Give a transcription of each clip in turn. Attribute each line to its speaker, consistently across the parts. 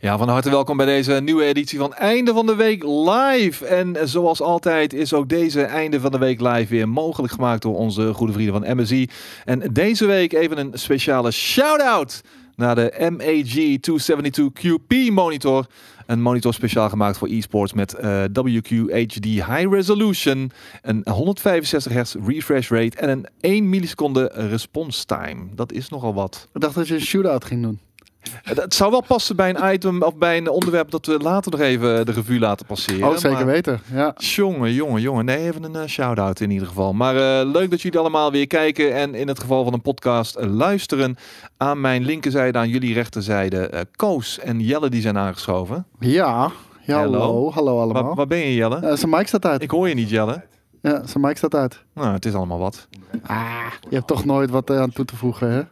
Speaker 1: Ja, van harte welkom bij deze nieuwe editie van Einde van de Week Live. En zoals altijd is ook deze Einde van de Week Live weer mogelijk gemaakt door onze goede vrienden van MSI. En deze week even een speciale shout-out naar de MAG 272QP monitor. Een monitor speciaal gemaakt voor esports met eh, WQ HD High Resolution, een 165 hertz refresh rate en een 1 milliseconde response time. Dat is nogal wat.
Speaker 2: Ik dacht dat je een shootout ging doen.
Speaker 1: Het zou wel passen bij een item of bij een onderwerp dat we later nog even de revue laten passeren.
Speaker 2: oh, zeker
Speaker 1: maar-
Speaker 2: weten. Ja.
Speaker 1: Jongen, jongen, jongen. Nee, even een eh, shout-out in ieder geval. Maar eh, leuk dat jullie allemaal weer kijken en in het geval van een podcast eh, luisteren. Aan mijn linkerzijde, aan jullie rechterzijde, eh, Koos en Jelle die zijn aangeschoven.
Speaker 2: Ja. ja
Speaker 1: Hallo.
Speaker 2: hallo. Hallo allemaal.
Speaker 1: Waar, waar ben je, Jelle?
Speaker 2: Eh, zijn mic staat uit.
Speaker 1: Ik hoor je niet, Jelle.
Speaker 2: Ja, zijn mic staat uit.
Speaker 1: Nou, het is allemaal wat.
Speaker 2: Ah, je hebt toch nooit wat eh, aan toe te voegen, hè?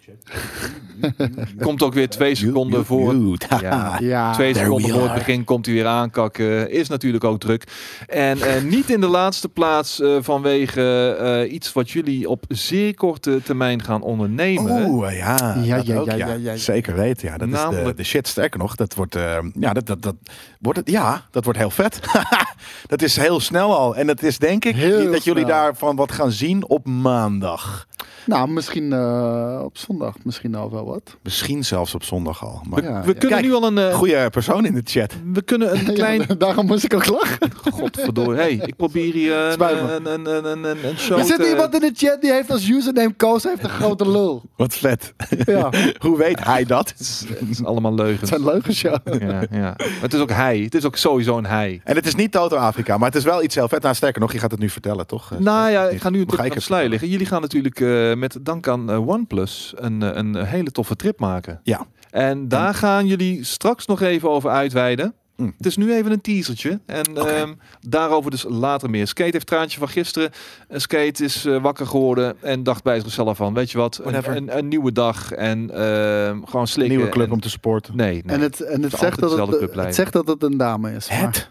Speaker 1: Komt ook weer twee seconden voor Ja.
Speaker 2: Ja.
Speaker 1: Ah, Twee
Speaker 3: There
Speaker 1: seconden
Speaker 3: we
Speaker 1: voor het
Speaker 3: are.
Speaker 1: begin komt hij weer aankakken. Is natuurlijk ook druk. En eh, niet in de laatste plaats eh, vanwege eh, iets wat jullie op zeer korte termijn gaan ondernemen.
Speaker 2: Oh,
Speaker 3: Oeh, ja.
Speaker 2: Ja,
Speaker 3: dat
Speaker 2: ja,
Speaker 3: ook,
Speaker 2: ja, ja, ja.
Speaker 3: Zeker weten, ja. Dat is de,
Speaker 1: Namelijk-
Speaker 3: de shit. Sterker nog, dat wordt, eh, ja, dat, dat, dat, wordt het, ja, dat wordt heel vet. dat is heel snel al. En dat is denk ik
Speaker 2: Heel
Speaker 3: dat jullie
Speaker 2: snel.
Speaker 3: daarvan wat gaan zien op maandag.
Speaker 2: Nou, misschien eh, op zondag misschien al wel wat.
Speaker 3: Misschien zelfs op zondag al. Maar
Speaker 1: We,
Speaker 2: Ja,
Speaker 1: we
Speaker 2: ja.
Speaker 1: kunnen
Speaker 3: Kijk,
Speaker 1: nu al een. eh,
Speaker 3: goede persoon in de chat.
Speaker 1: we kunnen een klein.
Speaker 2: Ja, daarom moest ik ook lachen.
Speaker 1: Godverdorie. Hey, ik probeer hier eh,
Speaker 2: Spijt me.
Speaker 1: een, een, een, een, een, een show.
Speaker 2: Er zit
Speaker 1: te-
Speaker 2: iemand in de chat die heeft als username Koos heeft een grote lul.
Speaker 3: Wat vet.
Speaker 2: Ja,
Speaker 3: Hoe weet hij dat?
Speaker 1: Het is allemaal
Speaker 2: het
Speaker 1: leugens.
Speaker 2: zijn leugens, ja.
Speaker 1: Ja, ja. Maar het is ook hij. Het is ook sowieso een hij.
Speaker 3: En het is niet Toto Afrika, maar het is wel iets heel vet. Nou, sterker nog, je gaat het nu vertellen, toch?
Speaker 1: Nou ja, ik ga nu een
Speaker 3: Mag
Speaker 1: trip
Speaker 3: ik
Speaker 1: aan de
Speaker 3: het
Speaker 1: slui liggen. Jullie gaan natuurlijk eh, met dank aan eh, OnePlus een, eh, een hele toffe trip maken.
Speaker 3: Ja.
Speaker 1: En daar gaan jullie straks nog even over uitweiden.
Speaker 3: Mm.
Speaker 1: Het is nu even een teasertje. En ehm, daarover dus later meer. Skate heeft traantje van gisteren. Eh, Skate is eh, wakker geworden en dacht bij zichzelf van... Weet je wat, een,
Speaker 3: Whatever.
Speaker 1: een, een nieuwe dag en ehm, gewoon slikken.
Speaker 3: Nieuwe club
Speaker 2: eh,
Speaker 1: en-
Speaker 3: om te supporten.
Speaker 1: Nee, nee.
Speaker 2: En het, en het,
Speaker 1: altijd
Speaker 2: zegt, dat
Speaker 1: dezelfde
Speaker 2: het,
Speaker 1: club blijven.
Speaker 2: het zegt dat het een dame is. maar-
Speaker 3: Het,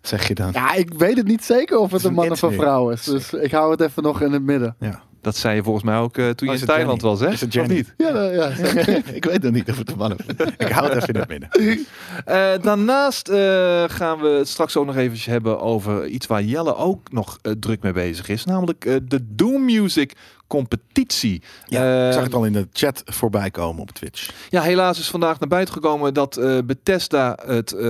Speaker 3: zeg je dan.
Speaker 2: nou, Ja, ik weet het niet zeker of het
Speaker 3: is
Speaker 2: een
Speaker 3: een
Speaker 2: man
Speaker 3: it
Speaker 2: of een
Speaker 3: nu.
Speaker 2: vrouw is. Dus ik hou het even nog in het midden.
Speaker 3: Ja.
Speaker 1: Dat zei je volgens mij ook eh, toen
Speaker 3: Oh,
Speaker 1: je
Speaker 3: is
Speaker 1: in
Speaker 3: het
Speaker 1: Thailand
Speaker 3: Jenny?
Speaker 1: was, hè?
Speaker 3: Is het
Speaker 1: of
Speaker 3: Jenny?
Speaker 1: niet?
Speaker 2: Ja, nou, ja.
Speaker 3: ik weet nog niet of het een man of Ik hou het even in het midden.
Speaker 1: Eh, daarnaast eh, gaan we het straks ook nog even hebben over iets waar Jelle ook nog eh, druk mee bezig is. Namelijk eh, de Doom Music competitie.
Speaker 3: Ja,
Speaker 1: Eh,
Speaker 2: Ehm,
Speaker 3: ik zag het al in de chat voorbij komen op Twitch.
Speaker 1: ja, helaas is vandaag naar buiten gekomen dat eh, Bethesda het eh,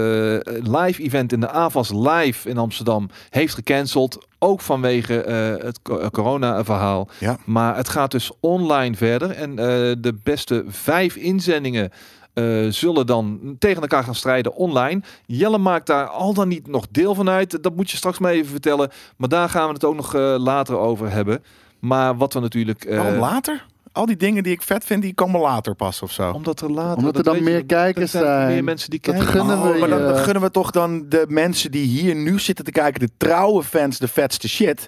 Speaker 1: live event in de AVAS Live in Amsterdam heeft gecanceld. Ook vanwege eh, het co- eh, corona verhaal.
Speaker 3: Ja.
Speaker 1: Maar het gaat dus online verder. En eh, de beste vijf inzendingen eh, zullen dan tegen elkaar gaan strijden online. Jelle maakt daar al dan niet nog deel van uit. Dat moet je straks maar even vertellen. Maar daar gaan we het ook nog eh, later over hebben. Maar wat we natuurlijk... eh,
Speaker 3: Waarom later? Al die dingen die ik vet vind, die komen later pas of
Speaker 2: Oh,
Speaker 3: zo.
Speaker 1: omdat er later...
Speaker 2: Omdat er
Speaker 1: dat
Speaker 2: dan
Speaker 1: weet je,
Speaker 2: meer
Speaker 1: dat- dat
Speaker 2: kijkers
Speaker 1: er Meer
Speaker 2: zijn. Oh.
Speaker 1: mensen die
Speaker 2: Dat
Speaker 1: kijken.
Speaker 2: gun- gunnen we
Speaker 3: Oh, maar dan,
Speaker 2: je-
Speaker 3: dan gunnen we toch dan de mensen die hier nu zitten te kijken, de trouwe fans, de vetste shit.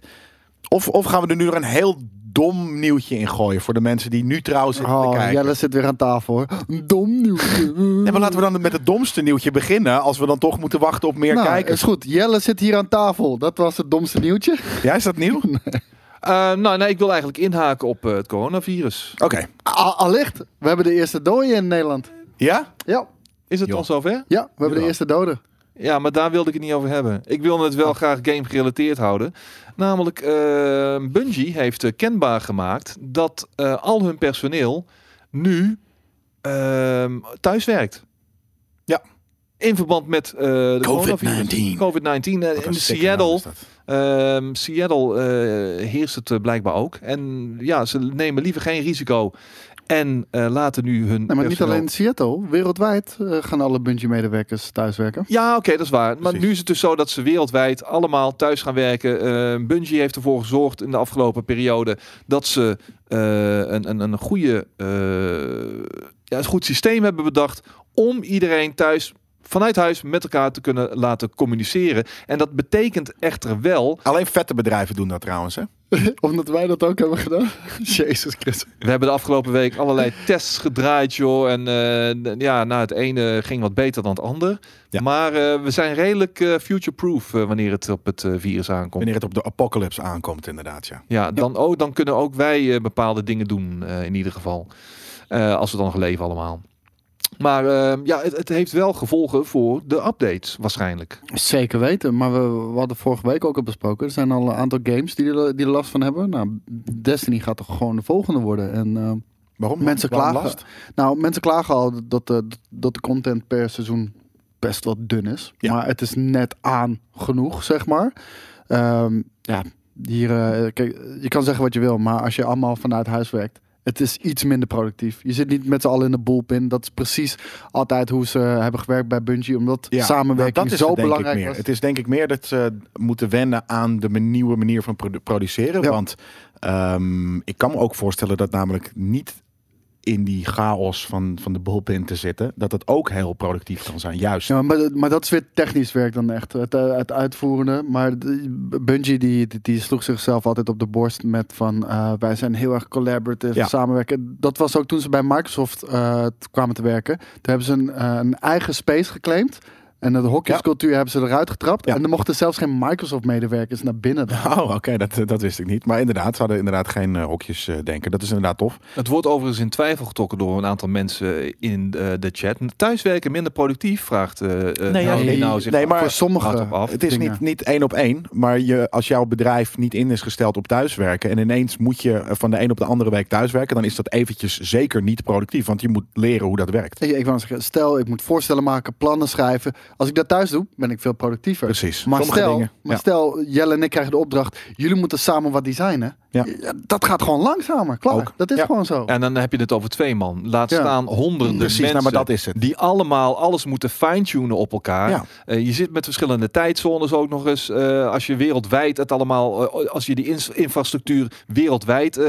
Speaker 3: Of, of gaan we er nu nog een heel dom nieuwtje in gooien voor de mensen die nu trouw zitten te
Speaker 2: Oh,
Speaker 3: kijken?
Speaker 2: Jelle zit weer aan tafel hoor. Dom nieuwtje.
Speaker 3: Nee, maar laten we dan met het domste nieuwtje beginnen, als we dan toch moeten wachten op meer
Speaker 2: Nou,
Speaker 3: kijkers.
Speaker 2: is goed. Jelle zit hier aan tafel. Dat was het domste nieuwtje.
Speaker 3: Ja, is dat nieuw? Oké,
Speaker 1: Eh, nou, nee, ik wil eigenlijk inhaken op eh, het coronavirus.
Speaker 2: A- allicht, we hebben de eerste dode in Nederland.
Speaker 3: ja?
Speaker 2: Ja,
Speaker 1: Is het
Speaker 3: Joh.
Speaker 1: al zover?
Speaker 2: ja we hebben
Speaker 3: Ja.
Speaker 2: de eerste dode.
Speaker 1: Ja, maar daar wilde ik het niet over hebben. Ik wil het
Speaker 3: Ah.
Speaker 1: wel graag game gerelateerd houden. Namelijk, eh, Bungie heeft eh, kenbaar gemaakt dat eh, al hun personeel nu ehm, thuis werkt.
Speaker 3: Ja.
Speaker 1: In verband met eh, de coronavirus.
Speaker 3: COVID-19.
Speaker 1: COVID-19. eh,
Speaker 3: Wat
Speaker 1: in
Speaker 3: een stikke naam
Speaker 1: Seattle,
Speaker 3: is dat.
Speaker 1: ehm, Seattle eh, heerst het eh, blijkbaar ook. En ja, ze nemen liever geen risico. En eh, laten nu hun.
Speaker 2: Nee, maar niet
Speaker 1: personeel-
Speaker 2: alleen in Seattle. Wereldwijd eh, gaan alle Bungie-medewerkers thuiswerken.
Speaker 1: Ja, oké, dat is waar. Maar
Speaker 3: Precies.
Speaker 1: nu is het dus zo dat ze wereldwijd allemaal thuis gaan werken. Eh Bungie heeft ervoor gezorgd in de afgelopen periode dat ze eh, een, een, een goede, eh, ja, een goed systeem hebben bedacht om iedereen thuis vanuit huis met elkaar te kunnen laten communiceren. En dat betekent echter wel,
Speaker 3: Alleen vette bedrijven doen dat trouwens, hè?
Speaker 2: Omdat wij dat ook hebben gedaan. Jezus Christus.
Speaker 1: we hebben de afgelopen week allerlei tests gedraaid, joh. En eh, ja, nou, het ene ging wat beter dan het ander.
Speaker 3: Ja.
Speaker 1: Maar eh, we zijn redelijk eh, future-proof eh, wanneer het op het eh, virus aankomt.
Speaker 3: Wanneer het op de apocalypse aankomt, inderdaad, ja.
Speaker 1: Ja, dan, oh, dan kunnen ook wij eh, bepaalde dingen doen, eh, in ieder geval. Eh, als we dan nog leven allemaal. Maar ehm, ja, het, het heeft wel gevolgen voor de updates waarschijnlijk.
Speaker 2: Zeker weten, maar we, we hadden vorige week ook al besproken. Er zijn al een aantal games die er, die er last van hebben. Nou, Destiny gaat toch gewoon de volgende worden. En, eh,
Speaker 3: Waarom?
Speaker 2: Mensen
Speaker 3: Waarom
Speaker 2: klagen.
Speaker 3: last?
Speaker 2: nou, mensen klagen al dat de, dat de content per seizoen best wel dun is.
Speaker 3: Ja.
Speaker 2: Maar het is net aan genoeg, zeg maar. Ehm, ja, hier, eh, kijk, je kan zeggen wat je wil, maar als je allemaal vanuit huis werkt, het is iets minder productief. Je zit niet met z'n allen in de bullpen. Dat is precies altijd hoe ze hebben gewerkt bij Bungie, omdat
Speaker 3: Ja,
Speaker 2: samenwerking
Speaker 3: nou, dat is
Speaker 2: zo
Speaker 3: het denk ik
Speaker 2: belangrijk
Speaker 3: meer.
Speaker 2: was.
Speaker 3: Het is denk ik meer dat ze moeten wennen aan de man- nieuwe manier van produ- produceren.
Speaker 2: Ja.
Speaker 3: Want ehm, ik kan me ook voorstellen dat namelijk niet in die chaos van, van de bullpen te zitten, dat het ook heel productief kan zijn. Juist.
Speaker 2: Ja, maar, maar dat is weer technisch werk dan echt. Het, eh, het uitvoerende. Maar de- Bungie die, die, die sloeg zichzelf altijd op de borst met van... eh, wij zijn heel erg collaborative,
Speaker 3: Ja.
Speaker 2: samenwerken. Dat was ook toen ze bij Microsoft eh, t- kwamen te werken. Toen hebben ze een, eh, een eigen space geclaimd. En dat hokjescultuur hebben ze eruit getrapt.
Speaker 3: Ja.
Speaker 2: En er mochten zelfs geen Microsoft-medewerkers naar binnen.
Speaker 3: Oh, oké, dat, dat wist ik niet. Maar inderdaad, ze hadden inderdaad geen eh, hokjes eh, denken. Dat is inderdaad tof.
Speaker 1: Het wordt overigens in twijfel getrokken door een aantal mensen in eh, de chat. Thuiswerken minder productief, vraagt eh eh,
Speaker 3: Nee, ja,
Speaker 1: Naomi
Speaker 2: nee,
Speaker 1: nou zich
Speaker 3: nee,
Speaker 1: af.
Speaker 3: maar-
Speaker 2: Voor
Speaker 1: Houdt
Speaker 2: sommige...
Speaker 1: op af.
Speaker 3: Het is
Speaker 2: dingen.
Speaker 3: niet, niet één op één, maar je, als jouw bedrijf niet in is gesteld op thuiswerken en ineens moet je eh, van de een op de andere week thuiswerken, dan is dat eventjes zeker niet productief, want je moet leren hoe dat werkt.
Speaker 2: Ik, ik wou zeggen, stel ik moet voorstellen maken, plannen schrijven. Als ik dat thuis doe, ben ik veel productiever.
Speaker 3: Precies.
Speaker 2: Maar,
Speaker 3: Sommige
Speaker 2: stel,
Speaker 3: dingen,
Speaker 2: maar
Speaker 3: ja.
Speaker 2: stel, Jelle en ik krijgen de opdracht. Jullie moeten samen wat designen.
Speaker 3: Ja.
Speaker 2: Dat gaat gewoon langzamer. Klaar.
Speaker 3: Ook.
Speaker 2: Dat is
Speaker 3: Ja.
Speaker 2: gewoon zo.
Speaker 1: En dan heb je het over twee man. Laat
Speaker 2: Ja.
Speaker 1: staan honderden
Speaker 3: Precies,
Speaker 1: mensen
Speaker 3: nou, maar dat is het.
Speaker 1: die allemaal alles moeten fine-tunen op elkaar.
Speaker 3: Ja.
Speaker 1: Eh, je zit met verschillende tijdzones ook nog eens. Eh, als je wereldwijd het allemaal, eh, als je die ins- infrastructuur wereldwijd eh,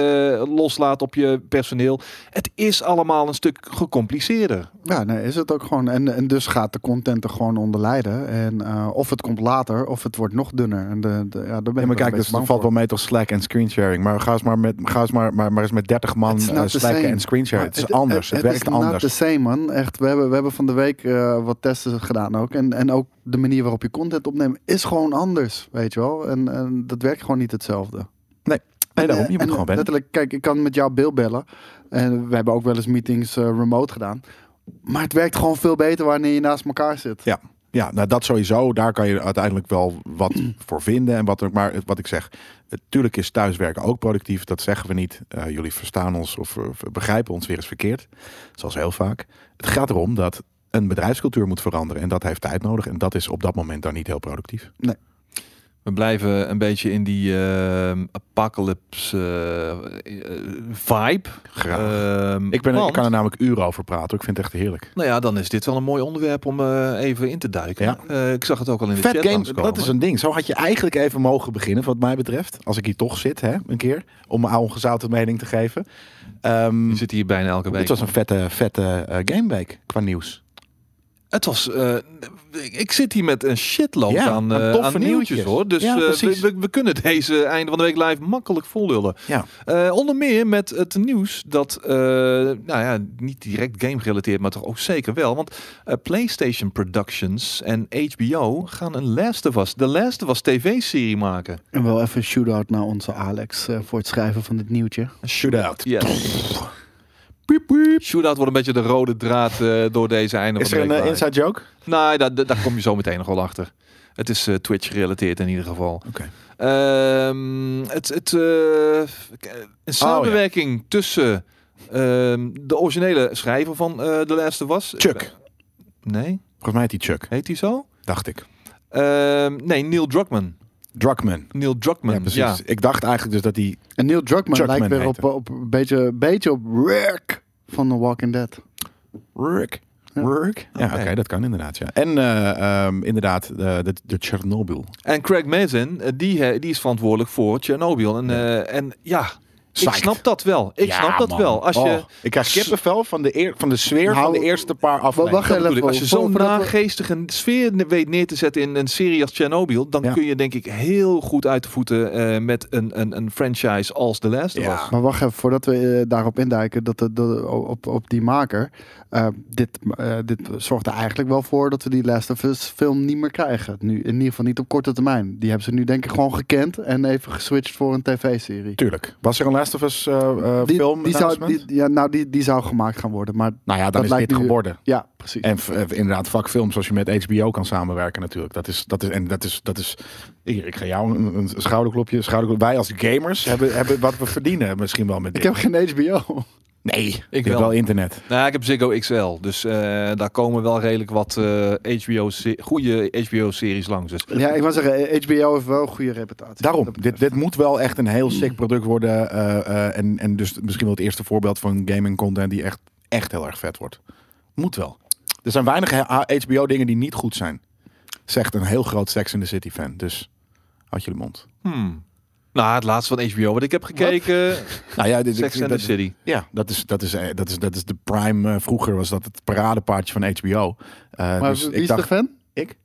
Speaker 1: loslaat op je personeel. Het is allemaal een stuk gecompliceerder.
Speaker 2: Ja, nee, is het ook gewoon. En, en dus gaat de content er gewoon onder lijden. En eh, of het komt later, of het wordt nog dunner. En de, de, ja, daar ben
Speaker 3: Ja,
Speaker 2: ik
Speaker 3: maar
Speaker 2: wel
Speaker 3: kijk,
Speaker 2: een
Speaker 3: dat
Speaker 2: beetje bang
Speaker 3: valt wel
Speaker 2: voor.
Speaker 3: mee toch Slack en screensharing. Maar ga eens maar, met, ga eens maar, maar, maar eens met 30 man
Speaker 2: It's
Speaker 3: eh,
Speaker 2: not the
Speaker 3: slacken
Speaker 2: same.
Speaker 3: en screensharing. Het is
Speaker 2: nou Maar
Speaker 3: anders. Het, werkt
Speaker 2: is nou not
Speaker 3: anders.
Speaker 2: the same, man. Echt, we hebben, we hebben van de week eh, wat testen gedaan ook. En, en ook de manier waarop je content opneemt is gewoon anders, weet je wel. En, en dat werkt gewoon niet hetzelfde.
Speaker 3: Nee, daarom. Je
Speaker 2: En,
Speaker 3: moet
Speaker 2: eh,
Speaker 3: gewoon wennen.
Speaker 2: Letterlijk, kijk, ik kan met jou Bill bellen. En we hebben ook wel eens meetings eh, remote gedaan. Maar het werkt gewoon veel beter wanneer je naast elkaar zit.
Speaker 3: Ja, nou dat sowieso. Daar kan je uiteindelijk wel wat voor vinden. En wat, er- maar wat ik zeg, natuurlijk is thuiswerken ook productief. Dat zeggen we niet. Eh, jullie verstaan ons of eh, begrijpen ons weer eens verkeerd. Zoals heel vaak. Het gaat erom dat een bedrijfscultuur moet veranderen. En dat heeft tijd nodig. En dat is op dat moment dan niet heel productief.
Speaker 1: We blijven een beetje in die ehm, apocalypse eh, eh, vibe.
Speaker 3: Graag.
Speaker 1: Ehm,
Speaker 3: ik, ben, er- ik
Speaker 1: want-
Speaker 3: kan er namelijk uren over praten. Ik vind het echt heerlijk.
Speaker 1: Nou ja, dan is dit wel een mooi onderwerp om eh, even in te duiken.
Speaker 3: Ja.
Speaker 1: Eh, ik zag het ook al in de
Speaker 3: Vet
Speaker 1: chat
Speaker 3: game,
Speaker 1: langskomen.
Speaker 3: dat is een ding. Zo had je eigenlijk even mogen beginnen, wat mij betreft. Als ik hier toch zit, hè, een keer. Om mijn oude gezouten mening te geven. Ehm,
Speaker 1: Je zit hier bijna elke week.
Speaker 3: het was een vette, vette eh, gameweek qua nieuws.
Speaker 1: Het was. eh, ik, ik zit hier met een shitload
Speaker 3: Ja,
Speaker 1: aan,
Speaker 3: aan
Speaker 1: eh,
Speaker 3: toffe
Speaker 1: aan nieuwtjes
Speaker 3: nieuwtjes.
Speaker 1: hoor. Dus
Speaker 3: Ja,
Speaker 1: eh, we,
Speaker 3: precies.
Speaker 1: we, we kunnen deze einde van de week live makkelijk vollullen.
Speaker 3: Ja.
Speaker 1: Eh, onder meer met het nieuws dat. eh, nou ja, niet direct game gerelateerd, maar toch ook zeker wel. Want eh, PlayStation Productions en HBO gaan een Last of Us, de Last of Us TV-serie maken.
Speaker 2: En wel even een shootout naar onze Alex eh, voor het schrijven van dit nieuwtje.
Speaker 3: Shootout.
Speaker 1: Yes. Shootout wordt een beetje de rode draad eh, door deze einde
Speaker 3: Is
Speaker 1: van
Speaker 3: er
Speaker 1: de
Speaker 3: een
Speaker 1: week.
Speaker 3: eh,
Speaker 1: live.
Speaker 3: inside joke?
Speaker 1: Nee, daar, daar- daar kom je zo meteen nog wel achter. Het is eh, Twitch gerelateerd in ieder geval.
Speaker 3: Oké.
Speaker 1: Ehm, het, het, eh,
Speaker 3: Oh,
Speaker 1: een samenwerking tussen ehm, de originele schrijver van eh The Last of Us.
Speaker 3: Chuck.
Speaker 1: Nee,
Speaker 3: Volgens mij heet die Chuck,
Speaker 1: heet hij zo?
Speaker 3: dacht ik.
Speaker 1: Ehm, nee, Neil Druckmann.
Speaker 3: Druckman.
Speaker 1: Neil Druckmann,
Speaker 3: Ja,
Speaker 1: ja.
Speaker 3: precies. Ik dacht eigenlijk dus dat die...
Speaker 2: En Neil Druckmann
Speaker 3: Druckmann
Speaker 2: lijkt weer op,
Speaker 3: heette.
Speaker 2: op een beetje, beetje op Rick van The Walking Dead.
Speaker 3: Rick.
Speaker 2: Ja.
Speaker 3: Rick? Ja, oké,
Speaker 1: Oké.
Speaker 3: dat kan inderdaad, ja. En eh, ehm, inderdaad, de, de, de Chernobyl.
Speaker 1: En Craig Mazin, eh, die, eh, die is verantwoordelijk voor Chernobyl. En, eh, en ja, ik
Speaker 3: Psyched.
Speaker 1: snap dat wel. Ik
Speaker 3: Ja,
Speaker 1: snap dat
Speaker 3: man.
Speaker 1: wel. Als je...
Speaker 3: Oh, ik krijg kippenvel van de, eer, van de sfeer
Speaker 2: Nou,
Speaker 3: van de eerste paar afleveringen.
Speaker 2: wacht
Speaker 1: Dat
Speaker 2: even,
Speaker 1: bedoel ik. Als je
Speaker 2: voor-
Speaker 1: zo'n
Speaker 2: voordat we-
Speaker 1: nageestige sfeer ne- weet neer te zetten in een serie als Chernobyl, dan
Speaker 3: Ja.
Speaker 1: kun je denk ik heel goed uit de voeten eh, met een, een, een franchise als The Last of
Speaker 3: Ja.
Speaker 1: Us.
Speaker 2: Maar wacht even, voordat we eh, daarop induiken, dat, de- de- op, op die maker. eh, dit, eh, dit zorgt er eigenlijk wel voor dat we die Last of Us film niet meer krijgen. Nu, in ieder geval niet op korte termijn. Die hebben ze nu denk ik gewoon gekend en even geswitcht voor een tv-serie.
Speaker 3: Tuurlijk. Was er een Last of Us eh, eh,
Speaker 2: Die,
Speaker 3: film?
Speaker 2: die zou,
Speaker 3: announcement?
Speaker 2: die, ja, nou, die, die zou gemaakt gaan worden. Maar
Speaker 3: nou ja,
Speaker 2: dat
Speaker 3: dan is
Speaker 2: lijkt
Speaker 3: dit
Speaker 2: nu-
Speaker 3: geworden.
Speaker 2: ja, precies.
Speaker 3: En v- eh, inderdaad, vakfilms zoals je met HBO kan samenwerken natuurlijk. Dat is, dat is, en dat is, dat is hier, ik ga jou een, een schouderklopje, schouderklop. Wij als gamers hebben, hebben wat we verdienen misschien wel met dit.
Speaker 2: ik heb geen HBO.
Speaker 3: nee, ik heb
Speaker 1: wel.
Speaker 3: wel. internet.
Speaker 1: Nou, ik heb Ziggo XL, dus eh, daar komen wel redelijk wat eh, HBO se- goede HBO-series langs. Dus
Speaker 2: Ja, ik wou zeggen, HBO heeft wel een goede reputatie.
Speaker 3: Daarom,
Speaker 2: Dat betreft.
Speaker 3: dit, dit moet wel echt een heel sick product worden. eh, eh, en, en dus misschien wel het eerste voorbeeld van gaming content die echt, echt heel erg vet wordt. Moet wel. Er zijn weinig ah, HBO dingen die niet goed zijn. Zegt een heel groot Sex in the City fan. Dus houd jullie mond.
Speaker 1: Hmm. Nou, het laatste van HBO wat ik heb gekeken,
Speaker 3: Nou ja, dit,
Speaker 1: Sex
Speaker 3: dit-
Speaker 1: and the
Speaker 3: dit-
Speaker 1: City.
Speaker 3: Ja, dat is, dat is, eh, dat is, dat is de prime. eh, vroeger was dat het paradepaardje van HBO. Eh,
Speaker 2: Maar
Speaker 3: dus
Speaker 2: wie
Speaker 3: ik
Speaker 2: is de
Speaker 3: dacht,
Speaker 2: fan?
Speaker 3: ik?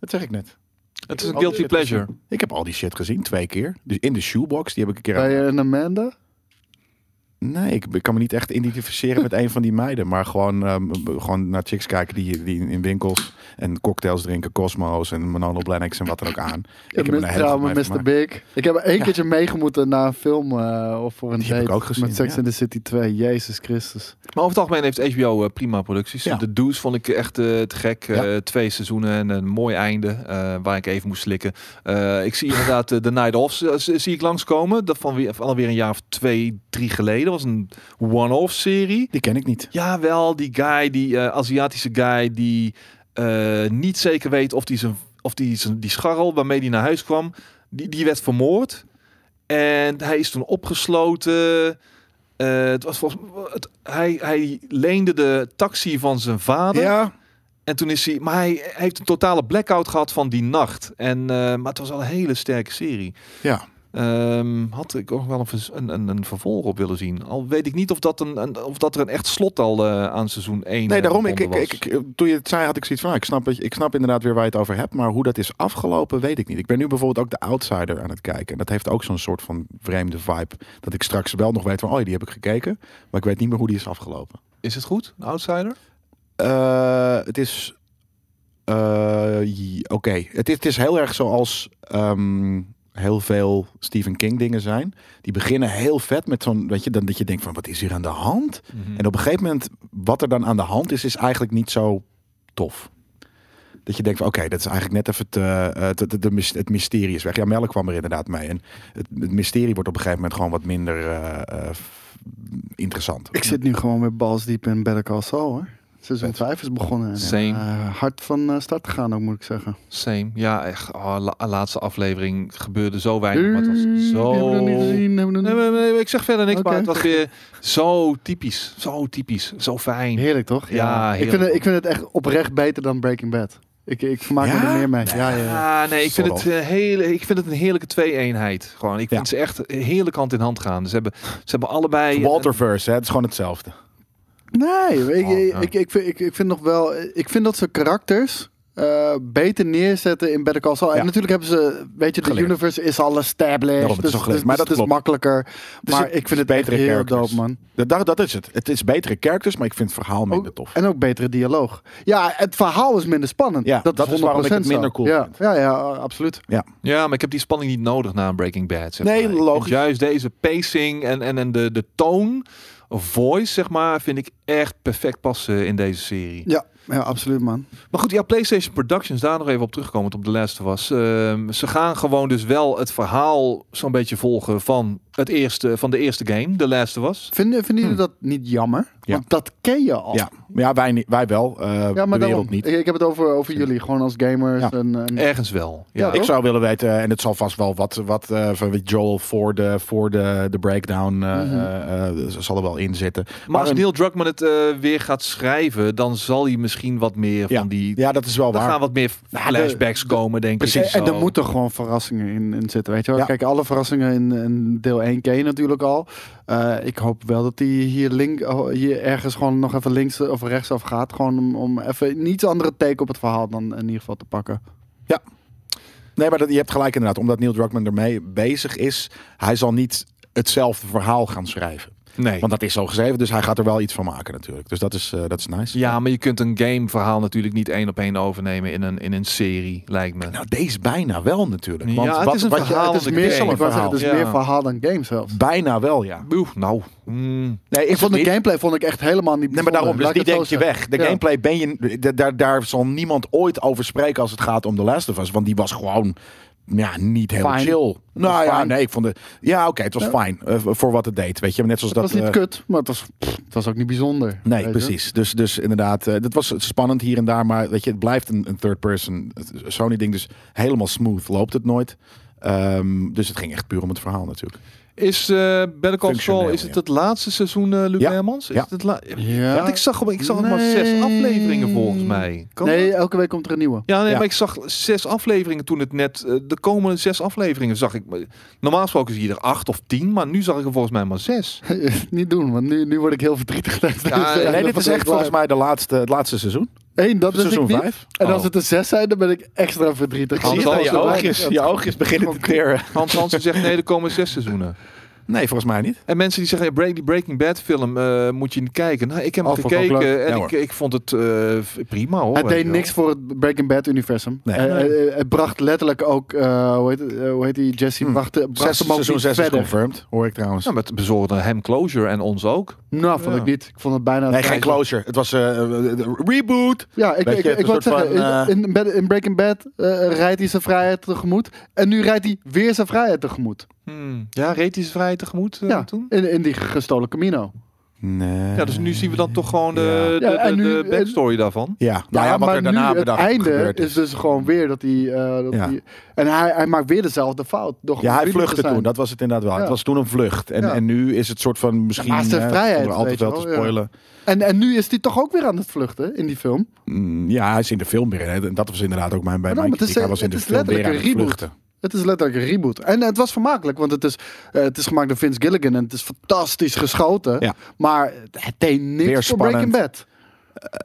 Speaker 3: Dat zeg ik net.
Speaker 1: Het is een
Speaker 3: Oh,
Speaker 1: guilty
Speaker 3: shit.
Speaker 1: pleasure.
Speaker 3: Ik heb al die shit gezien, twee keer. Dus in de shoebox, die heb ik een keer...
Speaker 2: Bij een Amanda?
Speaker 3: Nee, ik, ik kan me niet echt identificeren met een van die meiden. Maar gewoon, ehm, b- gewoon naar chicks kijken die, die in winkels en cocktails drinken. Cosmo's en Manolo Blahniks en wat dan ook aan.
Speaker 2: Ik heb
Speaker 3: heb er een hele goede
Speaker 2: samen
Speaker 3: meid
Speaker 2: Mr.
Speaker 3: van
Speaker 2: Big. Ik heb er één keertje meegemoeten naar een film eh, of voor een
Speaker 3: Die
Speaker 2: date.
Speaker 3: heb ik ook gezien,
Speaker 2: Met Sex
Speaker 3: ja.
Speaker 2: in the City 2. Jezus Christus.
Speaker 1: Maar over het algemeen heeft HBO eh, prima producties.
Speaker 3: Ja.
Speaker 1: De Do's vond ik echt eh, te gek. Eh, twee seizoenen en een mooi einde eh, waar ik even moest slikken. Eh, ik zie inderdaad de The Night Off eh, z- zie ik langskomen. Dat van, weer, van alweer een jaar of twee, drie geleden. was een one-off serie.
Speaker 3: Die ken ik niet.
Speaker 1: Jawel, die guy, die eh, Aziatische guy die eh, niet zeker weet of die, zijn, of die, zijn, die scharrel waarmee hij naar huis kwam, die, die werd vermoord. En hij is toen opgesloten. Eh, het was volgens, het, hij, hij leende de taxi van zijn vader.
Speaker 3: Ja,
Speaker 1: En toen is hij. Maar hij heeft een totale blackout gehad van die nacht. En, eh, maar het was al een hele sterke serie.
Speaker 3: ja.
Speaker 1: Ehm, had ik ook wel een, vers- een, een, een vervolg op willen zien. Al weet ik niet of dat, een, een- of dat er een echt slot al eh, aan seizoen 1
Speaker 3: Nee, daarom. Ik, ik, ik, ik- toen je het zei, had ik zoiets van: nou, ik snap, dat je- ik snap inderdaad weer waar je het over hebt. Maar hoe dat is afgelopen, weet ik niet. Ik ben nu bijvoorbeeld ook de outsider aan het kijken. En dat heeft ook zo'n soort van vreemde vibe. Dat ik straks wel nog weet van: oh, die heb ik gekeken. Maar ik weet niet meer hoe die is afgelopen.
Speaker 1: Is het goed, een outsider?
Speaker 3: Eh, het is. eh, j- Oké. Het, is- het is heel erg zoals. ehm, heel veel Stephen King dingen zijn. Die beginnen heel vet met zo'n, weet je, dan dat je denkt van wat is hier aan de hand? En op een gegeven moment, wat er dan aan de hand is, is eigenlijk niet zo tof. Dat je denkt van oké, dat is eigenlijk net even te, eh, te- te- de mys- het mysterie is weg. Ja, Melle kwam er inderdaad mee. En het, het mysterie wordt op een gegeven moment gewoon wat minder eh, eh, f- interessant.
Speaker 2: Ik zit nu gewoon met Balls Deep in Better Call Saul hoor. Seizoen
Speaker 3: Vet.
Speaker 2: 5 is begonnen. En,
Speaker 1: Same.
Speaker 2: eh, hard van eh, start gegaan ook moet ik zeggen.
Speaker 1: Same. Ja, echt. Oh, la- laatste aflevering gebeurde zo weinig. Maar het was
Speaker 2: Die
Speaker 1: zo.
Speaker 2: Hebben we nog niet gezien. hebben we nog
Speaker 1: Nee,
Speaker 2: niet-
Speaker 1: nee, nee, ik zeg verder niks,
Speaker 2: Oké.
Speaker 1: maar het was weer zo typisch. Zo typisch. Zo fijn.
Speaker 2: Heerlijk toch?
Speaker 1: Ja,
Speaker 2: Ik,
Speaker 1: heerlijk.
Speaker 2: vind het, ik vind het echt oprecht beter dan Breaking Bad. Ik, ik vermaak me
Speaker 3: Ja?
Speaker 2: er meer mee. Ja, ja, ja.
Speaker 1: Ah, nee, ik vind,
Speaker 3: Sort
Speaker 1: het, eh, heel, ik vind het een heerlijke twee-eenheid. Gewoon, ik vind
Speaker 3: Ja.
Speaker 1: ze echt heerlijk hand in hand gaan. Ze hebben, ze hebben allebei...
Speaker 3: Walterverse, hè, het is gewoon hetzelfde.
Speaker 2: Nee, ik,
Speaker 1: Oh, ja.
Speaker 2: ik, ik, vind, ik, ik vind nog wel. Ik vind dat ze karakters eh, beter neerzetten in Better Call Saul.
Speaker 3: Ja.
Speaker 2: En natuurlijk hebben ze, weet je, de
Speaker 3: Geleerd.
Speaker 2: universe is al established.
Speaker 3: Daarom, het is
Speaker 2: dus,
Speaker 3: al geleerd,
Speaker 2: dus-
Speaker 3: maar
Speaker 2: dus
Speaker 3: dat
Speaker 2: het is
Speaker 3: klopt.
Speaker 2: makkelijker.
Speaker 3: Dus
Speaker 2: maar
Speaker 3: het
Speaker 2: ik vind
Speaker 3: is
Speaker 2: het echt
Speaker 3: betere
Speaker 2: heel
Speaker 3: characters.
Speaker 2: dope, man.
Speaker 3: Dat, dat, dat is het. Het is betere characters, maar ik vind het verhaal minder
Speaker 2: Ook-
Speaker 3: tof.
Speaker 2: En ook betere dialoog. Ja, het verhaal is minder spannend.
Speaker 3: Ja,
Speaker 2: dat,
Speaker 3: dat
Speaker 2: is
Speaker 3: is waarom ik
Speaker 2: 100%
Speaker 3: het minder
Speaker 2: zo.
Speaker 3: cool
Speaker 2: ja.
Speaker 3: vind.
Speaker 2: Ja, ja, absoluut.
Speaker 1: Ja, maar ik heb die spanning niet nodig na een Breaking Bad. Zeg
Speaker 3: Nee,
Speaker 1: maar. Ik vind
Speaker 3: logisch.
Speaker 1: Juist deze pacing en, en, en de, de toon, of voice, zeg maar, vind ik echt perfect passen in deze serie.
Speaker 2: Ja, ja absoluut, man.
Speaker 1: Maar goed, ja, PlayStation Productions, daar nog even op terugkomen, op de laatste was. Ehm, ze gaan gewoon dus wel het verhaal zo'n beetje volgen van, het eerste, van de eerste game, de laatste was.
Speaker 2: Vinden, vinden jullie dat niet jammer?
Speaker 3: Hmm. Ja.
Speaker 2: Want dat ken je al.
Speaker 3: Ja, Maar ja wij, niet- wij wel. eh,
Speaker 2: Ja, maar
Speaker 3: de
Speaker 2: daarom.
Speaker 3: wereld niet.
Speaker 2: Ik, ik heb het over, over jullie, gewoon als gamers.
Speaker 3: Ja.
Speaker 2: En, en-
Speaker 1: Ergens wel. Ja,
Speaker 2: Ja,
Speaker 3: Ik
Speaker 2: toch?
Speaker 3: zou willen weten, eh, en het zal vast wel wat, wat eh, van wie Joel voor de, voor de, de breakdown eh,
Speaker 2: Mhm.
Speaker 3: eh, eh, zal er wel in zitten.
Speaker 1: Maar als
Speaker 3: een-
Speaker 1: Neil Druckmann het eh, weer gaat schrijven, dan zal hij misschien wat meer
Speaker 3: ja,
Speaker 1: van die.
Speaker 3: ja, dat is wel
Speaker 1: dan
Speaker 3: waar. Nou,
Speaker 1: gaan wat meer flashbacks komen, denk ik.
Speaker 3: precies.
Speaker 2: En, en
Speaker 1: Zo.
Speaker 2: er moeten gewoon verrassingen in, in zitten, weet je wel.
Speaker 3: Ja.
Speaker 2: Kijk, alle verrassingen in, in deel 1 ken je natuurlijk al. Eh, ik hoop wel dat die hier, link, oh, hier ergens gewoon nog even links of rechts af gaat. Gewoon om, om even een iets andere take op het verhaal dan in ieder geval te pakken.
Speaker 3: Nee, maar dat, je hebt gelijk inderdaad. Omdat Neil Druckmann ermee bezig is, hij zal niet hetzelfde verhaal gaan schrijven.
Speaker 1: Nee.
Speaker 3: Want dat is zo geschreven, dus hij gaat er wel iets van maken natuurlijk. Dus dat is, eh, dat is nice.
Speaker 1: ja, maar je kunt een gameverhaal natuurlijk niet één op één overnemen in een, in een serie, lijkt me.
Speaker 3: Nou, deze bijna wel natuurlijk.
Speaker 1: Ja,
Speaker 3: Want
Speaker 1: het
Speaker 3: wat,
Speaker 1: is een
Speaker 3: wat je-
Speaker 1: verhaal
Speaker 3: het is
Speaker 1: van de
Speaker 3: meer
Speaker 1: game.
Speaker 3: zo'n
Speaker 2: Ik wou zeggen,
Speaker 3: verhaal.
Speaker 2: het is
Speaker 1: Ja.
Speaker 2: meer verhaal dan game zelfs.
Speaker 3: Bijna wel, ja.
Speaker 1: Oeh, nou. mm.
Speaker 3: Nee,
Speaker 2: Ik vond de gameplay vond ik echt helemaal niet
Speaker 3: Nee, maar daarom, dus
Speaker 2: bijzonder.
Speaker 3: die
Speaker 2: Laat ik
Speaker 3: denk
Speaker 2: het
Speaker 3: je
Speaker 2: zo
Speaker 3: weg. De
Speaker 2: Ja.
Speaker 3: gameplay ben je, d- daar, daar zal niemand ooit over spreken als het gaat om The Last of Us. Want die was gewoon ja, niet heel
Speaker 2: Fine.
Speaker 3: chill. Nou ja,
Speaker 2: fine.
Speaker 3: nee, ik vond het... Ja, oké, het was fijn eh, v- voor wat het deed, weet je. Maar net zoals
Speaker 2: zeggen. Het
Speaker 3: dat...
Speaker 2: was niet
Speaker 3: eh,
Speaker 2: kut, maar het was, pff, het was ook niet bijzonder. weet
Speaker 3: Nee,
Speaker 2: je.
Speaker 3: precies. Dus, dus inderdaad, eh, dat was spannend hier en daar. Maar weet je, het blijft een, een third-person Sony-ding. Dus helemaal smooth loopt het nooit. Ehm, dus het ging echt puur om het verhaal natuurlijk.
Speaker 1: Is eh Better Call Saul,
Speaker 3: Functioneel,
Speaker 1: is het
Speaker 3: ja.
Speaker 1: het laatste seizoen, eh Luc
Speaker 3: Ja.
Speaker 1: Hermans? Is
Speaker 3: Ja.
Speaker 1: het het la-
Speaker 2: Ja.
Speaker 1: Want ik zag, ik zag nog maar
Speaker 2: Nee.
Speaker 1: zes afleveringen volgens mij. Kan
Speaker 2: Nee,
Speaker 1: dat?
Speaker 2: elke week komt er een nieuwe.
Speaker 1: Ja, nee,
Speaker 3: Ja.
Speaker 1: maar ik zag zes afleveringen toen het net... eh, de komende zes afleveringen zag ik... Normaal gesproken zie je er acht of tien, maar nu zag ik er volgens mij maar zes.
Speaker 2: niet doen, want nu, nu word ik heel verdrietig. Dus, eh,
Speaker 1: Ja,
Speaker 3: nee, dit is echt volgens mij de laatste, het laatste seizoen.
Speaker 2: Eén, dat is ik
Speaker 3: seizoen
Speaker 2: niet.
Speaker 3: vijf.
Speaker 2: En als
Speaker 1: Oh.
Speaker 2: het er zes zijn, dan ben ik extra verdrietig.
Speaker 1: Ik zie het
Speaker 2: Want
Speaker 1: aan je
Speaker 2: dat is
Speaker 1: oogjes.
Speaker 2: zo weinig.
Speaker 3: je oogjes beginnen te teren.
Speaker 1: Hans Hansen zegt nee, er komen zes seizoenen.
Speaker 3: Nee, volgens mij niet.
Speaker 1: En mensen die zeggen, hey, Break- die Breaking Bad film eh, moet je niet kijken. Nou, ik heb hem
Speaker 2: Oh, vond ik ook leuk.
Speaker 1: gekeken en
Speaker 3: Ja,
Speaker 1: ik,
Speaker 3: hoor.
Speaker 1: ik vond het eh, prima hoor.
Speaker 2: Het
Speaker 1: weet
Speaker 2: deed
Speaker 1: je wel.
Speaker 2: niks voor het Breaking Bad universum.
Speaker 3: Nee.
Speaker 2: Eh, eh, eh, het bracht letterlijk ook, eh, hoe, heet, het, eh, hoe heet die, Jesse,
Speaker 3: Hm.
Speaker 2: bracht, bracht
Speaker 3: Zes,
Speaker 2: hem ook
Speaker 3: seizoen
Speaker 2: niet
Speaker 3: 6 is
Speaker 2: verder.
Speaker 3: confirmed, hoor ik trouwens.
Speaker 1: Ja, maar het bezorgde hem closure en ons ook.
Speaker 2: Nou, vond
Speaker 3: Ja.
Speaker 2: ik niet. Ik vond het bijna...
Speaker 3: nee, geen closure. Het was eh, eh, reboot.
Speaker 2: Ja, ik,
Speaker 3: Weet je,
Speaker 2: ik, ik
Speaker 3: het is
Speaker 2: wou
Speaker 3: een soort
Speaker 2: zeggen,
Speaker 3: van, eh,
Speaker 2: in, in Bed- in Breaking Bad eh, rijdt hij zijn vrijheid tegemoet. En nu rijdt hij weer zijn vrijheid tegemoet.
Speaker 1: Hmm. Ja, reed hij ze vrij tegemoet eh,
Speaker 2: ja,
Speaker 1: toen?
Speaker 2: in, in die gestolen Camino.
Speaker 3: Nee.
Speaker 1: Ja, dus nu zien we dan toch gewoon de,
Speaker 2: Ja.
Speaker 1: de,
Speaker 2: Ja, en
Speaker 1: de-
Speaker 2: nu- eh,
Speaker 1: de backstory daarvan.
Speaker 3: Ja, nou ja, wat
Speaker 2: maar
Speaker 3: er daarna
Speaker 2: nu, het
Speaker 3: bedacht
Speaker 2: einde
Speaker 3: gebeurd
Speaker 2: is. dus gewoon weer dat hij... eh, dat
Speaker 3: Ja.
Speaker 2: hij en hij, hij maakt weer dezelfde fout. Door gewoon
Speaker 3: Ja, hij
Speaker 2: vriendelijk te
Speaker 3: vluchtte
Speaker 2: zijn.
Speaker 3: toen. Dat was het inderdaad wel.
Speaker 2: Ja.
Speaker 3: Het was toen een vlucht. En,
Speaker 2: Ja.
Speaker 3: en nu is het soort van misschien...
Speaker 2: maar het is de
Speaker 3: eh,
Speaker 2: vrijheid,
Speaker 3: zonder al te
Speaker 2: weet
Speaker 3: veel
Speaker 2: je
Speaker 3: te
Speaker 2: wel, ja.
Speaker 3: spoilen.
Speaker 2: En, en nu is hij toch ook weer aan het vluchten in die film.
Speaker 3: Mm, Ja, hij is in de film weer. hè. En dat was inderdaad ook mijn bij
Speaker 2: Maar dan,
Speaker 3: mijn
Speaker 2: het is-
Speaker 3: kritiek. Hij was in
Speaker 2: het
Speaker 3: de
Speaker 2: is
Speaker 3: film weer aan
Speaker 2: letterlijk
Speaker 3: het
Speaker 2: een reboot.
Speaker 3: vluchten.
Speaker 2: Het is letterlijk een reboot. En het was vermakelijk, want het is, eh, het is gemaakt door Vince Gilligan. En het is fantastisch geschoten.
Speaker 3: Ja.
Speaker 2: Maar het deed niks
Speaker 3: Weer
Speaker 2: voor Breaking Bad.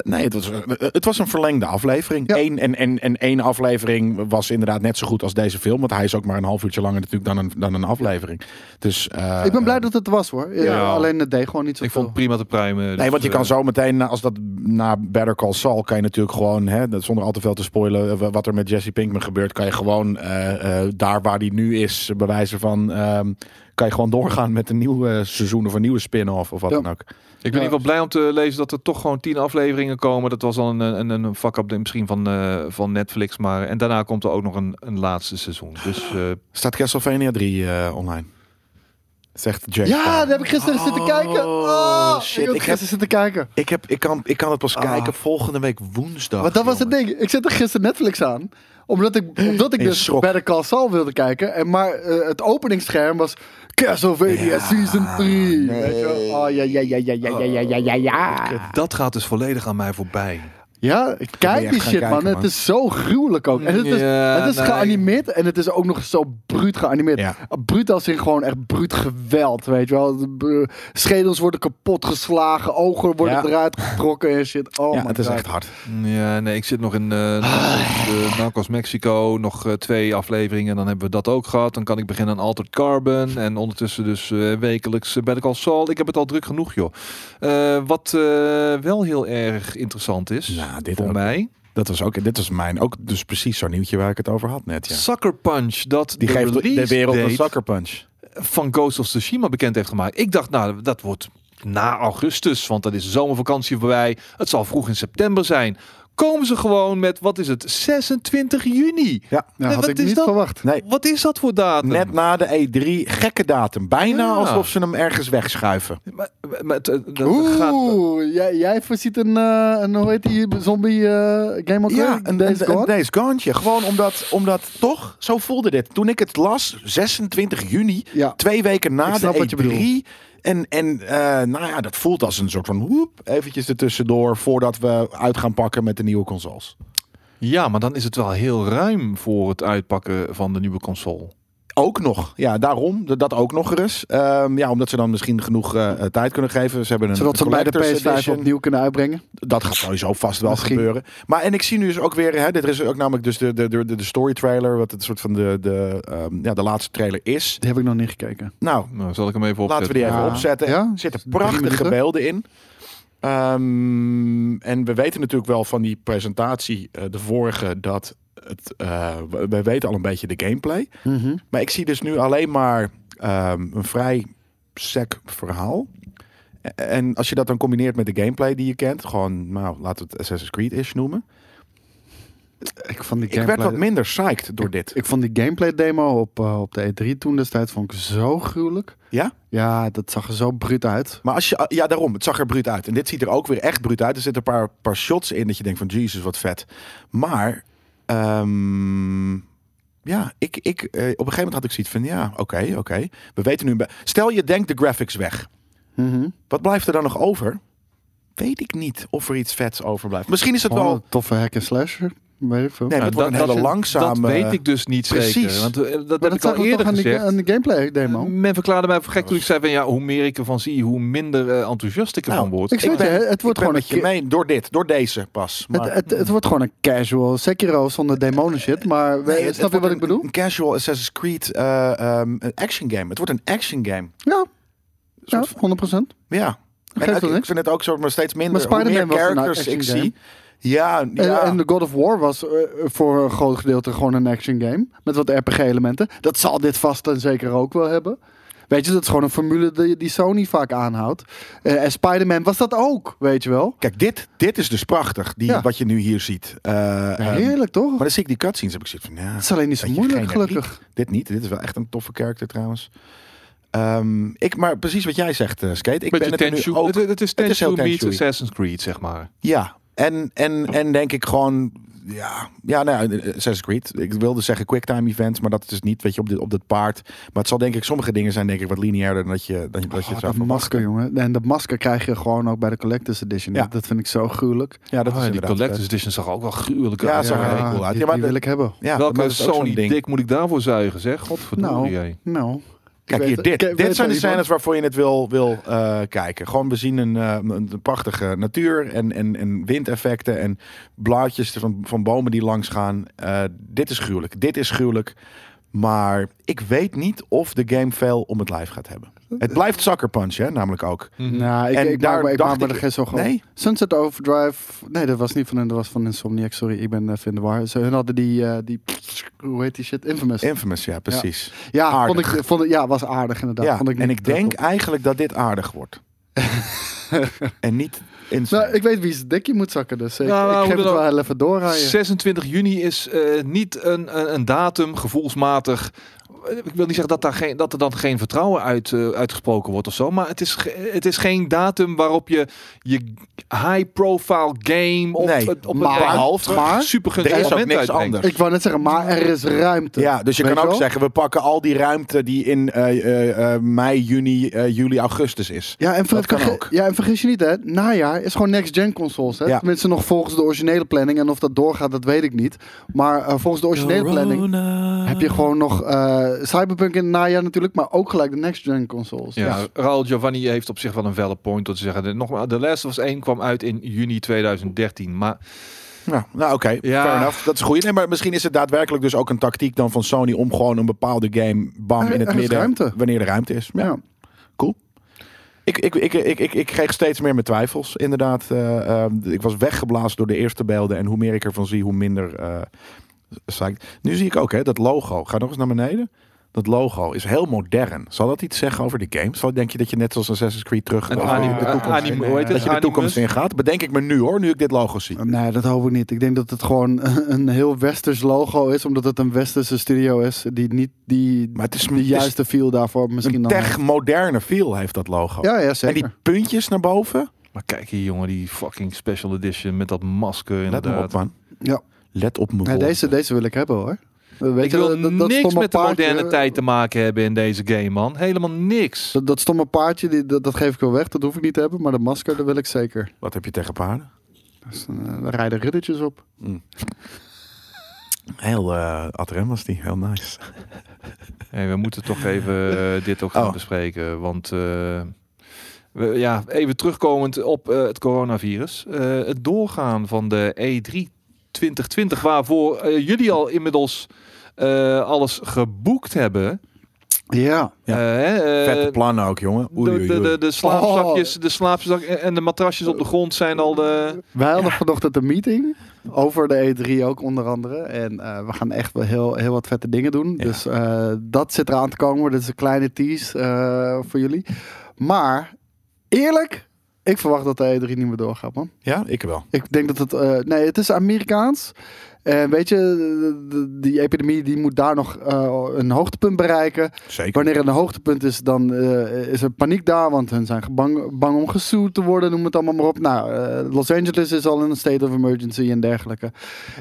Speaker 3: Nee, het was, eh, het was een verlengde aflevering.
Speaker 2: Ja.
Speaker 3: Eén, en, en, en één aflevering was inderdaad net zo goed als deze film. Want hij is ook maar een half uurtje langer natuurlijk dan een, dan een aflevering. Dus, eh,
Speaker 2: ik ben blij dat het er was hoor. Eh,
Speaker 1: Ja.
Speaker 2: Alleen het deed gewoon niet
Speaker 1: Ik
Speaker 2: zoveel.
Speaker 1: vond het prima te pruimen.
Speaker 3: Nee,
Speaker 1: dus,
Speaker 3: want je
Speaker 1: eh,
Speaker 3: kan zo meteen, na- als dat na Better Call Saul, kan je natuurlijk gewoon, hè, dat- zonder al te veel te spoilen, eh, wa- wat er met Jesse Pinkman gebeurt, kan je gewoon eh, eh, daar waar die nu is, bij wijze van, ehm, kan je gewoon doorgaan met een nieuw eh, seizoen of een nieuwe spin-off of wat
Speaker 2: Ja.
Speaker 3: dan ook.
Speaker 1: Ik ben
Speaker 2: Ja.
Speaker 1: in ieder geval blij om te lezen dat er toch gewoon tien afleveringen komen. Dat was al een, een, een fuck-up misschien van, eh, van Netflix. Maar, en daarna komt er ook nog een, een laatste seizoen. Dus eh,
Speaker 3: Staat Castlevania 3 eh, online? Zegt Jack.
Speaker 2: Ja, daar heb ik gisteren zitten kijken. Oh,
Speaker 3: shit,
Speaker 2: Ik heb
Speaker 3: ik heb-
Speaker 2: gisteren zitten kijken.
Speaker 3: Ik, heb, ik, kan, ik kan het pas kijken volgende week woensdag.
Speaker 2: Want dat was het
Speaker 3: jongens.
Speaker 2: ding. Ik zette gisteren Netflix aan. Omdat ik, omdat ik
Speaker 3: En je
Speaker 2: dus
Speaker 3: schrok.
Speaker 2: Better Call Saul wilde kijken. En maar eh, het openingsscherm was Castlevania Season 3. Weet je wel? Oh, ja, ja, ja, ja, ja, ja, ja, ja, ja, ja.
Speaker 1: dat gaat dus volledig aan mij voorbij.
Speaker 2: Ja, ik
Speaker 3: ben je
Speaker 2: kijk
Speaker 3: echt
Speaker 2: die
Speaker 3: gaan
Speaker 2: shit, man.
Speaker 3: kijken,
Speaker 2: Het is zo gruwelijk ook. En het is,
Speaker 1: Ja,
Speaker 2: het is
Speaker 1: nee.
Speaker 2: geanimeerd en het is ook nog zo bruut geanimeerd.
Speaker 3: Ja.
Speaker 2: Bruut als in gewoon echt bruut geweld, weet je wel. De b- Schedels worden kapot geslagen, ogen worden
Speaker 3: Ja.
Speaker 2: eruit getrokken en shit. Oh
Speaker 3: Ja,
Speaker 2: my
Speaker 3: het is
Speaker 2: God.
Speaker 3: echt hard.
Speaker 1: Ja, nee, ik zit nog in eh Narcos,
Speaker 3: Ah.
Speaker 1: eh, Narcos Mexico. Nog eh, twee afleveringen. Dan hebben we dat ook gehad. Dan kan ik beginnen aan Altered Carbon. En ondertussen dus eh, wekelijks eh, Better Call Saul. Ik heb het al druk genoeg, joh. Eh, wat eh, wel heel erg interessant is
Speaker 3: Ja, dit
Speaker 1: voor
Speaker 3: ook.
Speaker 1: mij.
Speaker 3: Nou, Dat was ook, dit was mijn, ook dus precies zo'n nieuwtje waar ik het over had net. Ja.
Speaker 1: Sucker Punch. Dat
Speaker 3: Die
Speaker 1: de
Speaker 3: geeft de
Speaker 1: release
Speaker 3: wereld een
Speaker 1: date
Speaker 3: sucker punch.
Speaker 1: van Ghost of Tsushima bekend heeft gemaakt. Ik dacht, nou, dat wordt na augustus, want dan is de zomervakantie voorbij. Het zal vroeg in september zijn. Komen ze gewoon met, wat is het, 26 juni?
Speaker 3: Ja.
Speaker 2: Nou, had
Speaker 1: wat
Speaker 2: ik
Speaker 1: is
Speaker 2: niet
Speaker 1: dat?
Speaker 2: verwacht.
Speaker 3: Nee,
Speaker 1: Wat is dat voor datum?
Speaker 3: net na de E3. Gekke datum. Bijna
Speaker 1: Ja.
Speaker 3: alsof ze hem ergens wegschuiven.
Speaker 1: Maar, maar het, eh, dat gaat,
Speaker 2: Oeh, jij, jij voorziet een, eh, een, hoe heet die, zombie eh, game ook
Speaker 3: Ja,
Speaker 2: weer?
Speaker 3: een
Speaker 2: Days
Speaker 3: deze
Speaker 2: Gone?
Speaker 3: Days Gone'tje. Gewoon omdat, omdat toch, zo voelde dit. Toen ik het las, 26 juni,
Speaker 2: Ja.
Speaker 3: twee weken na
Speaker 2: Ik
Speaker 3: de
Speaker 2: snap wat je
Speaker 3: E3. En, en eh, nou ja, dat voelt als een soort van woep, eventjes ertussendoor voordat we uit gaan pakken met de nieuwe consoles.
Speaker 1: ja, maar dan is het wel heel ruim voor het uitpakken van de nieuwe console.
Speaker 3: Ook nog. Ja, daarom. d- Dat ook nog eens. Ehm, ja, omdat ze dan misschien genoeg eh, eh, tijd kunnen geven. Ze hebben een
Speaker 2: Zodat ze bij de
Speaker 3: collector's
Speaker 2: PS5
Speaker 3: edition.
Speaker 2: opnieuw kunnen uitbrengen.
Speaker 3: Dat gaat sowieso vast wel
Speaker 2: Misschien.
Speaker 3: gebeuren. Maar en ik zie nu dus ook weer, hè, dit is ook namelijk dus de, de, de, de story trailer, wat het soort van de, de, ehm, ja, de laatste trailer is.
Speaker 2: Die heb ik nog niet gekeken.
Speaker 3: Nou,
Speaker 1: Nou, zal ik hem even opzetten.
Speaker 3: laten we die even
Speaker 2: Ja.
Speaker 3: opzetten.
Speaker 2: Ja?
Speaker 3: Er zitten
Speaker 2: Drie
Speaker 3: prachtige
Speaker 2: minuten.
Speaker 3: beelden in. Ehm, en we weten natuurlijk wel van die presentatie, eh, de vorige, dat het, eh, we, we weten al een beetje de gameplay. Maar ik zie dus nu alleen maar ehm, een vrij sec verhaal. E- En als je dat dan combineert met de gameplay die je kent, gewoon, nou, laten we het Assassin's Creed-ish noemen.
Speaker 2: Ik vond die
Speaker 3: Ik werd
Speaker 2: gameplay-
Speaker 3: wat minder psyched door dit.
Speaker 2: Ik vond die gameplay demo op, eh, op de E3 toen destijds vond ik zo gruwelijk.
Speaker 3: Ja?
Speaker 2: Ja, dat zag er zo bruut uit.
Speaker 3: Maar als je, ah, ja, daarom, het zag er bruut uit. En dit ziet er ook weer echt bruut uit. Er zitten een paar, paar shots in dat je denkt van, Jesus, wat vet. Maar, ehm, ja, ik, ik, eh, op een gegeven moment had ik zoiets van, ja, oké, oké. We weten nu, een be- stel je denkt de graphics weg.
Speaker 2: Mhm.
Speaker 3: Wat blijft er dan nog over? Weet ik niet of er iets vets overblijft. Misschien is het
Speaker 2: Gewoon
Speaker 3: wel.
Speaker 2: een toffe hack en slasher. Weet ik veel.
Speaker 3: Nee, maar het wordt een hele langzame.
Speaker 1: Dat weet ik dus niet
Speaker 3: Precies.
Speaker 1: zeker. Want eh, dat
Speaker 2: maar
Speaker 1: heb ik
Speaker 2: zag
Speaker 1: al
Speaker 2: ik
Speaker 1: eerder
Speaker 2: toch aan die,
Speaker 1: gezegd.
Speaker 2: aan de gameplay demo.
Speaker 3: Mm,
Speaker 1: Men verklaarde mij voor gek toen ik zei van ja, hoe meer ik ervan zie, hoe minder eh, enthousiast ik ervan
Speaker 3: Nou,
Speaker 1: word.
Speaker 2: ik zweer
Speaker 3: ben-
Speaker 2: je, het- het wordt
Speaker 3: ik
Speaker 2: gewoon
Speaker 3: ben met
Speaker 2: een
Speaker 3: je
Speaker 2: keer-
Speaker 3: mee door dit, door deze pas. Maar,
Speaker 2: het, eh, het, het wordt gewoon een casual Sekiro zonder demonen shit. Maar we-
Speaker 3: Nee,
Speaker 2: snap
Speaker 3: het- het
Speaker 2: je wat
Speaker 3: wordt
Speaker 2: ik bedoel?
Speaker 3: Een, een casual Assassin's Creed eh, ehm, een action game. Het wordt een action game.
Speaker 2: Ja, ja
Speaker 3: soort
Speaker 2: 100%.
Speaker 3: Ja. En
Speaker 2: Geeft
Speaker 3: ik,
Speaker 2: wel
Speaker 3: ik
Speaker 2: niks.
Speaker 3: vind het ook soort maar steeds minder.
Speaker 2: Maar Spider-Man
Speaker 3: Hoe meer
Speaker 2: was een
Speaker 3: characters
Speaker 2: action
Speaker 3: ik
Speaker 2: game.
Speaker 3: zie. Ja, ja.
Speaker 2: En, en de God of War was eh, voor een groot gedeelte gewoon een action game. Met wat RPG-elementen. Dat zal dit vast en zeker ook wel hebben. Weet je, dat is gewoon een formule die, die Sony vaak aanhoudt. Eh, en Spider-Man was dat ook, weet je wel.
Speaker 3: Kijk, dit, dit is dus prachtig, die,
Speaker 2: Ja.
Speaker 3: wat je nu hier ziet. Eh, ehm,
Speaker 2: Heerlijk, toch?
Speaker 3: maar dan zie ik die cutscenes, heb ik zoiets van, ja,
Speaker 2: Het is alleen niet zo
Speaker 3: beetje
Speaker 2: moeilijk,
Speaker 3: generiek.
Speaker 2: gelukkig.
Speaker 3: Dit niet. Dit is wel echt een toffe karakter trouwens. Ehm, ik, maar precies wat jij zegt, eh, Skate. Ik ben
Speaker 1: Beetje
Speaker 3: het er nu
Speaker 1: Tenchu.
Speaker 3: ook.
Speaker 1: Het, het is
Speaker 3: heel
Speaker 1: Tenchu meets
Speaker 3: Tenchu-y.
Speaker 1: Assassin's Creed, zeg maar.
Speaker 3: Ja. En, en, en denk ik gewoon... Ja, ja, nou ja, eh, Assassin's Creed. Ik wilde zeggen quicktime events, maar dat is dus niet, weet je, op dit, op dit paard. Maar het zal denk ik, sommige dingen zijn denk ik wat lineairder dan dat je, dan, je- dat je
Speaker 2: Oh,
Speaker 3: het zou
Speaker 2: dat
Speaker 3: verwachten.
Speaker 2: masker, jongen. En dat masker krijg je gewoon ook bij de Collector's Edition.
Speaker 3: Ja.
Speaker 2: Dat vind ik zo gruwelijk.
Speaker 3: Ja,
Speaker 1: Oh,
Speaker 3: dat is
Speaker 1: ja, die
Speaker 3: inderdaad
Speaker 1: Collector's Edition zag er ook wel gruwelijk
Speaker 3: Ja,
Speaker 1: uit.
Speaker 3: zag er heel cool uit.
Speaker 2: die,
Speaker 3: Ja, maar
Speaker 2: die
Speaker 3: de-
Speaker 2: wil ik hebben.
Speaker 3: vet. eh, Ja, maar
Speaker 1: Welke
Speaker 3: dat is ook zo'n
Speaker 1: Sony
Speaker 3: ding.
Speaker 1: dik moet ik daarvoor zuigen, zeg? Godverdorie.
Speaker 2: Nou,
Speaker 1: jij.
Speaker 2: nou.
Speaker 3: Kijk,
Speaker 2: Ik
Speaker 3: hier,
Speaker 2: weet-
Speaker 3: dit,
Speaker 2: ik weet
Speaker 3: dit
Speaker 2: wel
Speaker 3: zijn de
Speaker 2: iets van.
Speaker 3: scènes waarvoor je het wil, wil eh, kijken. Gewoon, we zien een, eh, een prachtige natuur en, en, en windeffecten en blaadjes van, van bomen die langs gaan. Eh, dit is gruwelijk, dit is gruwelijk. Maar ik weet niet of de game veel om het lijf gaat hebben. Het blijft Sucker Punch, hè, namelijk ook.
Speaker 2: Nou, ik,
Speaker 3: Mhm. En
Speaker 2: ik
Speaker 3: daar
Speaker 2: maak me, ik
Speaker 3: dacht
Speaker 2: maak me
Speaker 3: ik-
Speaker 2: er geen zo groot.
Speaker 3: Nee?
Speaker 2: Sunset Overdrive. Nee, dat was niet van hun. Dat was van Insomniac. Sorry, ik ben eh, in de war. Ze, hun hadden die, eh, die... Hoe heet die shit? Infamous.
Speaker 3: Infamous, ja, precies.
Speaker 2: ja, vond
Speaker 3: aardig.
Speaker 2: ik, vond ik, ja, was aardig inderdaad.
Speaker 3: Ja,
Speaker 2: vond ik
Speaker 3: en
Speaker 2: niet
Speaker 3: ik
Speaker 2: dat
Speaker 3: denk
Speaker 2: top.
Speaker 3: eigenlijk dat dit aardig wordt. en niet in.
Speaker 2: Nou, ik weet wie zijn dikje moet zakken, dus ik,
Speaker 1: Nou,
Speaker 2: ik
Speaker 1: hoe
Speaker 2: geef
Speaker 1: dan
Speaker 2: het
Speaker 1: ook.
Speaker 2: wel heel even doorrijden.
Speaker 1: 26 juni is eh, niet een, een, een datum, gevoelsmatig. Eh, Ik wil niet zeggen dat, daar geen, dat er dan geen vertrouwen uit, eh, uitgesproken wordt of zo. Maar het is, ge- het is geen datum waarop je je high-profile game op,
Speaker 3: Nee,
Speaker 1: het, op
Speaker 2: maar-
Speaker 1: het
Speaker 2: maar-
Speaker 1: super
Speaker 3: er is ook
Speaker 1: moment
Speaker 3: niks
Speaker 1: uitbrengt.
Speaker 3: anders.
Speaker 2: Ik wou net zeggen, maar er is ruimte.
Speaker 3: Ja, dus je
Speaker 2: Weet
Speaker 3: kan ook
Speaker 2: wel?
Speaker 3: zeggen, we pakken al die ruimte die in eh, eh, eh, mei, juni, eh, juli, augustus is.
Speaker 2: Ja en, ver-
Speaker 3: Dat kan
Speaker 2: verge-
Speaker 3: ook.
Speaker 2: ja, en vergis je niet, hè? Najaar is gewoon next-gen consoles. Hè?
Speaker 3: Ja.
Speaker 2: Tenminste, nog volgens de originele planning. En of dat doorgaat, dat weet ik niet. Maar eh, volgens de originele planning heb je gewoon nog eh, Cyberpunk in het najaar natuurlijk, maar ook gelijk de next-gen consoles.
Speaker 1: Ja, Raul Giovanni heeft op zich wel een valid point door te zeggen. De- Nogmaals, The Last of Us 1 kwam uit in juni 2013. Maar
Speaker 3: Nou, nou oké,
Speaker 1: Ja.
Speaker 3: fair enough. Dat is goed. Nee, maar misschien is het daadwerkelijk dus ook een tactiek dan van Sony om gewoon een bepaalde game, bam,
Speaker 2: Ah, Er-
Speaker 3: in het
Speaker 2: er is
Speaker 3: midden,
Speaker 2: ruimte.
Speaker 3: wanneer er ruimte is. Ja,
Speaker 2: Ja.
Speaker 3: cool. Ik, ik, ik, ik, ik, ik kreeg steeds meer mijn twijfels, inderdaad. Eh, eh, ik was weggeblazen door de eerste beelden en hoe meer ik ervan zie, hoe minder... eh, psyched. nu zie ik ook, hè, dat logo. Ga nog eens naar beneden. Dat logo is heel modern. Zal dat iets zeggen over de games? Zal, denk je dat je net zoals Assassin's Creed terug...
Speaker 1: een
Speaker 3: over
Speaker 1: anim-
Speaker 3: de toekomst-
Speaker 1: anim- hoe heet het?
Speaker 3: dat je de toekomst
Speaker 1: Animus?
Speaker 3: in gaat? Bedenk ik me nu hoor, nu ik dit logo zie.
Speaker 2: Nee, dat hoop ik niet. Ik denk dat het gewoon een heel westers logo is, omdat het een westerse studio is die niet die,
Speaker 3: Maar het is,
Speaker 2: de
Speaker 3: het is
Speaker 2: juiste feel daarvoor misschien
Speaker 3: een
Speaker 2: dan. heeft.
Speaker 3: tech-moderne feel heeft dat logo.
Speaker 2: Ja, ja,
Speaker 3: en
Speaker 2: zeker.
Speaker 3: die puntjes naar boven.
Speaker 1: Maar kijk hier, jongen, die fucking special edition met dat masker.
Speaker 3: Let me op
Speaker 1: Inderdaad.
Speaker 3: man.
Speaker 2: Ja.
Speaker 3: Let op me
Speaker 2: Nee, deze, deze wil ik hebben hoor. Weet
Speaker 1: Ik
Speaker 2: je,
Speaker 1: wil niks
Speaker 2: stomme
Speaker 1: met de
Speaker 2: paardje-
Speaker 1: moderne tijd te maken hebben in deze game, man. Helemaal niks.
Speaker 2: Dat, dat stomme paardje, die, dat, dat geef ik wel weg. Dat hoef ik niet te hebben. Maar de masker, dat wil ik zeker.
Speaker 3: Wat heb je tegen paarden?
Speaker 2: Dus, eh, daar rijden riddertjes op.
Speaker 3: Heel eh ad rem was die, heel nice.
Speaker 1: Hey, we moeten toch even eh, dit ook gaan
Speaker 3: Oh.
Speaker 1: bespreken. Want eh, we, ja, even terugkomend op eh, het coronavirus. Eh, het doorgaan van de E E3 2020, waarvoor eh, jullie al inmiddels eh, alles geboekt hebben.
Speaker 2: Ja.
Speaker 3: Ja.
Speaker 1: Eh, hè, eh,
Speaker 3: Vette plannen ook, jongen. Oei,
Speaker 1: de,
Speaker 3: oei,
Speaker 1: de,
Speaker 3: oei. Oh.
Speaker 1: de, de slaapzakjes, de slaapzak en de matrasjes op de grond zijn al eh, de...
Speaker 2: Wij hadden vanochtend een meeting over de E3 ook onder andere. En eh, we gaan echt wel heel, heel wat vette dingen doen.
Speaker 3: Ja.
Speaker 2: Dus eh, dat zit eraan te komen. Dit is een kleine tease eh, voor jullie. Maar eerlijk, ik verwacht dat de E3 niet meer doorgaat, man.
Speaker 3: Ja, ik wel.
Speaker 2: Ik denk dat het... eh, nee, het is Amerikaans. En weet je, de- de- die epidemie die moet daar nog eh, een hoogtepunt bereiken.
Speaker 3: Zeker.
Speaker 2: Wanneer er een hoogtepunt is, dan eh, is er paniek daar, want hun zijn bang, bang om gesuwd te worden, noem het allemaal maar op. Nou, eh, Los Angeles is al in een state of emergency en dergelijke.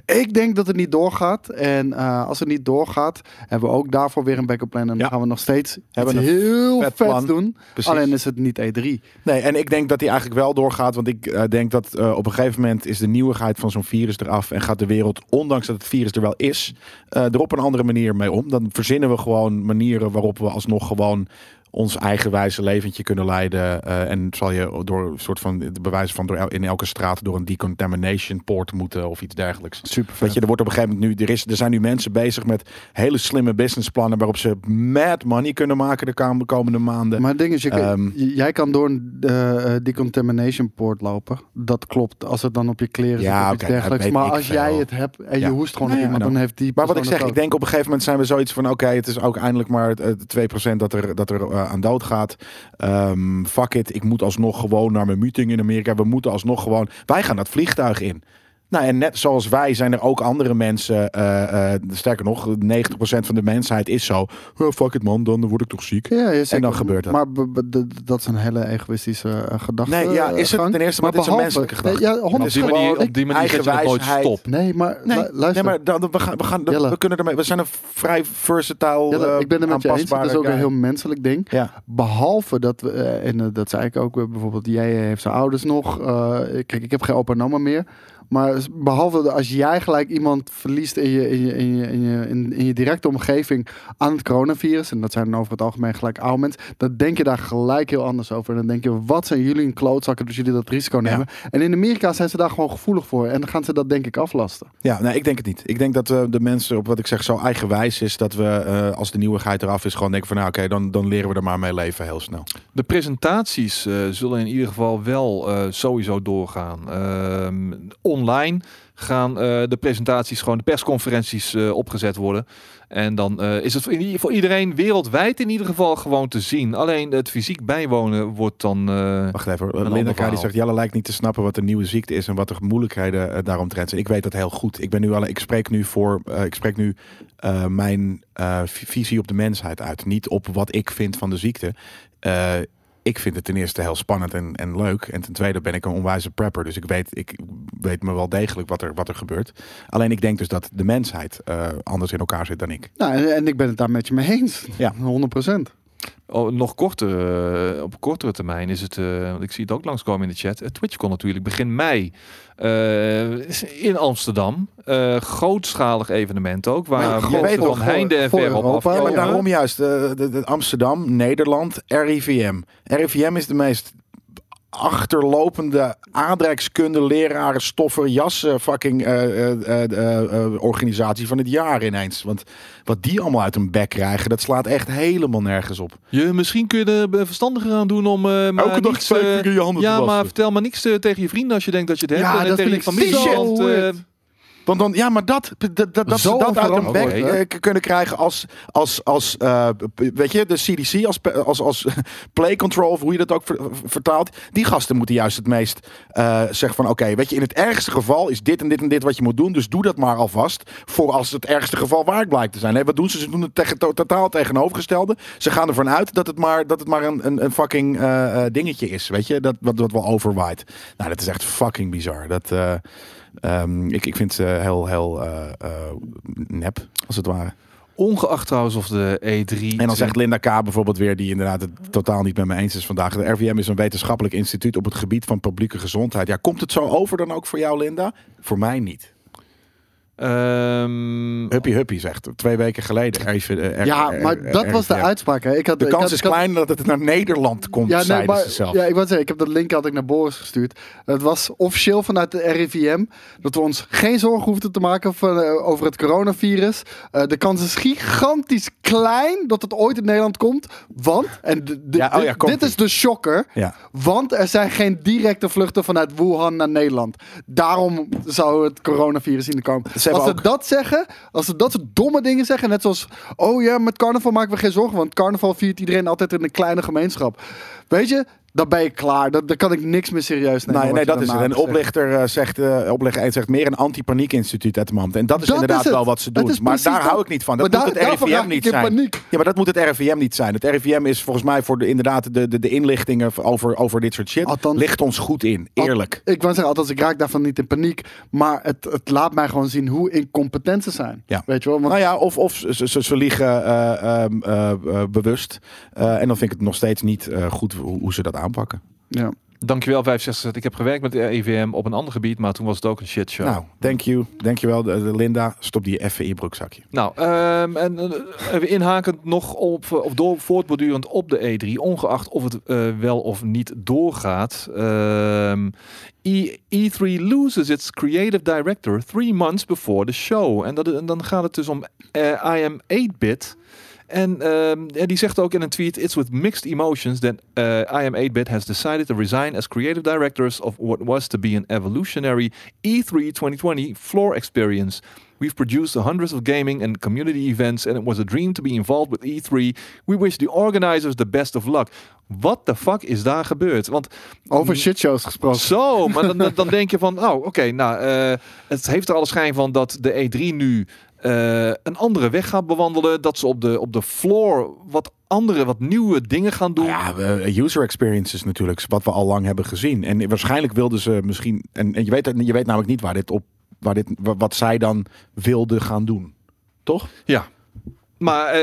Speaker 2: Ik denk dat het niet doorgaat. En eh, als het niet doorgaat, hebben we ook daarvoor weer een backup plan. En
Speaker 3: Ja.
Speaker 2: dan gaan we nog steeds
Speaker 3: Hebben
Speaker 2: iets
Speaker 3: een
Speaker 2: heel
Speaker 3: vet
Speaker 2: vet,
Speaker 3: plan.
Speaker 2: doen.
Speaker 3: Precies.
Speaker 2: Alleen is het niet E E3.
Speaker 3: Nee, en ik denk dat die eigenlijk wel doorgaat. Want ik eh, denk dat eh, op een gegeven moment is de nieuwigheid van zo'n virus eraf. En gaat de wereld, ondanks dat het virus er wel is, eh, er op een andere manier mee om. Dan verzinnen we gewoon manieren waarop we alsnog gewoon ons eigenwijze leventje kunnen leiden. Eh, en zal je door een soort van de bewijzen van door el- in elke straat door een decontamination poort moeten of iets dergelijks.
Speaker 2: Super
Speaker 3: Weet je, er wordt op een gegeven moment nu, er, is, er zijn nu mensen bezig met hele slimme businessplannen waarop ze mad money kunnen maken de kam- komende maanden.
Speaker 2: Maar het ding is, je, kan-
Speaker 3: Ehm.
Speaker 2: j- jij kan door een eh, eh, decontamination poort lopen. Dat klopt, als het dan op je kleren
Speaker 3: Ja,
Speaker 2: zit of iets
Speaker 3: oké, dat
Speaker 2: dergelijks.
Speaker 3: weet
Speaker 2: Maar
Speaker 3: ik
Speaker 2: als jij
Speaker 3: veel.
Speaker 2: het hebt en
Speaker 3: Ja.
Speaker 2: je hoest gewoon
Speaker 3: Nou
Speaker 2: op
Speaker 3: ja,
Speaker 2: iemand,
Speaker 3: nou.
Speaker 2: dan heeft die
Speaker 3: Maar wat ik
Speaker 2: persoon
Speaker 3: zeg,
Speaker 2: het
Speaker 3: ik denk op een gegeven moment zijn we zoiets van: oké, het is ook eindelijk maar eh, 2% dat er, dat er eh, aan dood gaat. Ehm, fuck it, ik moet alsnog gewoon naar mijn meeting in Amerika. We moeten alsnog gewoon. Wij gaan dat vliegtuig in. Nou, en net zoals wij zijn er ook andere mensen. eh, eh, sterker nog, 90% van de mensheid is zo. "Oh, fuck it, man, dan word ik toch ziek.
Speaker 2: Ja, ja, zeker.
Speaker 3: dan gebeurt dat.
Speaker 2: Maar be- be- d- dat is een hele egoïstische eh, gedachte.
Speaker 3: Nee, ja, is het
Speaker 2: eh, gang.
Speaker 3: ten eerste, maar, dit is een
Speaker 2: behalve-
Speaker 3: menselijke gedachte.
Speaker 2: Nee, ja,
Speaker 1: Op
Speaker 2: 100
Speaker 1: die manier, op die manier zet je het nooit
Speaker 3: eigenwijsheid.
Speaker 1: stop.
Speaker 2: Nee, maar
Speaker 3: Nee,
Speaker 2: lu- luister.
Speaker 3: Nee, maar dan, we, gaan, we, gaan, dat-
Speaker 2: Jelle.
Speaker 3: we kunnen ermee. We zijn een vrij versatile.
Speaker 2: Jelle,
Speaker 3: eh,
Speaker 2: ik ben het met je eens. Dat is
Speaker 3: aanpasbare
Speaker 2: ook een
Speaker 3: guy.
Speaker 2: heel menselijk ding.
Speaker 3: Ja,
Speaker 2: Behalve dat we, eh, en eh, dat zei ik ook, eh, bijvoorbeeld jij heeft zijn ouders nog. eh, kijk, ik heb geen opa en oma meer. Maar s- behalve dat als jij gelijk iemand verliest in je, in, je, in, je, in, je, in, in je directe omgeving aan het coronavirus, en dat zijn over het algemeen gelijk oude mensen, dan denk je daar gelijk heel anders over. En dan denk je, wat zijn jullie een klootzakken dat jullie dat risico nemen. En in Amerika zijn ze daar gewoon gevoelig voor. En dan gaan ze dat denk ik aflasten.
Speaker 3: Ja, nee, ik denk het niet. Ik denk dat eh, de mensen op wat ik zeg zo eigenwijs is dat we eh, als de nieuwigheid eraf is gewoon denken van nou oké, dan, dan leren we er maar mee leven heel snel.
Speaker 1: De presentaties eh, zullen in ieder geval wel eh, sowieso doorgaan. Ehm, online gaan eh, de presentaties, gewoon de persconferenties eh, opgezet worden. En dan eh, is het voor i- voor iedereen wereldwijd in ieder geval gewoon te zien. Alleen het fysiek bijwonen wordt dan... eh,
Speaker 3: Wacht even, hoor.
Speaker 1: ander
Speaker 3: Linda K. die
Speaker 1: verhaal.
Speaker 3: zegt Jelle lijkt niet te snappen wat de nieuwe ziekte is en wat de moeilijkheden eh, daaromtrent zijn. Ik weet dat heel goed. Ik ben nu al, ik spreek nu voor, eh, ik spreek nu eh, mijn eh, vi- visie op de mensheid uit, niet op wat ik vind van de ziekte. Eh, ik vind het ten eerste heel spannend en, en leuk. En ten tweede ben ik een onwijze prepper. Dus ik weet, ik weet me wel degelijk wat er, wat er gebeurt. Alleen ik denk dus dat de mensheid eh, anders in elkaar zit dan ik.
Speaker 2: Nou, en, en ik ben het daar met je mee eens.
Speaker 3: Ja.
Speaker 2: 100 procent.
Speaker 1: Oh, nog korter, eh, op kortere termijn is het, eh, want ik zie het ook langskomen in de chat. Eh, Twitch TwitchCon natuurlijk begin mei eh, is in Amsterdam. Eh, grootschalig evenement ook,
Speaker 2: Maar
Speaker 1: waar
Speaker 2: je
Speaker 1: mensen
Speaker 3: weet
Speaker 1: van
Speaker 3: toch,
Speaker 2: voor-
Speaker 1: heinde en
Speaker 2: voor
Speaker 1: ver op
Speaker 2: Europa,
Speaker 3: Ja,
Speaker 1: afkomen.
Speaker 3: maar
Speaker 2: ja.
Speaker 3: daarom juist. eh, de, de Amsterdam, Nederland, RIVM. RIVM is de meest achterlopende aardrijkskunde, leraren, stoffer, jassen fucking eh, eh, eh, eh, eh, organisatie van het jaar ineens. Want wat die allemaal uit hun bek krijgen, dat slaat echt helemaal nergens op.
Speaker 1: Je, misschien kun je er verstandiger aan doen om... eh, maar niks, eh,
Speaker 3: keer je handen
Speaker 1: Ja, maar vertel maar niks eh, tegen je vrienden als je denkt dat je het hebt.
Speaker 2: Ja,
Speaker 1: en
Speaker 2: dat
Speaker 1: tegen je
Speaker 2: vind ik
Speaker 1: familie.
Speaker 2: zo
Speaker 1: want, eh,
Speaker 2: weird.
Speaker 3: Want dan, ja, maar dat, dat, dat, dat ze
Speaker 2: Zo Oh,
Speaker 3: dat uit hun bek
Speaker 1: onverantwoord,
Speaker 2: hè?
Speaker 3: eh, k- kunnen krijgen als, als, als eh, p- weet je, de CDC, als, pe- als, als play control, of hoe je dat ook ver- vertaalt. Die gasten moeten juist het meest eh, zeggen van, oké, weet je, in het ergste geval is dit en dit en dit wat je moet doen, dus doe dat maar alvast, voor als het ergste geval waar blijkt te zijn. Hè, wat doen ze? Ze doen het tegen, to- totaal tegenovergestelde. Ze gaan ervan uit dat het maar, dat het maar een, een, een fucking eh, eh, dingetje is, weet je, dat, wat, wat wel overwaait. Nou, dat is echt fucking bizar. Dat... eh, Ehm, ik, ik vind ze heel, heel eh, eh, nep, als het ware.
Speaker 1: ongeacht trouwens of de E E3...
Speaker 3: En dan zegt Linda K. bijvoorbeeld weer, die inderdaad het totaal niet met me eens is vandaag. De RVM is een wetenschappelijk instituut op het gebied van publieke gezondheid. Ja, komt het zo over dan ook voor jou, Linda? Voor mij niet.
Speaker 1: Ehm,
Speaker 3: Huppie Huppie zegt twee weken geleden. RIV, eh, R-
Speaker 2: ja,
Speaker 3: R-
Speaker 2: maar
Speaker 3: R-
Speaker 2: dat
Speaker 3: R-
Speaker 2: was de
Speaker 3: RIVM.
Speaker 2: uitspraak. Hè. Ik had,
Speaker 3: De
Speaker 2: ik
Speaker 3: kans
Speaker 2: had-
Speaker 3: is
Speaker 2: ik had-
Speaker 3: klein dat het naar Nederland komt,
Speaker 2: Ja, nee,
Speaker 3: zeiden
Speaker 2: maar,
Speaker 3: ze zelf.
Speaker 2: ja, ik wou zeggen, ik heb dat link had ik naar Boris gestuurd. Het was officieel vanuit de RIVM dat we ons geen zorgen hoefden te maken van, eh, over het coronavirus. Eh, de kans is gigantisch klein dat het ooit in Nederland komt. Want, en d- d-
Speaker 3: Ja, oh ja,
Speaker 2: dit-
Speaker 3: komt-ie.
Speaker 2: dit is de shocker,
Speaker 3: Ja.
Speaker 2: want er zijn geen directe vluchten vanuit Wuhan naar Nederland. Daarom zou het coronavirus in de komen.
Speaker 3: Ze hebben
Speaker 2: als ze
Speaker 3: ook-
Speaker 2: dat zeggen, als ze dat soort domme dingen zeggen, net zoals, oh ja, met carnaval maken we geen zorgen, want carnaval viert iedereen altijd in een kleine gemeenschap. Weet je, dan ben je klaar. Dan, dan kan ik niks meer serieus nemen.
Speaker 3: Nee,
Speaker 2: wat
Speaker 3: nee,
Speaker 2: je
Speaker 3: dat is het.
Speaker 2: daarna
Speaker 3: En
Speaker 2: zegt.
Speaker 3: oplichter eh, zegt, eh oplichter 1 zegt meer een anti-paniekinstituut uit de mand. En dat is
Speaker 2: Dat
Speaker 3: inderdaad
Speaker 2: is het.
Speaker 3: wel wat ze
Speaker 2: Dat
Speaker 3: doen.
Speaker 2: is
Speaker 3: Maar
Speaker 2: precies
Speaker 3: daar
Speaker 2: dat.
Speaker 3: hou ik niet van. Dat
Speaker 2: Maar
Speaker 3: moet
Speaker 2: daar-
Speaker 3: het
Speaker 2: daarvan
Speaker 3: RIVM
Speaker 2: raak
Speaker 3: niet
Speaker 2: ik in
Speaker 3: zijn.
Speaker 2: paniek.
Speaker 3: Ja, maar dat moet het RIVM niet zijn. Het RIVM is volgens mij voor de, inderdaad de, de, de inlichtingen over, over dit soort shit.
Speaker 2: Althans-
Speaker 3: ligt ons goed in, eerlijk.
Speaker 2: Ik wou zeggen, althans, ik raak daarvan niet in paniek. Maar het, het laat mij gewoon zien hoe incompetent ze zijn.
Speaker 3: Ja.
Speaker 2: Weet je wel? Want
Speaker 3: Nou ja, of, of ze, ze, ze liegen eh, ehm, eh, eh, bewust. Eh, en dan vind ik het nog steeds niet eh, goed hoe, hoe ze dat aanpakken.
Speaker 2: ja.
Speaker 1: Dankjewel 65. Ik heb gewerkt met de RIVM op een ander gebied, maar toen was het ook een shitshow.
Speaker 3: Nou, thank you. Dankjewel, de, de Linda. Stop die even in je broekzakje.
Speaker 1: Nou, ehm, en eh, even inhakend nog op, eh, of door, voortbordurend op de E3, ongeacht of het eh, wel of niet doorgaat. ehm, E- E3 loses its creative director three months before the show. En, dat, en dan gaat het dus om eh, I am 8-bit. En ehm, ja, die zegt ook in een tweet: It's with mixed emotions that eh, I am 8-bit has decided to resign as creative directors of what was to be an evolutionary E E3 2020 floor experience. We've produced hundreds of gaming and community events, and it was a dream to be involved with E3. We wish the organizers the best of luck. What the fuck is daar gebeurd? Want
Speaker 2: Over shitshows gesproken.
Speaker 1: zo, maar dan- dan, dan denk je van, oh, oké, nou, eh, het heeft er alle schijn van dat de E3 nu eh, een andere weg gaat bewandelen. Dat ze op de, op de floor wat andere, wat nieuwe dingen gaan doen.
Speaker 3: Nou Ja, eh, user experience is natuurlijk wat we al lang hebben gezien. En waarschijnlijk wilden ze misschien. En, en je, weet, je weet namelijk niet waar dit op. Waar dit, wa- wat zij dan wilden gaan doen. Toch?
Speaker 1: Ja. Maar eh,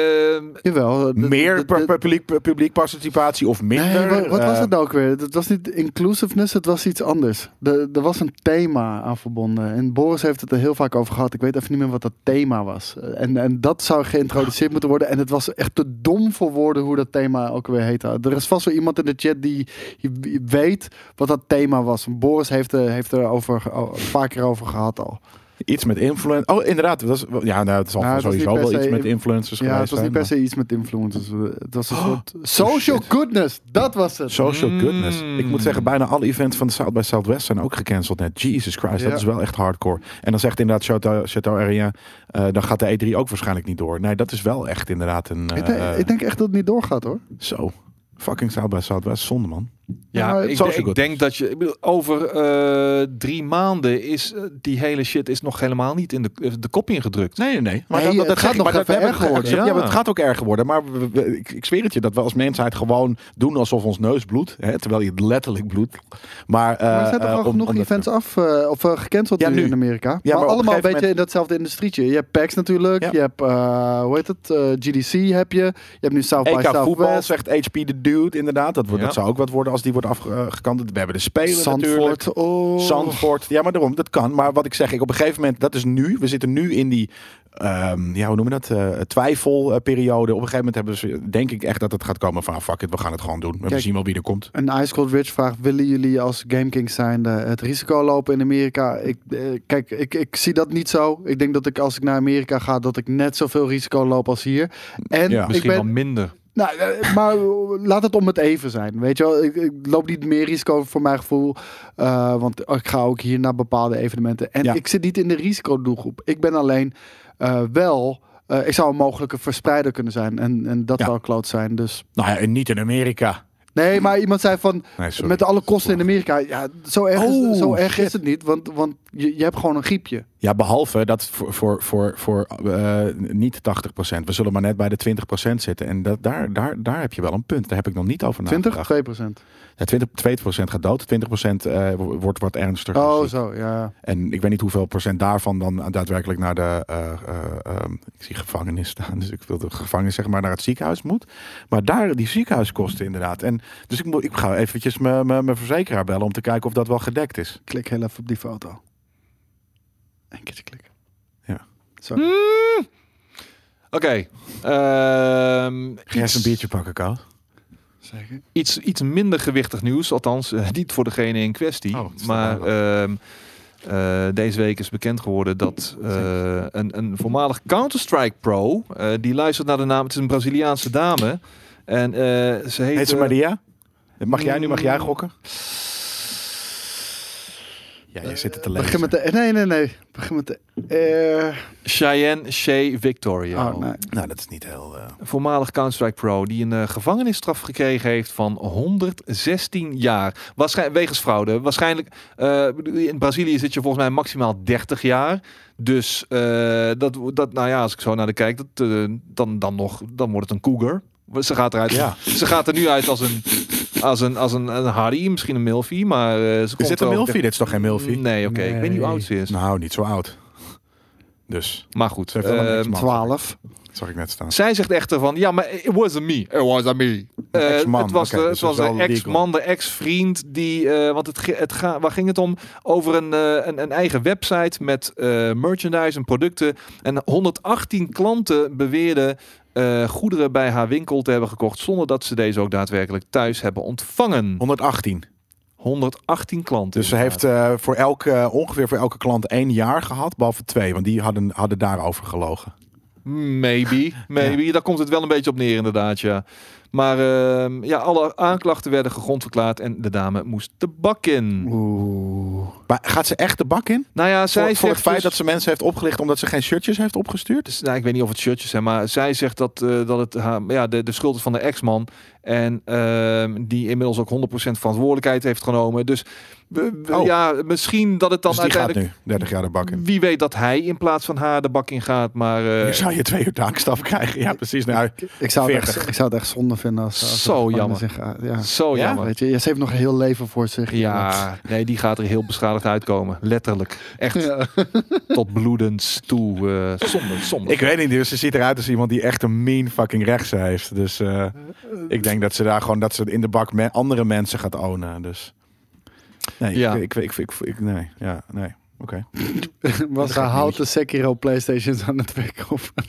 Speaker 2: Jawel. de-
Speaker 3: Meer
Speaker 2: de- de-
Speaker 3: pu- publiek, pu- publiek participatie of minder?
Speaker 2: Nee, wat, wat was
Speaker 3: Eh,
Speaker 2: het nou ook weer? Het was niet inclusiveness, het was iets anders. De, er was een thema aan verbonden. En Boris heeft het er heel vaak over gehad. Ik weet even niet meer wat dat thema was. En, en dat zou geïntroduceerd moeten worden. En het was echt te dom voor woorden hoe dat thema ook weer heette. Er is vast wel iemand in de chat die die weet wat dat thema was. Boris heeft, er- heeft er over, al- vaak keer over gehad al.
Speaker 3: Iets met influence. Oh, inderdaad. Dat was, ja, nou, het zal
Speaker 2: Nou, het was
Speaker 3: sowieso
Speaker 2: niet per
Speaker 3: wel iets
Speaker 2: se-
Speaker 3: met influencers
Speaker 2: Ja, het
Speaker 3: geweest Oh,
Speaker 2: was niet
Speaker 3: zijn,
Speaker 2: per se iets met influencers. Het was een soort social goodness. Dat was
Speaker 3: maar-
Speaker 2: het.
Speaker 3: Social
Speaker 1: Mm.
Speaker 3: goodness. Ik moet zeggen, bijna alle events van de South by Southwest zijn ook gecanceld net. Jesus Christ,
Speaker 2: Ja.
Speaker 3: dat is wel echt hardcore. En dan zegt inderdaad Chateau, Chateau Area, eh, dan gaat de E3 ook waarschijnlijk niet door. Nee, dat is wel echt inderdaad een...
Speaker 2: Ik denk,
Speaker 3: eh,
Speaker 2: ik denk echt dat het niet doorgaat hoor.
Speaker 3: Zo. Fucking South by Southwest, zonde man.
Speaker 1: ja,
Speaker 2: maar
Speaker 1: nou, ik,
Speaker 3: social
Speaker 1: denk- ik
Speaker 3: good.
Speaker 1: denk dat je, ik bedoel, over eh, drie maanden is eh, die hele shit is nog helemaal niet in de, eh, de kop ingedrukt.
Speaker 3: Nee, nee, nee. Maar
Speaker 2: Nee,
Speaker 3: dat, dat,
Speaker 2: het
Speaker 3: dat
Speaker 2: gaat
Speaker 3: zeg ik,
Speaker 2: nog
Speaker 3: maar dat
Speaker 2: even
Speaker 3: hebben we
Speaker 2: erger worden.
Speaker 3: geaccepteerd. Ja.
Speaker 1: Ja.
Speaker 3: maar het gaat ook erger worden. Maar we- we- ik, ik zweer het je dat we als mensheid gewoon doen alsof ons neus bloedt. Hè, terwijl je het letterlijk bloedt. Maar, eh,
Speaker 2: Maar er zijn toch
Speaker 3: eh,
Speaker 2: al
Speaker 3: om-
Speaker 2: genoeg
Speaker 3: om dat-
Speaker 2: events af eh, of eh, gecanceld
Speaker 3: Ja,
Speaker 2: nu
Speaker 3: nu.
Speaker 2: in Amerika.
Speaker 3: maar
Speaker 2: maar,
Speaker 3: op een
Speaker 2: allemaal een
Speaker 3: gegeven
Speaker 2: beetje
Speaker 3: moment-
Speaker 2: in datzelfde industrietje. Je hebt PAX natuurlijk,
Speaker 3: Ja.
Speaker 2: je hebt, eh, hoe heet het, eh, GDC heb je. Je hebt nu South by
Speaker 3: EK voetbal,
Speaker 2: Southwest,
Speaker 3: zegt HP de Dude, inderdaad. Dat, wordt,
Speaker 1: Ja.
Speaker 3: dat zou ook wat worden als die wordt afgekant. We hebben de Spelen natuurlijk.
Speaker 2: Zandvoort. Oh.
Speaker 3: Zandvoort. Ja, maar daarom, dat kan. Maar wat ik zeg, ik op een gegeven moment, dat is nu. We zitten nu in die, ehm, ja, hoe noemen we dat? eh, twijfelperiode. Op een gegeven moment hebben ze, denk ik echt dat het gaat komen van, ah, fuck it, we gaan het gewoon doen. we
Speaker 2: Kijk.
Speaker 3: zien wel wie er komt.
Speaker 2: Een Ice Cold Rich vraagt, willen jullie als GameKings zijnde het risico lopen in Amerika? Ik, eh, kijk, ik, ik zie dat niet zo. Ik denk dat ik als ik naar Amerika ga, dat ik net zoveel risico loop als hier. En
Speaker 3: Ja.
Speaker 2: ik
Speaker 1: Misschien
Speaker 2: ben,
Speaker 1: wel minder.
Speaker 2: Nou, eh, maar laat het om het even zijn. Weet je wel, ik, ik loop niet meer risico voor mijn gevoel. eh, want ik ga ook hier naar bepaalde evenementen. En
Speaker 3: Ja.
Speaker 2: ik zit niet in de risicodoelgroep. Ik ben alleen eh, wel. eh, ik zou een mogelijke verspreider kunnen zijn. En, en dat
Speaker 3: Ja.
Speaker 2: zou kloot zijn. Dus.
Speaker 3: Nou ja, en niet in Amerika.
Speaker 2: Nee, maar iemand zei van.
Speaker 3: Nee, sorry.
Speaker 2: Met alle kosten in Amerika. Ja, zo erg,
Speaker 3: Oh,
Speaker 2: is, zo erg
Speaker 3: shit. Nou,
Speaker 2: is het niet. Want, want je, je hebt gewoon een griepje.
Speaker 3: Ja, behalve dat voor, voor, voor, voor eh, niet 80%. We zullen maar net bij de 20% zitten. En dat, daar, daar, daar heb je wel een punt. Daar heb ik nog niet over
Speaker 2: 20?
Speaker 3: nagedacht.
Speaker 2: 2 procent.
Speaker 3: Ja, 20, 20% gaat dood, 20% eh, wo- wordt wat ernstiger.
Speaker 2: Oh,
Speaker 3: ziek.
Speaker 2: zo. Ja.
Speaker 3: En ik weet niet hoeveel procent daarvan dan daadwerkelijk naar de. eh, eh, ehm, ik zie gevangenis staan, dus ik wil de gevangenis zeg maar naar het ziekenhuis moet. Maar daar die ziekenhuiskosten inderdaad. En, dus ik, moet, ik ga eventjes mijn- mijn mijn verzekeraar bellen om te kijken of dat wel gedekt is.
Speaker 2: Klik heel even op die foto. Eén keertje klikken.
Speaker 3: Ja.
Speaker 2: Zo.
Speaker 1: Oké. ehm,
Speaker 3: Ga eens
Speaker 1: iets-
Speaker 3: een biertje pakken, Kou.
Speaker 2: Zeker.
Speaker 1: iets, iets minder gewichtig nieuws. Althans, eh, niet voor degene in kwestie.
Speaker 3: Oh, dat is
Speaker 1: maar
Speaker 3: toch
Speaker 1: ehm, eh, deze week is bekend geworden dat eh, een, een voormalig Counter-Strike pro... eh, die luistert naar de naam... Het is een Braziliaanse dame. En eh, ze heet...
Speaker 3: Heet ze
Speaker 1: eh,
Speaker 3: Maria? Mag jij nu, mag jij gokken? Ja, je zit het te lezen.
Speaker 2: Begin met de... Nee, nee, nee. Begin met de... eh,
Speaker 1: Cheyenne Shea Victoria.
Speaker 2: oh, nee.
Speaker 3: Nou, dat is niet heel... eh,
Speaker 1: Een voormalig Counter-Strike pro die een eh, gevangenisstraf gekregen heeft van 116 jaar. Waarschijn- wegens fraude. Waarschijnlijk, eh, in Brazilië zit je volgens mij maximaal 30 jaar. Dus eh, dat, dat, nou ja, als ik zo naar de kijk, dat, eh, dan, dan, nog, dan wordt het een cougar. Ze gaat, eruit,
Speaker 3: Ja.
Speaker 1: ze gaat er nu uit als een, als een, als een, een harry, misschien een milfie, maar eh, ze
Speaker 3: Is
Speaker 1: komt
Speaker 3: dit een
Speaker 1: wel-
Speaker 3: milfie? Dit is toch geen milfie?
Speaker 1: Nee, oké. Ik weet niet hoe oud ze is.
Speaker 3: Nou, niet zo oud. Dus,
Speaker 1: Maar goed.
Speaker 3: Ze heeft wel een
Speaker 1: ehm,
Speaker 3: ex-man.
Speaker 2: 12.
Speaker 3: dat zag ik net staan.
Speaker 1: Zij zegt echter van, ja, maar it wasn't me. It wasn't me. Eh,
Speaker 3: ex-man,
Speaker 1: het was
Speaker 3: oké,
Speaker 1: de,
Speaker 3: dus
Speaker 1: het was
Speaker 3: dat is
Speaker 1: de
Speaker 3: wel
Speaker 1: ex-man, de ex-vriend, die, eh, want het, ge- het ga, waar ging het om? Over een, eh, een, een eigen website met eh, merchandise en producten. En 118 klanten beweerden eh, goederen bij haar winkel te hebben gekocht, zonder dat ze deze ook daadwerkelijk thuis hebben ontvangen.
Speaker 3: 118.
Speaker 1: 118 klanten.
Speaker 3: Dus ze heeft
Speaker 1: inderdaad.
Speaker 3: eh, voor elke, ongeveer voor elke klant één jaar gehad, behalve twee, want die hadden, hadden daarover gelogen.
Speaker 1: Maybe, maybe. Daar komt het wel een beetje op neer, inderdaad, ja. Maar ehm, ja, alle aanklachten werden gegrond verklaard en de dame moest de bak in.
Speaker 2: Oeh.
Speaker 3: Maar gaat ze echt de bak in?
Speaker 1: Nou ja, zij
Speaker 3: voor,
Speaker 1: zegt
Speaker 3: voor het feit
Speaker 1: dus-
Speaker 3: dat ze mensen heeft opgelicht omdat ze geen shirtjes heeft opgestuurd?
Speaker 1: Dus, nou, ik weet niet of het shirtjes zijn, maar zij zegt dat, eh, dat het haar, ja, de, de schuld is van de ex-man. En ehm, die inmiddels ook 100% verantwoordelijkheid heeft genomen. Dus we- we-
Speaker 3: Oh.
Speaker 1: ja, misschien dat het dan
Speaker 3: dus die gaat
Speaker 1: uiteindelijk...
Speaker 3: nu 30 jaar de bak in.
Speaker 1: Wie weet dat hij in plaats van haar de bak in gaat, maar... eh,
Speaker 3: Je zou je twee uur taakstaf krijgen. Ja, precies. Nou,
Speaker 2: Ik zou, het
Speaker 3: 40.
Speaker 2: echt, ik zou het echt zonde vinden als... als
Speaker 1: Zo
Speaker 2: als-
Speaker 1: jammer.
Speaker 2: Zich, ah, ja.
Speaker 1: Zo
Speaker 3: Ja?
Speaker 1: jammer.
Speaker 2: Weet je, ja, ze heeft nog een heel leven voor zich.
Speaker 1: Ja, nee, die gaat er heel beschadigd uitkomen. Letterlijk. Echt
Speaker 2: Ja.
Speaker 1: tot bloedens toe. eh zonde, zonde.
Speaker 3: ik weet niet, dus ze ziet eruit als iemand die echt een mean fucking rechtse heeft. Dus eh, ik denk dat ze daar gewoon dat ze in de bak me- andere mensen gaat ownen. Dus nee,
Speaker 1: Ja.
Speaker 3: ik, ik, ik, ik, ik- nee, ja, nee, oké.
Speaker 2: Was haar houten Sekiro Playstations aan het verkopen.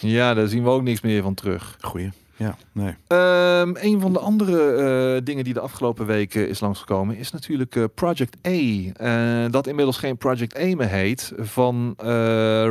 Speaker 1: ja, daar zien we ook niks meer van terug.
Speaker 3: Goeie. Ja, nee.
Speaker 1: Ehm, een van de andere eh, dingen die de afgelopen weken is langsgekomen is natuurlijk eh, Project A. Eh, dat inmiddels geen Project A meer heet van eh,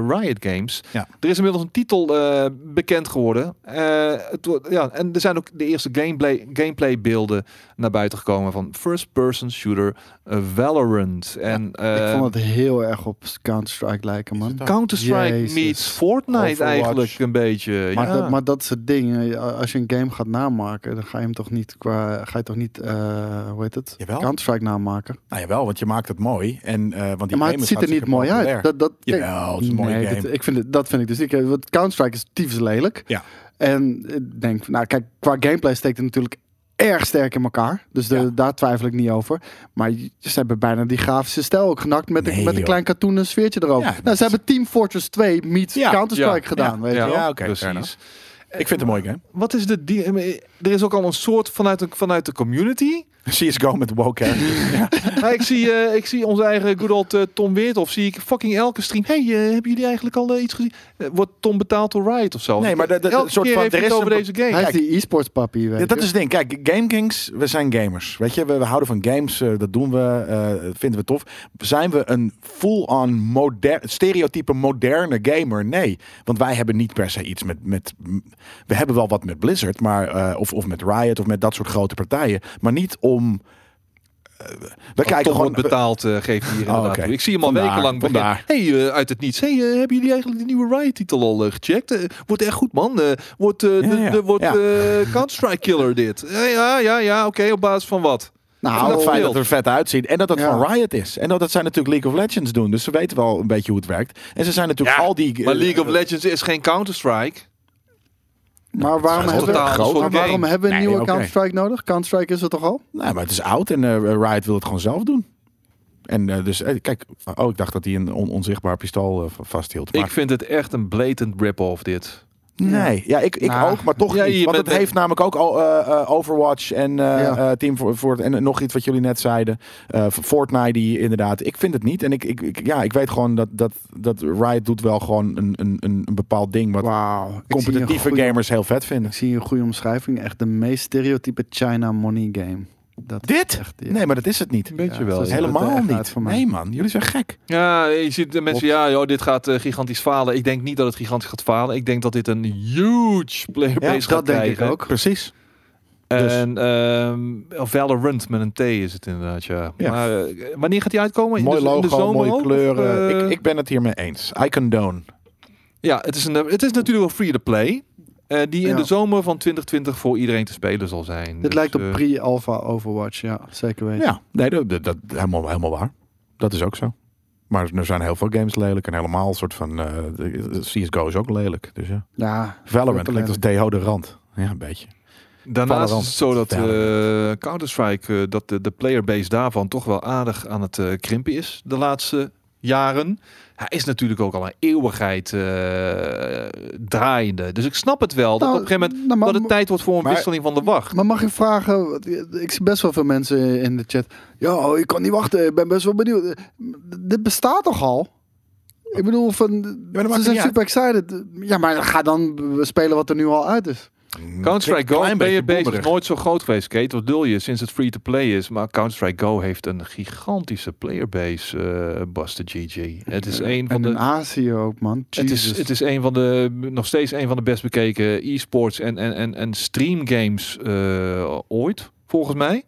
Speaker 1: Riot Games.
Speaker 3: Ja.
Speaker 1: Er is inmiddels een titel eh, bekend geworden. Eh, het, wordt- ja, en er zijn ook de eerste gameplay, gameplay beelden naar buiten gekomen van first person shooter eh, Valorant. En,
Speaker 2: ik
Speaker 1: eh,
Speaker 2: vond het heel erg op Counter-Strike lijken, man.
Speaker 1: Counter-Strike
Speaker 2: Jezus.
Speaker 1: meets Fortnite
Speaker 3: Overwatch.
Speaker 1: eigenlijk een beetje.
Speaker 2: Maar,
Speaker 1: ja.
Speaker 3: Ah.
Speaker 2: dat, maar dat soort dingen, als je een game gaat namaken, dan ga je hem toch niet qua, ga je toch niet, eh, hoe heet het?
Speaker 3: Jawel.
Speaker 2: Counter-Strike namaken.
Speaker 3: Nou jawel, want je maakt het mooi. En, eh, want die
Speaker 2: maar
Speaker 3: game
Speaker 2: het
Speaker 3: is
Speaker 2: ziet er niet
Speaker 3: hartstikke
Speaker 2: mooi
Speaker 3: populair.
Speaker 2: uit. Dat, dat, kijk,
Speaker 3: Jawel, het is een mooie
Speaker 2: nee,
Speaker 3: game.
Speaker 2: dat- ik vind het, dat vind ik dus niet. Kijk, Want Counter-Strike is tyfus lelijk.
Speaker 3: Ja.
Speaker 2: En ik denk, van, nou kijk, qua gameplay steekt het natuurlijk erg sterk in elkaar. Dus de,
Speaker 3: Ja.
Speaker 2: daar twijfel ik niet over. Maar je- ze hebben bijna die grafische stijl ook genakt met,
Speaker 3: Nee,
Speaker 2: een, met
Speaker 3: joh.
Speaker 2: een klein katoenen sfeertje erover.
Speaker 3: Ja,
Speaker 2: nou,
Speaker 3: dat-
Speaker 2: ze hebben Team Fortress 2 meets
Speaker 3: Ja,
Speaker 2: Counter-Strike
Speaker 3: ja,
Speaker 2: gedaan,
Speaker 3: ja,
Speaker 2: weet je
Speaker 1: ja.
Speaker 2: wel.
Speaker 3: Ja, oké,
Speaker 1: Precies.
Speaker 3: fair enough. Ik vind het een mooie game.
Speaker 1: Wat is de... die- Er is ook al een soort vanuit de, vanuit de community...
Speaker 3: CSGO met woke characters. ja.
Speaker 1: Ja, ik, zie, eh, ik zie onze eigen good old eh, Tom Weerthof. Zie ik fucking elke stream. Hey, eh, hebben jullie eigenlijk al eh, iets gezien? Eh, wordt Tom betaald door Riot of zo?
Speaker 3: Nee, maar dat- dat-
Speaker 1: elke
Speaker 3: een soort
Speaker 1: keer
Speaker 3: van-
Speaker 1: heeft
Speaker 3: er
Speaker 1: hij het
Speaker 3: is
Speaker 1: over
Speaker 3: een-
Speaker 1: deze game.
Speaker 2: Hij is
Speaker 3: Kijk.
Speaker 2: die e-sports papi, weet
Speaker 3: Ja, dat
Speaker 2: je.
Speaker 3: is het ding. Kijk, GameKings, we zijn gamers. Weet je, we, we houden van games. eh, dat doen we, eh, vinden we tof. Zijn we een full-on moder stereotype moderne gamer? Nee. Want wij hebben niet per se iets met... met we hebben wel wat met Blizzard, maar, eh, of, of met Riot, of met dat soort grote partijen. Maar niet om... eh, we
Speaker 1: Kijk,
Speaker 3: kijken
Speaker 1: Tom
Speaker 3: gewoon... Oh,
Speaker 1: wordt betaald eh, geeft hij hier inderdaad
Speaker 3: oké.
Speaker 1: toe. Ik zie hem al
Speaker 3: Vandaar,
Speaker 1: wekenlang beginnen.
Speaker 3: vandaar.
Speaker 1: Hey, eh, uit het niets. Hey, eh, hebben jullie eigenlijk de nieuwe Riot-titel al eh, gecheckt? Eh, wordt echt goed, man. Eh, wordt eh,
Speaker 3: Ja,
Speaker 1: de-
Speaker 3: ja.
Speaker 1: de- wordt
Speaker 3: Ja.
Speaker 1: eh, Counter-Strike Killer dit? Eh, ja, ja, ja. Oké, op basis van wat?
Speaker 3: Nou, het
Speaker 1: dat
Speaker 3: feit
Speaker 1: beeld.
Speaker 3: dat het er vet uitziet. En dat dat
Speaker 2: Ja.
Speaker 3: van Riot is. En dat, dat zij natuurlijk League of Legends doen. Dus ze weten wel een beetje hoe het werkt. En ze zijn natuurlijk
Speaker 1: Ja,
Speaker 3: al die...
Speaker 1: Maar
Speaker 3: eh,
Speaker 1: League of Legends is geen Counter-Strike.
Speaker 2: Maar waarom
Speaker 3: is
Speaker 2: hebben,
Speaker 1: totaal een soort
Speaker 2: maar waarom
Speaker 1: game.
Speaker 2: hebben we een
Speaker 3: Nee,
Speaker 2: nieuwe
Speaker 3: oké.
Speaker 2: Counter-Strike nodig? Counter-Strike is het toch al?
Speaker 3: Nou, maar het is oud en eh, Riot wil het gewoon zelf doen. En eh, dus, eh, kijk, oh, ik dacht dat hij een on- onzichtbaar pistool eh, v- vasthield. Maar
Speaker 1: Ik vind het echt een blatant rip-off dit.
Speaker 3: Nee, ja, ik, ik
Speaker 2: Nou,
Speaker 3: ook, maar toch
Speaker 1: ja,
Speaker 3: niet.
Speaker 1: je
Speaker 3: Want
Speaker 1: bent-
Speaker 3: het heeft namelijk ook al, eh, eh, Overwatch en eh,
Speaker 2: Ja.
Speaker 3: eh, Team Fort Fort- en nog iets wat jullie net zeiden. Eh, Fortnite die inderdaad. Ik vind het niet. En ik, ik, ik- ja, ik weet gewoon dat, dat, dat Riot doet wel gewoon een, een, een een bepaald ding wat
Speaker 2: Wauw. ik zie een
Speaker 3: competitieve
Speaker 2: goede-
Speaker 3: gamers heel vet vinden.
Speaker 2: Ik zie een goede omschrijving. Echt de meest stereotype China money game. Dat is
Speaker 3: Dit?
Speaker 2: echt, ja.
Speaker 3: Nee, maar dat is het niet.
Speaker 1: Een beetje
Speaker 2: Ja,
Speaker 1: wel.
Speaker 2: zo
Speaker 1: ja.
Speaker 2: ziet het er
Speaker 3: Helemaal
Speaker 2: echt uit
Speaker 3: niet.
Speaker 2: voor mij.
Speaker 3: Nee man, jullie zijn gek.
Speaker 1: Ja, je ziet de mensen, ja, joh, dit gaat eh, gigantisch falen. Ik denk niet dat het gigantisch gaat falen. Ik denk dat dit een huge player base
Speaker 2: Ja,
Speaker 1: gaat
Speaker 2: dat denk
Speaker 1: krijgen.
Speaker 2: ik ook.
Speaker 3: Precies. Dus.
Speaker 1: En ehm, Valorant met een T is het inderdaad, ja.
Speaker 3: Ja.
Speaker 1: Maar eh, wanneer gaat die uitkomen? In
Speaker 3: Mooi
Speaker 1: de- in de
Speaker 3: logo,
Speaker 1: zomer
Speaker 3: mooie
Speaker 1: ook?
Speaker 3: kleuren.
Speaker 1: Eh,
Speaker 3: ik, ik ben het hiermee eens. I condone.
Speaker 1: Ja, het is, een, eh, het is natuurlijk wel free-to-play. eh, die in
Speaker 2: Ja.
Speaker 1: de zomer van 2020 voor iedereen te spelen zal zijn. Dus,
Speaker 2: Dit lijkt
Speaker 1: eh,
Speaker 2: op pre-alpha Overwatch. Ja, zeker weten.
Speaker 3: Ja, nee, dat, dat, dat- helemaal, helemaal waar. Dat is ook zo. Maar er zijn heel veel games lelijk en helemaal een soort van eh, de- CS:GO is ook lelijk. Dus ja.
Speaker 2: Ja,
Speaker 3: Valorant
Speaker 2: Lelijk.
Speaker 3: lijkt als deodorant. Ja, een beetje.
Speaker 1: Daarnaast
Speaker 3: Valorant.
Speaker 1: is het zo dat eh,
Speaker 3: Valorant.
Speaker 1: Counter-Strike, eh, dat de, de playerbase daarvan toch wel aardig aan het eh, krimpen is de laatste jaren. Hij is natuurlijk ook al een eeuwigheid eh, draaiende. Dus ik snap het wel dat
Speaker 2: Nou,
Speaker 1: op een gegeven moment
Speaker 2: nou, maar-
Speaker 1: dat het tijd wordt voor een
Speaker 3: maar-
Speaker 1: wisseling van de wacht.
Speaker 2: maar mag ik vragen, want ik zie best wel veel mensen in de chat. Ja, ik kan niet wachten, ik ben best wel benieuwd. Dit bestaat toch al? Ik bedoel, van,
Speaker 3: maakt het
Speaker 2: ze
Speaker 3: niet
Speaker 2: zijn
Speaker 3: uit.
Speaker 2: super excited. Ja, maar ga dan spelen wat er nu al uit is.
Speaker 1: Mm, Counter-Strike Go,
Speaker 3: Klein beetje
Speaker 1: playerbase is
Speaker 3: boemerig.
Speaker 1: nooit zo groot geweest, Kate. Wat dul je, sinds het free-to-play is. Maar Counter-Strike Go heeft een gigantische playerbase, eh Buster GG. Het is een van
Speaker 2: en
Speaker 1: de...
Speaker 2: in Azië ook, man.
Speaker 1: Het
Speaker 2: Jezus.
Speaker 1: is, het is een van de, nog steeds een van de best bekeken e-sports en, en, en, en streamgames eh, ooit, volgens mij.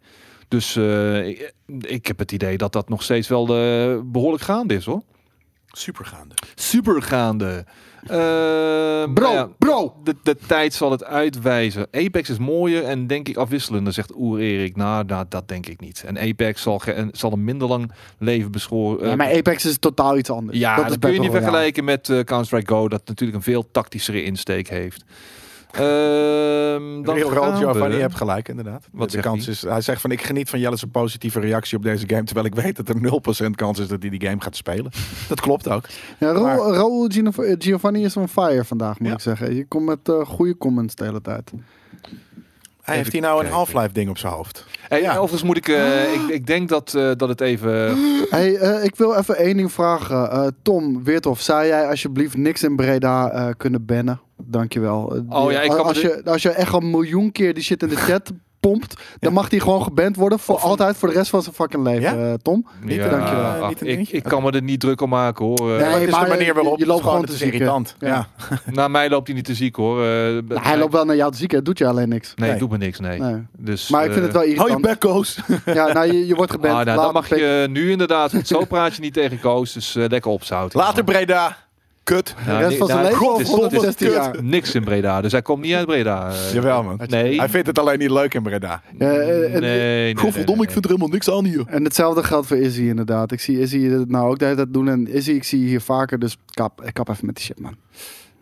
Speaker 1: Dus eh, ik- ik heb het idee dat dat nog steeds wel eh, behoorlijk gaande is, hoor.
Speaker 3: Supergaande.
Speaker 1: Super gaande. Nou
Speaker 2: Bro, bro!
Speaker 1: Eh, de, de tijd zal het uitwijzen. Apex is mooier en denk ik afwisselender, zegt Oer Erik. Nou, nou, dat denk ik niet. En Apex zal, ge- en zal een minder lang leven eh, beschoren.
Speaker 2: Ja, maar Apex is totaal iets anders.
Speaker 1: Ja, dat,
Speaker 2: is
Speaker 1: kun je niet
Speaker 2: Battle Royale.
Speaker 1: vergelijken met eh, Counter-Strike Go, dat natuurlijk een veel tactischere insteek heeft. Ehm dan
Speaker 3: Heel
Speaker 1: gaan
Speaker 3: rood,
Speaker 1: we-
Speaker 3: Giovanni, je hebt gelijk inderdaad.
Speaker 1: Wat
Speaker 3: de
Speaker 1: zegt
Speaker 3: kans
Speaker 1: hij?
Speaker 3: is, hij zegt van ik geniet van Jelle's positieve reactie op deze game, terwijl ik weet dat er 0% kans is dat hij die game gaat spelen. Dat klopt ook.
Speaker 2: Ja, Raul,
Speaker 3: Maar-
Speaker 2: Raul Gino- eh, Giovanni is on fire vandaag, moet
Speaker 3: Ja.
Speaker 2: ik zeggen. Je komt met eh, goede comments de hele tijd.
Speaker 3: Hij heeft hier nou een Half-Life ding op zijn hoofd.
Speaker 1: Hey,
Speaker 3: Ja.
Speaker 1: Overigens moet ik,
Speaker 2: Ah.
Speaker 1: eh, ik, ik denk dat, eh, dat het even...
Speaker 2: Hey, eh, ik wil even één ding vragen. Eh, Tom Weerthof, zou jij alsjeblieft niks in Breda eh, kunnen bannen? Dankjewel. Eh,
Speaker 1: Oh ja, ik kan
Speaker 2: als,
Speaker 1: me-
Speaker 2: je, als je echt een miljoen keer die shit in de chat pompt, dan mag die gewoon geband worden voor
Speaker 3: Of-
Speaker 2: altijd voor de rest van zijn fucking leven,
Speaker 3: Ja?
Speaker 2: eh, Tom.
Speaker 3: Niet
Speaker 1: ja,
Speaker 3: een- dankjewel.
Speaker 2: eh,
Speaker 1: ach,
Speaker 3: Niet een
Speaker 1: ik,
Speaker 3: dingetje.
Speaker 1: ik kan me er niet druk om maken hoor. Eh,
Speaker 2: Nee,
Speaker 3: Maar het is
Speaker 2: maar,
Speaker 3: de manier
Speaker 2: eh,
Speaker 3: waarop
Speaker 2: je loopt
Speaker 3: het is
Speaker 2: gewoon
Speaker 3: het
Speaker 2: te
Speaker 3: is
Speaker 2: zieken.
Speaker 3: irritant.
Speaker 2: Ja.
Speaker 3: ja.
Speaker 1: Na mij loopt hij niet te ziek hoor. Eh,
Speaker 2: Nou, hij loopt wel naar jou te zieken, doet je alleen niks.
Speaker 1: Nee,
Speaker 3: Nee.
Speaker 1: doet me niks, nee.
Speaker 2: Nee.
Speaker 1: Dus,
Speaker 2: Maar ik vind het wel
Speaker 3: Hou je
Speaker 2: irritant.
Speaker 3: bekko's.
Speaker 2: ja, nou, je, je wordt geband.
Speaker 1: Ah, nou,
Speaker 2: Laat
Speaker 1: dan mag
Speaker 2: het
Speaker 1: je nu inderdaad, want zo praat je niet tegen Koos, dus eh, lekker opzouten.
Speaker 3: Later Breda. Kut.
Speaker 1: Nou,
Speaker 2: de rest
Speaker 1: nee,
Speaker 2: van zijn
Speaker 1: nou,
Speaker 2: leven
Speaker 1: het
Speaker 2: of
Speaker 1: is-
Speaker 2: 116
Speaker 1: het is
Speaker 2: jaar?
Speaker 1: Niks in Breda, dus hij komt niet uit Breda. eh.
Speaker 3: Jawel man.
Speaker 1: Nee.
Speaker 3: Hij vindt het alleen niet leuk in Breda.
Speaker 2: Ja, eh, en-
Speaker 1: nee,
Speaker 3: Goh, verdomme, ik vind er helemaal niks aan hier.
Speaker 2: En hetzelfde geldt voor Izzy inderdaad. Ik zie Izzy het nou ook de hele tijd doen. En Izzy, ik zie hier vaker. Dus kap, eh, kap even met die shit, man.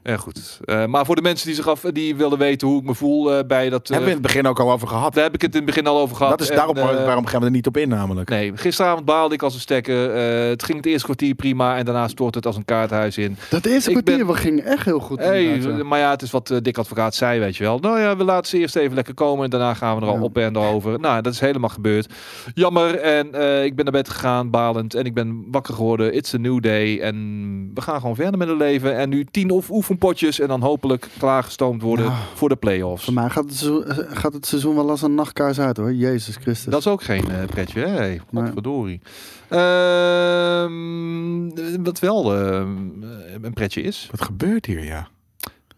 Speaker 1: Eh, goed. Eh, maar voor de mensen die zich af, die wilden weten hoe ik me voel eh, bij dat. eh,
Speaker 3: Hebben we in het begin ook al over gehad.
Speaker 1: daar heb ik het in het begin al over gehad.
Speaker 3: Dat is
Speaker 1: En,
Speaker 3: daarom
Speaker 1: eh,
Speaker 3: waarom gaan we er niet op in namelijk.
Speaker 1: Nee, gisteravond baalde ik als een stekker. Eh, het ging het eerste kwartier prima en daarna stort het als een kaarthuis in.
Speaker 2: Dat eerste
Speaker 1: Ik ben-
Speaker 2: kwartier we gingen echt heel goed.
Speaker 1: Hey,
Speaker 2: inderdaad, ja.
Speaker 1: maar ja, het is wat eh, Dick Advocaat zei, weet je wel. Nou ja, we laten ze eerst even lekker komen en daarna gaan we er al
Speaker 2: Ja.
Speaker 1: op en erover. Nou, dat is helemaal gebeurd. Jammer en eh, ik ben naar bed gegaan, balend. En ik ben wakker geworden. It's a new day en we gaan gewoon verder met het leven. En nu tien of oefenpotjes en dan hopelijk klaargestoomd worden
Speaker 2: Nou.
Speaker 1: voor de play-offs.
Speaker 2: Voor mij gaat het, seizoen, eh, gaat het seizoen wel als een nachtkaars uit hoor. Jezus Christus.
Speaker 1: Dat is ook geen eh, pretje, hè? Hey,
Speaker 2: dus. Nee.
Speaker 1: Godverdorie. Ehm, wat wel ehm, een pretje is.
Speaker 3: Wat gebeurt hier, ja?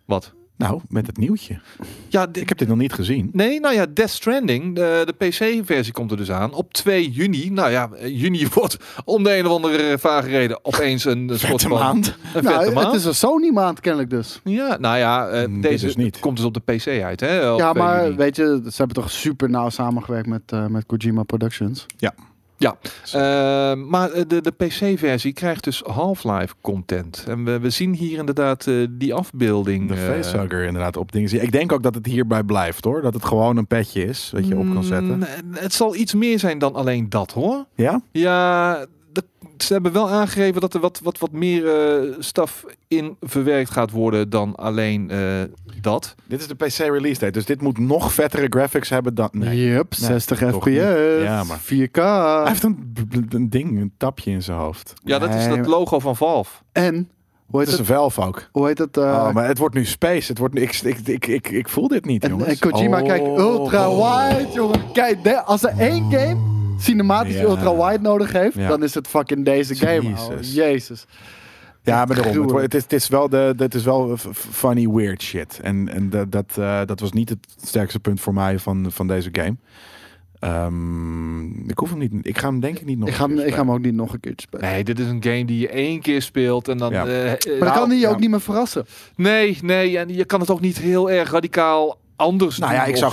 Speaker 1: Wat?
Speaker 3: Nou, met het nieuwtje.
Speaker 1: Ja,
Speaker 3: Ik heb dit nog niet gezien.
Speaker 1: Nee, nou ja, Death Stranding, de, de PC-versie komt er dus aan op 2 juni. Nou ja, eh, juni wordt om de een of andere vage reden opeens een eh, soort
Speaker 3: Vette
Speaker 1: van...
Speaker 3: maand.
Speaker 1: Een
Speaker 2: nou,
Speaker 1: vette
Speaker 2: het-
Speaker 1: maand.
Speaker 2: het is een Sony maand kennelijk dus.
Speaker 1: Ja, nou ja, eh,
Speaker 3: Mm, dit
Speaker 1: deze
Speaker 3: is niet.
Speaker 1: komt dus op de PC uit, hè? op
Speaker 2: ja,
Speaker 1: 2
Speaker 2: maar
Speaker 1: juni.
Speaker 2: weet je, ze hebben toch super nauw samengewerkt met, eh, met Kojima Productions.
Speaker 1: Eh, maar eh, de, de PC-versie krijgt dus Half-Life content. En we, we zien hier inderdaad eh, die afbeelding.
Speaker 3: De
Speaker 1: eh,
Speaker 3: facehugger inderdaad op dingen. zien. Ik denk ook dat het hierbij blijft hoor. Dat het gewoon een petje is dat je op kan zetten.
Speaker 1: Mm, het zal iets meer zijn dan alleen dat, hoor.
Speaker 3: Ja?
Speaker 1: Ja, dat- ze hebben wel aangegeven dat er wat, wat, wat meer eh, staf in verwerkt gaat worden dan alleen eh, dat.
Speaker 3: Dit is de PC release date, dus dit moet nog vettere graphics hebben dan... Nee.
Speaker 2: Yep,
Speaker 3: Nee,
Speaker 2: 60
Speaker 3: toch
Speaker 2: fps,
Speaker 3: niet. Ja, maar-
Speaker 2: 4K.
Speaker 3: Hij heeft een, b- b- een ding, een tapje in zijn hoofd.
Speaker 1: Ja, dat is
Speaker 2: Nee,
Speaker 1: dat
Speaker 2: maar-
Speaker 1: logo van Valve.
Speaker 2: En, hoe
Speaker 3: Het
Speaker 2: heet
Speaker 3: is
Speaker 2: het?
Speaker 3: een Valve ook.
Speaker 2: Hoe heet het? eh,
Speaker 1: Ah,
Speaker 3: oh, maar het wordt nu space. Het wordt nu, ik, ik, ik, ik, ik voel dit niet,
Speaker 2: en,
Speaker 3: jongens. Oh.
Speaker 2: en Kojima, kijk, ultra wide, jongen. Kijk, de- als er één game cinematisch
Speaker 3: Ja.
Speaker 2: ultra wide nodig heeft,
Speaker 3: Ja.
Speaker 2: dan is het fucking deze game. ouwe.
Speaker 3: Jezus.
Speaker 2: Jezus.
Speaker 3: Ja, maar daarom. Het,
Speaker 2: Gruwelijk.
Speaker 3: wordt- het, is, het is wel, de, het is wel f- f- funny, weird shit. En, en dat, dat, eh, dat was niet het sterkste punt voor mij van, van deze game. Ehm, ik hoef hem niet. Ik ga hem denk ik niet nog.
Speaker 2: Ik ga,
Speaker 3: een
Speaker 2: hem,
Speaker 3: keer
Speaker 2: ik ga hem ook niet nog een keertje spelen.
Speaker 1: Nee, dit is een game die je één keer speelt en dan...
Speaker 3: Ja.
Speaker 1: eh, eh,
Speaker 2: Maar dan kan
Speaker 1: nou,
Speaker 2: die je
Speaker 3: ja.
Speaker 2: ook niet meer verrassen.
Speaker 1: Nee, nee, en je kan het ook niet heel erg radicaal anders
Speaker 3: Nou
Speaker 1: doen
Speaker 3: ja, ik
Speaker 1: of
Speaker 3: zou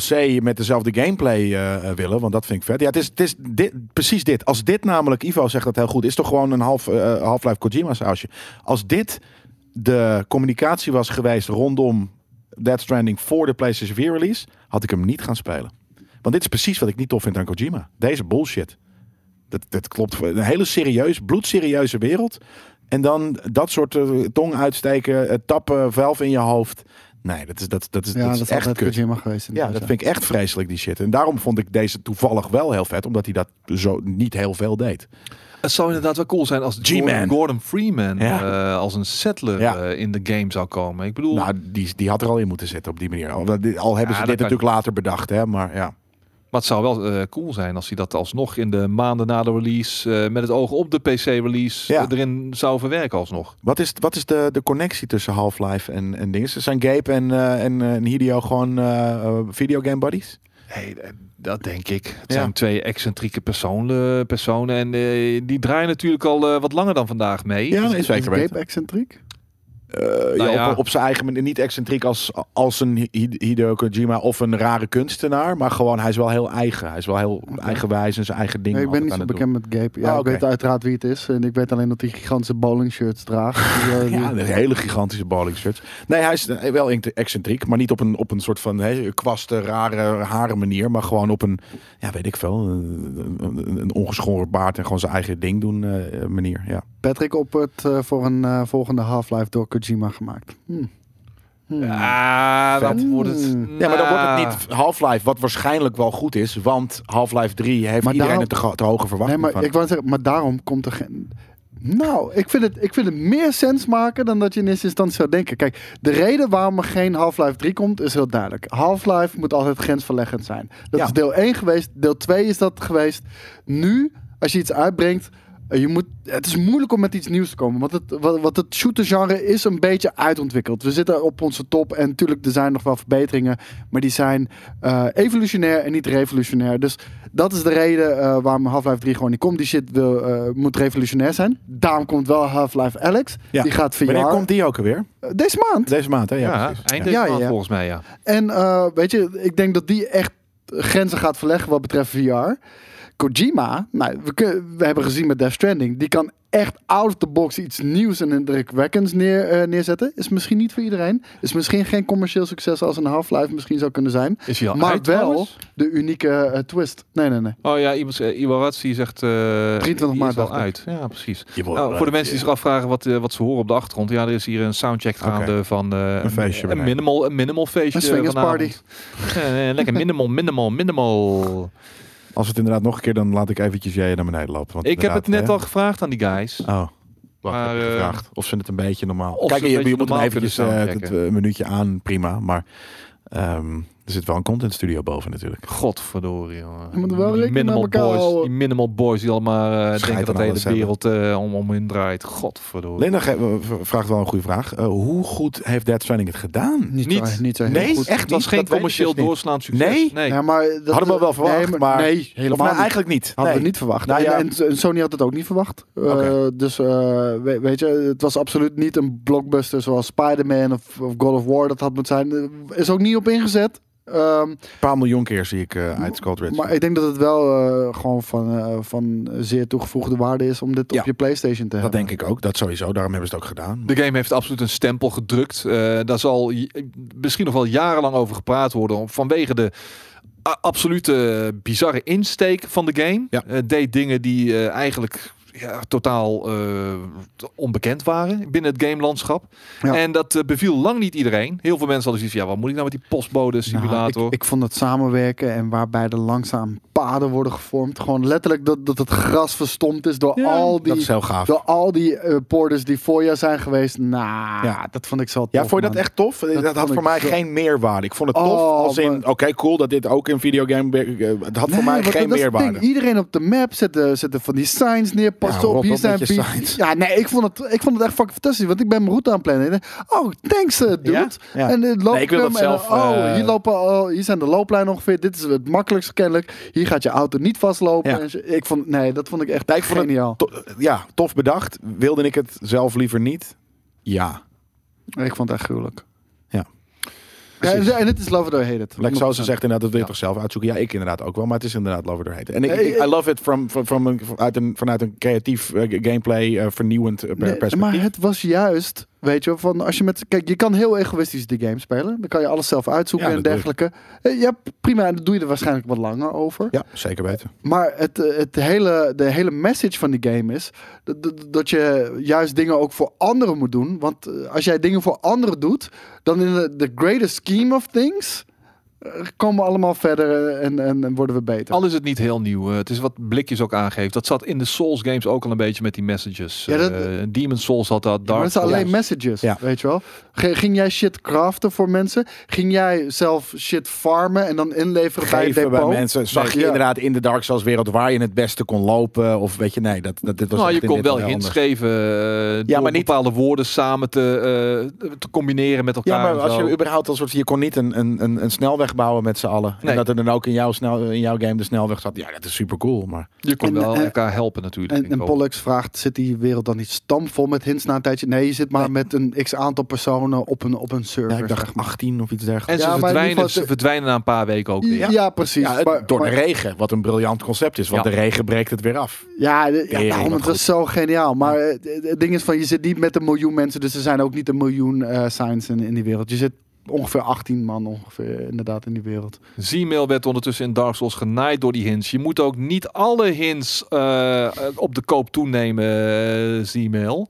Speaker 1: zo.
Speaker 3: DLC met dezelfde gameplay eh, eh, willen, want dat vind ik vet. Ja, het is, het is dit, precies dit. Als dit namelijk, Ivo zegt dat heel goed, is toch gewoon een half, eh, Half-Life Kojima sausje. Als dit de communicatie was geweest rondom Dead Stranding voor de PlayStation 4 release, had ik hem niet gaan spelen. Want dit is precies wat ik niet tof vind aan Kojima. Deze bullshit. Dat, dat klopt. Een hele serieus, bloedserieuze wereld. En dan dat soort eh, tong uitsteken, eh, tappen, velf in je hoofd. Nee, dat is, dat, dat is,
Speaker 2: Ja,
Speaker 3: dat
Speaker 2: dat
Speaker 3: is
Speaker 2: is
Speaker 3: echt
Speaker 2: altijd
Speaker 3: kut.
Speaker 2: Kojima geweest.
Speaker 3: Ja, dat vind ik echt vreselijk, die shit. En daarom vond ik deze toevallig wel heel vet, omdat hij dat zo niet heel veel deed.
Speaker 1: Het zou inderdaad wel cool zijn als
Speaker 3: G-Man.
Speaker 1: Gordon, Gordon Freeman
Speaker 3: Ja.
Speaker 1: eh, als een settler
Speaker 3: Ja.
Speaker 1: eh, in de game zou komen. Ik bedoel,
Speaker 3: Nou, die, die had er al in moeten zitten op die manier. Al, al hebben
Speaker 1: Ja,
Speaker 3: ze
Speaker 1: dat
Speaker 3: dit
Speaker 1: kan-
Speaker 3: natuurlijk later bedacht, hè, maar ja.
Speaker 1: Maar het zou wel eh, cool zijn als hij dat alsnog in de maanden na de release, eh, met het oog op de PC-release,
Speaker 3: Ja.
Speaker 1: eh, erin zou verwerken alsnog.
Speaker 3: Wat is, wat is de, de connectie tussen Half-Life en, en dingen? Zijn Gabe en, eh, en, eh, en Hideo gewoon eh, eh, videogame buddies?
Speaker 1: Hey, eh, dat denk ik. Het
Speaker 3: Ja.
Speaker 1: zijn twee excentrieke personen, personen en eh, die draaien natuurlijk al eh, wat langer dan vandaag mee. Dus,
Speaker 3: Ja,
Speaker 2: Is, is Gabe excentriek?
Speaker 3: Eh,
Speaker 1: Nou
Speaker 3: ja,
Speaker 1: ja.
Speaker 3: Op, op zijn eigen manier. Niet excentriek als, als een Hi- Hi- Hideo Kojima of een rare kunstenaar. Maar gewoon, hij is wel heel eigen. Hij is wel heel eigenwijs en zijn eigen ding.
Speaker 2: Nee, ik ben niet
Speaker 3: altijd
Speaker 2: zo
Speaker 3: aan het
Speaker 2: bekend met Gabe. Ja,
Speaker 3: Ah, oké.
Speaker 2: ik weet uiteraard wie het is. En ik weet alleen dat hij gigantische bowling shirts draagt. Die, eh, die-
Speaker 3: Ja, een hele gigantische bowling shirts. Nee, hij is eh, wel int- excentriek, maar niet op een, op een soort van hè, kwaste, rare, haren manier. Maar gewoon op een, ja, weet ik veel, eh, een, een ongeschoren baard en gewoon zijn eigen ding doen eh, manier. Ja.
Speaker 2: Patrick Oppert eh, voor een eh, volgende Half-Life door Kojima gemaakt. Hm. Hm.
Speaker 1: Ah, dat
Speaker 2: Vet.
Speaker 1: wordt het.
Speaker 2: Hmm.
Speaker 3: ja, maar dan
Speaker 1: Nou,
Speaker 3: wordt het niet Half-Life, wat waarschijnlijk wel goed is, want Half-Life 3 heeft
Speaker 2: Maar
Speaker 3: iedereen
Speaker 2: daarom-
Speaker 3: een te, gro- te hoge
Speaker 2: Nee,
Speaker 3: verwachting
Speaker 2: maar
Speaker 3: van.
Speaker 2: ik wou zeggen, maar daarom komt er geen. Nou, ik vind, het, ik vind het meer sens maken dan dat je in eerste instantie zou denken. Kijk, de reden waarom er geen Half-Life 3 komt is heel duidelijk. Half-Life moet altijd grensverleggend zijn. Dat
Speaker 3: Ja.
Speaker 2: is deel 1 geweest, deel 2 is dat geweest. Nu, als je iets uitbrengt, eh, je moet, het is moeilijk om met iets nieuws te komen. Want het, wat, wat het shooter-genre is een beetje uitontwikkeld. We zitten op onze top en natuurlijk er zijn nog wel verbeteringen. Maar die zijn eh, evolutionair en niet revolutionair. Dus dat is de reden eh, waarom Half-Life 3 gewoon niet komt. Die shit wil, eh, moet revolutionair zijn. Daarom komt wel Half-Life Alex.
Speaker 3: Ja.
Speaker 2: Die gaat VR.
Speaker 3: Wanneer komt die ook alweer?
Speaker 2: Eh, Deze maand.
Speaker 3: Deze maand, hè? Ja,
Speaker 1: Ja,
Speaker 3: precies.
Speaker 1: eind
Speaker 3: Ja.
Speaker 1: deze
Speaker 2: Ja, ja,
Speaker 1: maand
Speaker 2: ja.
Speaker 1: volgens mij, ja.
Speaker 2: En eh, weet je, ik denk dat die echt grenzen gaat verleggen wat betreft VR. Kojima, nou, we, kun- we hebben gezien met Death Stranding, die kan echt out of the box iets nieuws en indrukwekkends neer, eh, neerzetten. Is misschien niet voor iedereen. Is misschien geen commercieel succes als een Half-Life misschien zou kunnen zijn.
Speaker 1: Is hij al
Speaker 2: maar
Speaker 1: uit,
Speaker 2: wel
Speaker 1: trouwens?
Speaker 2: de unieke eh, twist. Nee, nee, nee.
Speaker 1: Oh ja, iemand, eh, Iwaratsu zegt... eh
Speaker 2: 23
Speaker 1: die
Speaker 2: maart,
Speaker 1: is al
Speaker 2: dacht ik.
Speaker 1: uit. Ja, precies.
Speaker 3: Je wordt-
Speaker 2: Oh.
Speaker 3: eh,
Speaker 1: Nou, voor de mensen die zich afvragen wat, eh, wat ze horen op de achtergrond. Ja, er is hier een soundcheck gaande van eh, een,
Speaker 3: feestje
Speaker 1: Een
Speaker 3: beneden.
Speaker 1: minimal, een minimal feestje.
Speaker 2: Een swingers
Speaker 1: vanavond. Eh, eh, lekker minimal, minimal, minimal.
Speaker 3: Als het inderdaad nog een keer, dan laat ik eventjes jij naar beneden lopen. Want
Speaker 1: Ik heb het net
Speaker 3: inderdaad,
Speaker 1: al gevraagd aan die guys.
Speaker 3: hè? Oh. Wacht,
Speaker 1: Maar,
Speaker 3: heb ik
Speaker 1: eh,
Speaker 3: gevraagd of ze het een beetje normaal.
Speaker 1: of
Speaker 3: Kijk,
Speaker 1: ze
Speaker 3: je,
Speaker 1: een beetje
Speaker 3: je moet hem
Speaker 1: normaal
Speaker 3: eventjes
Speaker 1: kunnen
Speaker 3: eh, het,
Speaker 1: soundchecken.
Speaker 3: eh, minuutje aan, prima. Maar ehm, er zit wel een content studio boven natuurlijk.
Speaker 1: Godverdorie, jongen.
Speaker 2: Je moet wel rekening
Speaker 1: minimal
Speaker 2: met elkaar
Speaker 1: boys,
Speaker 2: houden.
Speaker 1: die minimal boys die allemaal eh
Speaker 3: Scheid
Speaker 1: denken dat
Speaker 3: aan
Speaker 1: de hele
Speaker 3: alles hebben.
Speaker 1: wereld eh, om, om hun draait. Godverdorie.
Speaker 3: Linda ge- v- vraagt wel een goede vraag. Eh, hoe goed heeft Dead Stranding het gedaan?
Speaker 2: Niet,
Speaker 1: Niet.
Speaker 2: zo- niet zo heel
Speaker 3: Nee,
Speaker 2: goed.
Speaker 3: echt
Speaker 1: Het was geen
Speaker 3: niet, dat weet ik
Speaker 1: commercieel
Speaker 3: dus niet.
Speaker 1: doorslaand succes.
Speaker 3: Nee?
Speaker 2: Ja, maar dat,
Speaker 3: Hadden we wel verwacht,
Speaker 2: nee,
Speaker 3: maar-
Speaker 2: nee,
Speaker 3: Of
Speaker 2: helemaal
Speaker 3: nou,
Speaker 2: niet.
Speaker 3: eigenlijk niet.
Speaker 2: Hadden
Speaker 3: Nee.
Speaker 2: we niet verwacht.
Speaker 3: Nou ja.
Speaker 2: en, en Sony had het ook niet verwacht. Eh,
Speaker 3: Oké.
Speaker 2: dus eh, we- weet je, het was absoluut niet een blockbuster zoals Spider-Man of, of God of War dat had moeten zijn. Eh, Is ook niet op ingezet. Ehm,
Speaker 3: Een paar miljoen keer zie ik eh, uit Scott Ridge.
Speaker 2: maar ik denk dat het wel eh, gewoon van, eh, van zeer toegevoegde waarde is om dit
Speaker 3: Ja.
Speaker 2: op je PlayStation te
Speaker 3: dat
Speaker 2: hebben.
Speaker 3: denk ik ook. Dat sowieso. Daarom hebben ze het ook gedaan.
Speaker 1: De game heeft absoluut een stempel gedrukt. Eh, daar zal j- misschien nog wel jarenlang over gepraat worden. Vanwege de a- absolute bizarre insteek van de game.
Speaker 3: Ja.
Speaker 1: Eh, deed dingen die eh, eigenlijk ja, totaal eh, onbekend waren binnen het gamelandschap.
Speaker 2: Ja.
Speaker 1: En dat eh, beviel lang niet iedereen. Heel veel mensen hadden zoiets van, ja, wat moet ik nou met die postbode simulator?
Speaker 2: Nou, ik, ik vond het samenwerken en waarbij er langzaam paden worden gevormd. Gewoon letterlijk dat, dat het gras verstomd is door
Speaker 1: Ja,
Speaker 2: al
Speaker 3: dat is
Speaker 2: die,
Speaker 3: heel gaaf.
Speaker 2: door al die eh, porters die voor jou zijn geweest. Nou,
Speaker 3: Ja.
Speaker 2: dat vond ik zo tof.
Speaker 3: Ja, vond je dat
Speaker 2: Oh, man.
Speaker 3: echt tof? Dat,
Speaker 2: vond
Speaker 3: had voor
Speaker 2: ik
Speaker 3: mij
Speaker 2: zo-
Speaker 3: geen meerwaarde. Ik vond het
Speaker 2: Oh,
Speaker 3: tof als in,
Speaker 2: maar-
Speaker 3: oké, cool dat dit ook een videogame... eh, Het had voor
Speaker 2: Nee,
Speaker 3: mij
Speaker 2: want
Speaker 3: geen
Speaker 2: dat is het
Speaker 3: meerwaarde.
Speaker 2: ding. Iedereen op de map zette, zette van die signs neer. Pas
Speaker 3: Ja,
Speaker 2: op,
Speaker 3: rot
Speaker 2: hier
Speaker 3: op
Speaker 2: zijn
Speaker 3: met je
Speaker 2: pie-
Speaker 3: signs.
Speaker 2: Ja, nee, ik vond, het, ik vond het echt fucking fantastisch. Want ik ben mijn route aan het plannen. En ik denk, Oh, thanks, eh, dude.
Speaker 3: Ja, ja.
Speaker 2: En dit loop
Speaker 3: Nee, ik wil
Speaker 2: hem
Speaker 3: dat
Speaker 2: en dan,
Speaker 3: zelf,
Speaker 2: oh,
Speaker 3: eh,
Speaker 2: hier, lopen, al- hier zijn de looplijnen ongeveer. Dit is het makkelijkst kennelijk. Hier gaat je auto niet vastlopen.
Speaker 3: Ja.
Speaker 2: En zo- ik vond, nee, dat vond ik echt
Speaker 3: Nee, ik vond het
Speaker 2: geniaal.
Speaker 3: To- ja, tof bedacht. Wilde ik het zelf liever niet? Ja.
Speaker 2: Ik vond het echt gruwelijk.
Speaker 3: Ja.
Speaker 2: Ja, en, en het is Love It or Hate It.
Speaker 3: Lex Sosa
Speaker 2: 100%.
Speaker 3: zegt inderdaad, dat wil je
Speaker 2: Ja.
Speaker 3: toch zelf uitzoeken? Ja, ik inderdaad ook wel, maar het is inderdaad Love It or Hate It. En ik,
Speaker 2: Nee,
Speaker 3: ik- I love it from, from, from een, vanuit, een, vanuit een creatief eh, gameplay, eh, vernieuwend eh, per-
Speaker 2: Nee,
Speaker 3: perspectief.
Speaker 2: maar het was juist, weet je, wel, van als je met. Kijk, je kan heel egoïstisch die game spelen. Dan kan je alles zelf uitzoeken
Speaker 3: Ja,
Speaker 2: en
Speaker 3: dat doe
Speaker 2: dergelijke. Eh, Ja, prima. En dan doe je er waarschijnlijk wat langer over.
Speaker 3: Ja, zeker weten.
Speaker 2: Maar het, eh, het hele, de hele message van die game is dat, dat, dat je juist dingen ook voor anderen moet doen. Want eh, als jij dingen voor anderen doet, dan in de the greater scheme of things eh, komen we allemaal verder eh, en, en, en worden we beter.
Speaker 1: Al is het niet heel nieuw. eh, het is wat Blikjes ook aangeeft. Dat zat in de Souls games ook al een beetje met die messages.
Speaker 2: Ja, dat-
Speaker 1: Eh, Demon Souls had dat.
Speaker 2: Maar
Speaker 1: Dark
Speaker 2: het zijn alleen
Speaker 1: Souls.
Speaker 2: messages,
Speaker 3: Ja.
Speaker 2: weet je wel. G- Ging jij shit craften voor mensen? Ging jij zelf shit farmen en dan inleveren bij het
Speaker 3: Geven bij
Speaker 2: depot?
Speaker 3: mensen, zag
Speaker 2: Nee,
Speaker 3: je
Speaker 2: ja.
Speaker 3: inderdaad in de Dark Souls wereld waar je het beste kon lopen? Of weet je, nee, dat, dat, dit was
Speaker 1: Nou,
Speaker 3: echt
Speaker 1: je
Speaker 3: in
Speaker 1: kon
Speaker 3: dit
Speaker 1: wel
Speaker 3: heel
Speaker 1: hints
Speaker 3: anders.
Speaker 1: geven. eh, door
Speaker 3: maar niet-
Speaker 1: bepaalde woorden samen te, eh, te combineren met elkaar.
Speaker 3: Ja, maar
Speaker 1: en
Speaker 3: als
Speaker 1: zo.
Speaker 3: je überhaupt al soort, je kon niet een, een, een, een snelweg bouwen met z'n allen.
Speaker 1: Nee.
Speaker 3: En dat er dan ook in jouw, snel, in jouw game de snelweg zat. Ja, dat is super cool, maar
Speaker 1: Je kon
Speaker 2: En,
Speaker 1: wel
Speaker 2: eh,
Speaker 1: elkaar helpen natuurlijk.
Speaker 2: En,
Speaker 1: ik
Speaker 2: en
Speaker 1: hoop.
Speaker 2: Pollux vraagt, zit die wereld dan niet stamvol met hints na een tijdje? Nee, je zit maar
Speaker 3: Nee.
Speaker 2: met een x-aantal personen op een, op een server.
Speaker 3: ja, ik
Speaker 2: zeg
Speaker 3: dacht
Speaker 2: maar.
Speaker 3: 18 of iets dergelijks.
Speaker 1: en ze,
Speaker 2: Ja, maar in ieder
Speaker 1: verdwijnen,
Speaker 2: geval-
Speaker 1: ze verdwijnen na een paar weken ook weer.
Speaker 2: ja, precies.
Speaker 3: Ja, het-
Speaker 2: Maar-
Speaker 3: door
Speaker 2: maar-
Speaker 3: de regen, wat een briljant concept is. Want
Speaker 1: Ja.
Speaker 3: de regen breekt het weer af.
Speaker 2: Ja, de- ja
Speaker 3: Tering,
Speaker 2: daarom,
Speaker 3: wat
Speaker 2: het was
Speaker 3: goed.
Speaker 2: zo geniaal. Maar eh, het- het ding is van, je zit niet met een miljoen mensen, dus er zijn ook niet een miljoen eh signs in, in die wereld. Je zit ongeveer 18 man ongeveer inderdaad in die wereld.
Speaker 1: Z-mail werd ondertussen in Dark Souls genaaid door die hints. Je moet ook niet alle hints eh, op de koop toenemen, eh, Z-mail.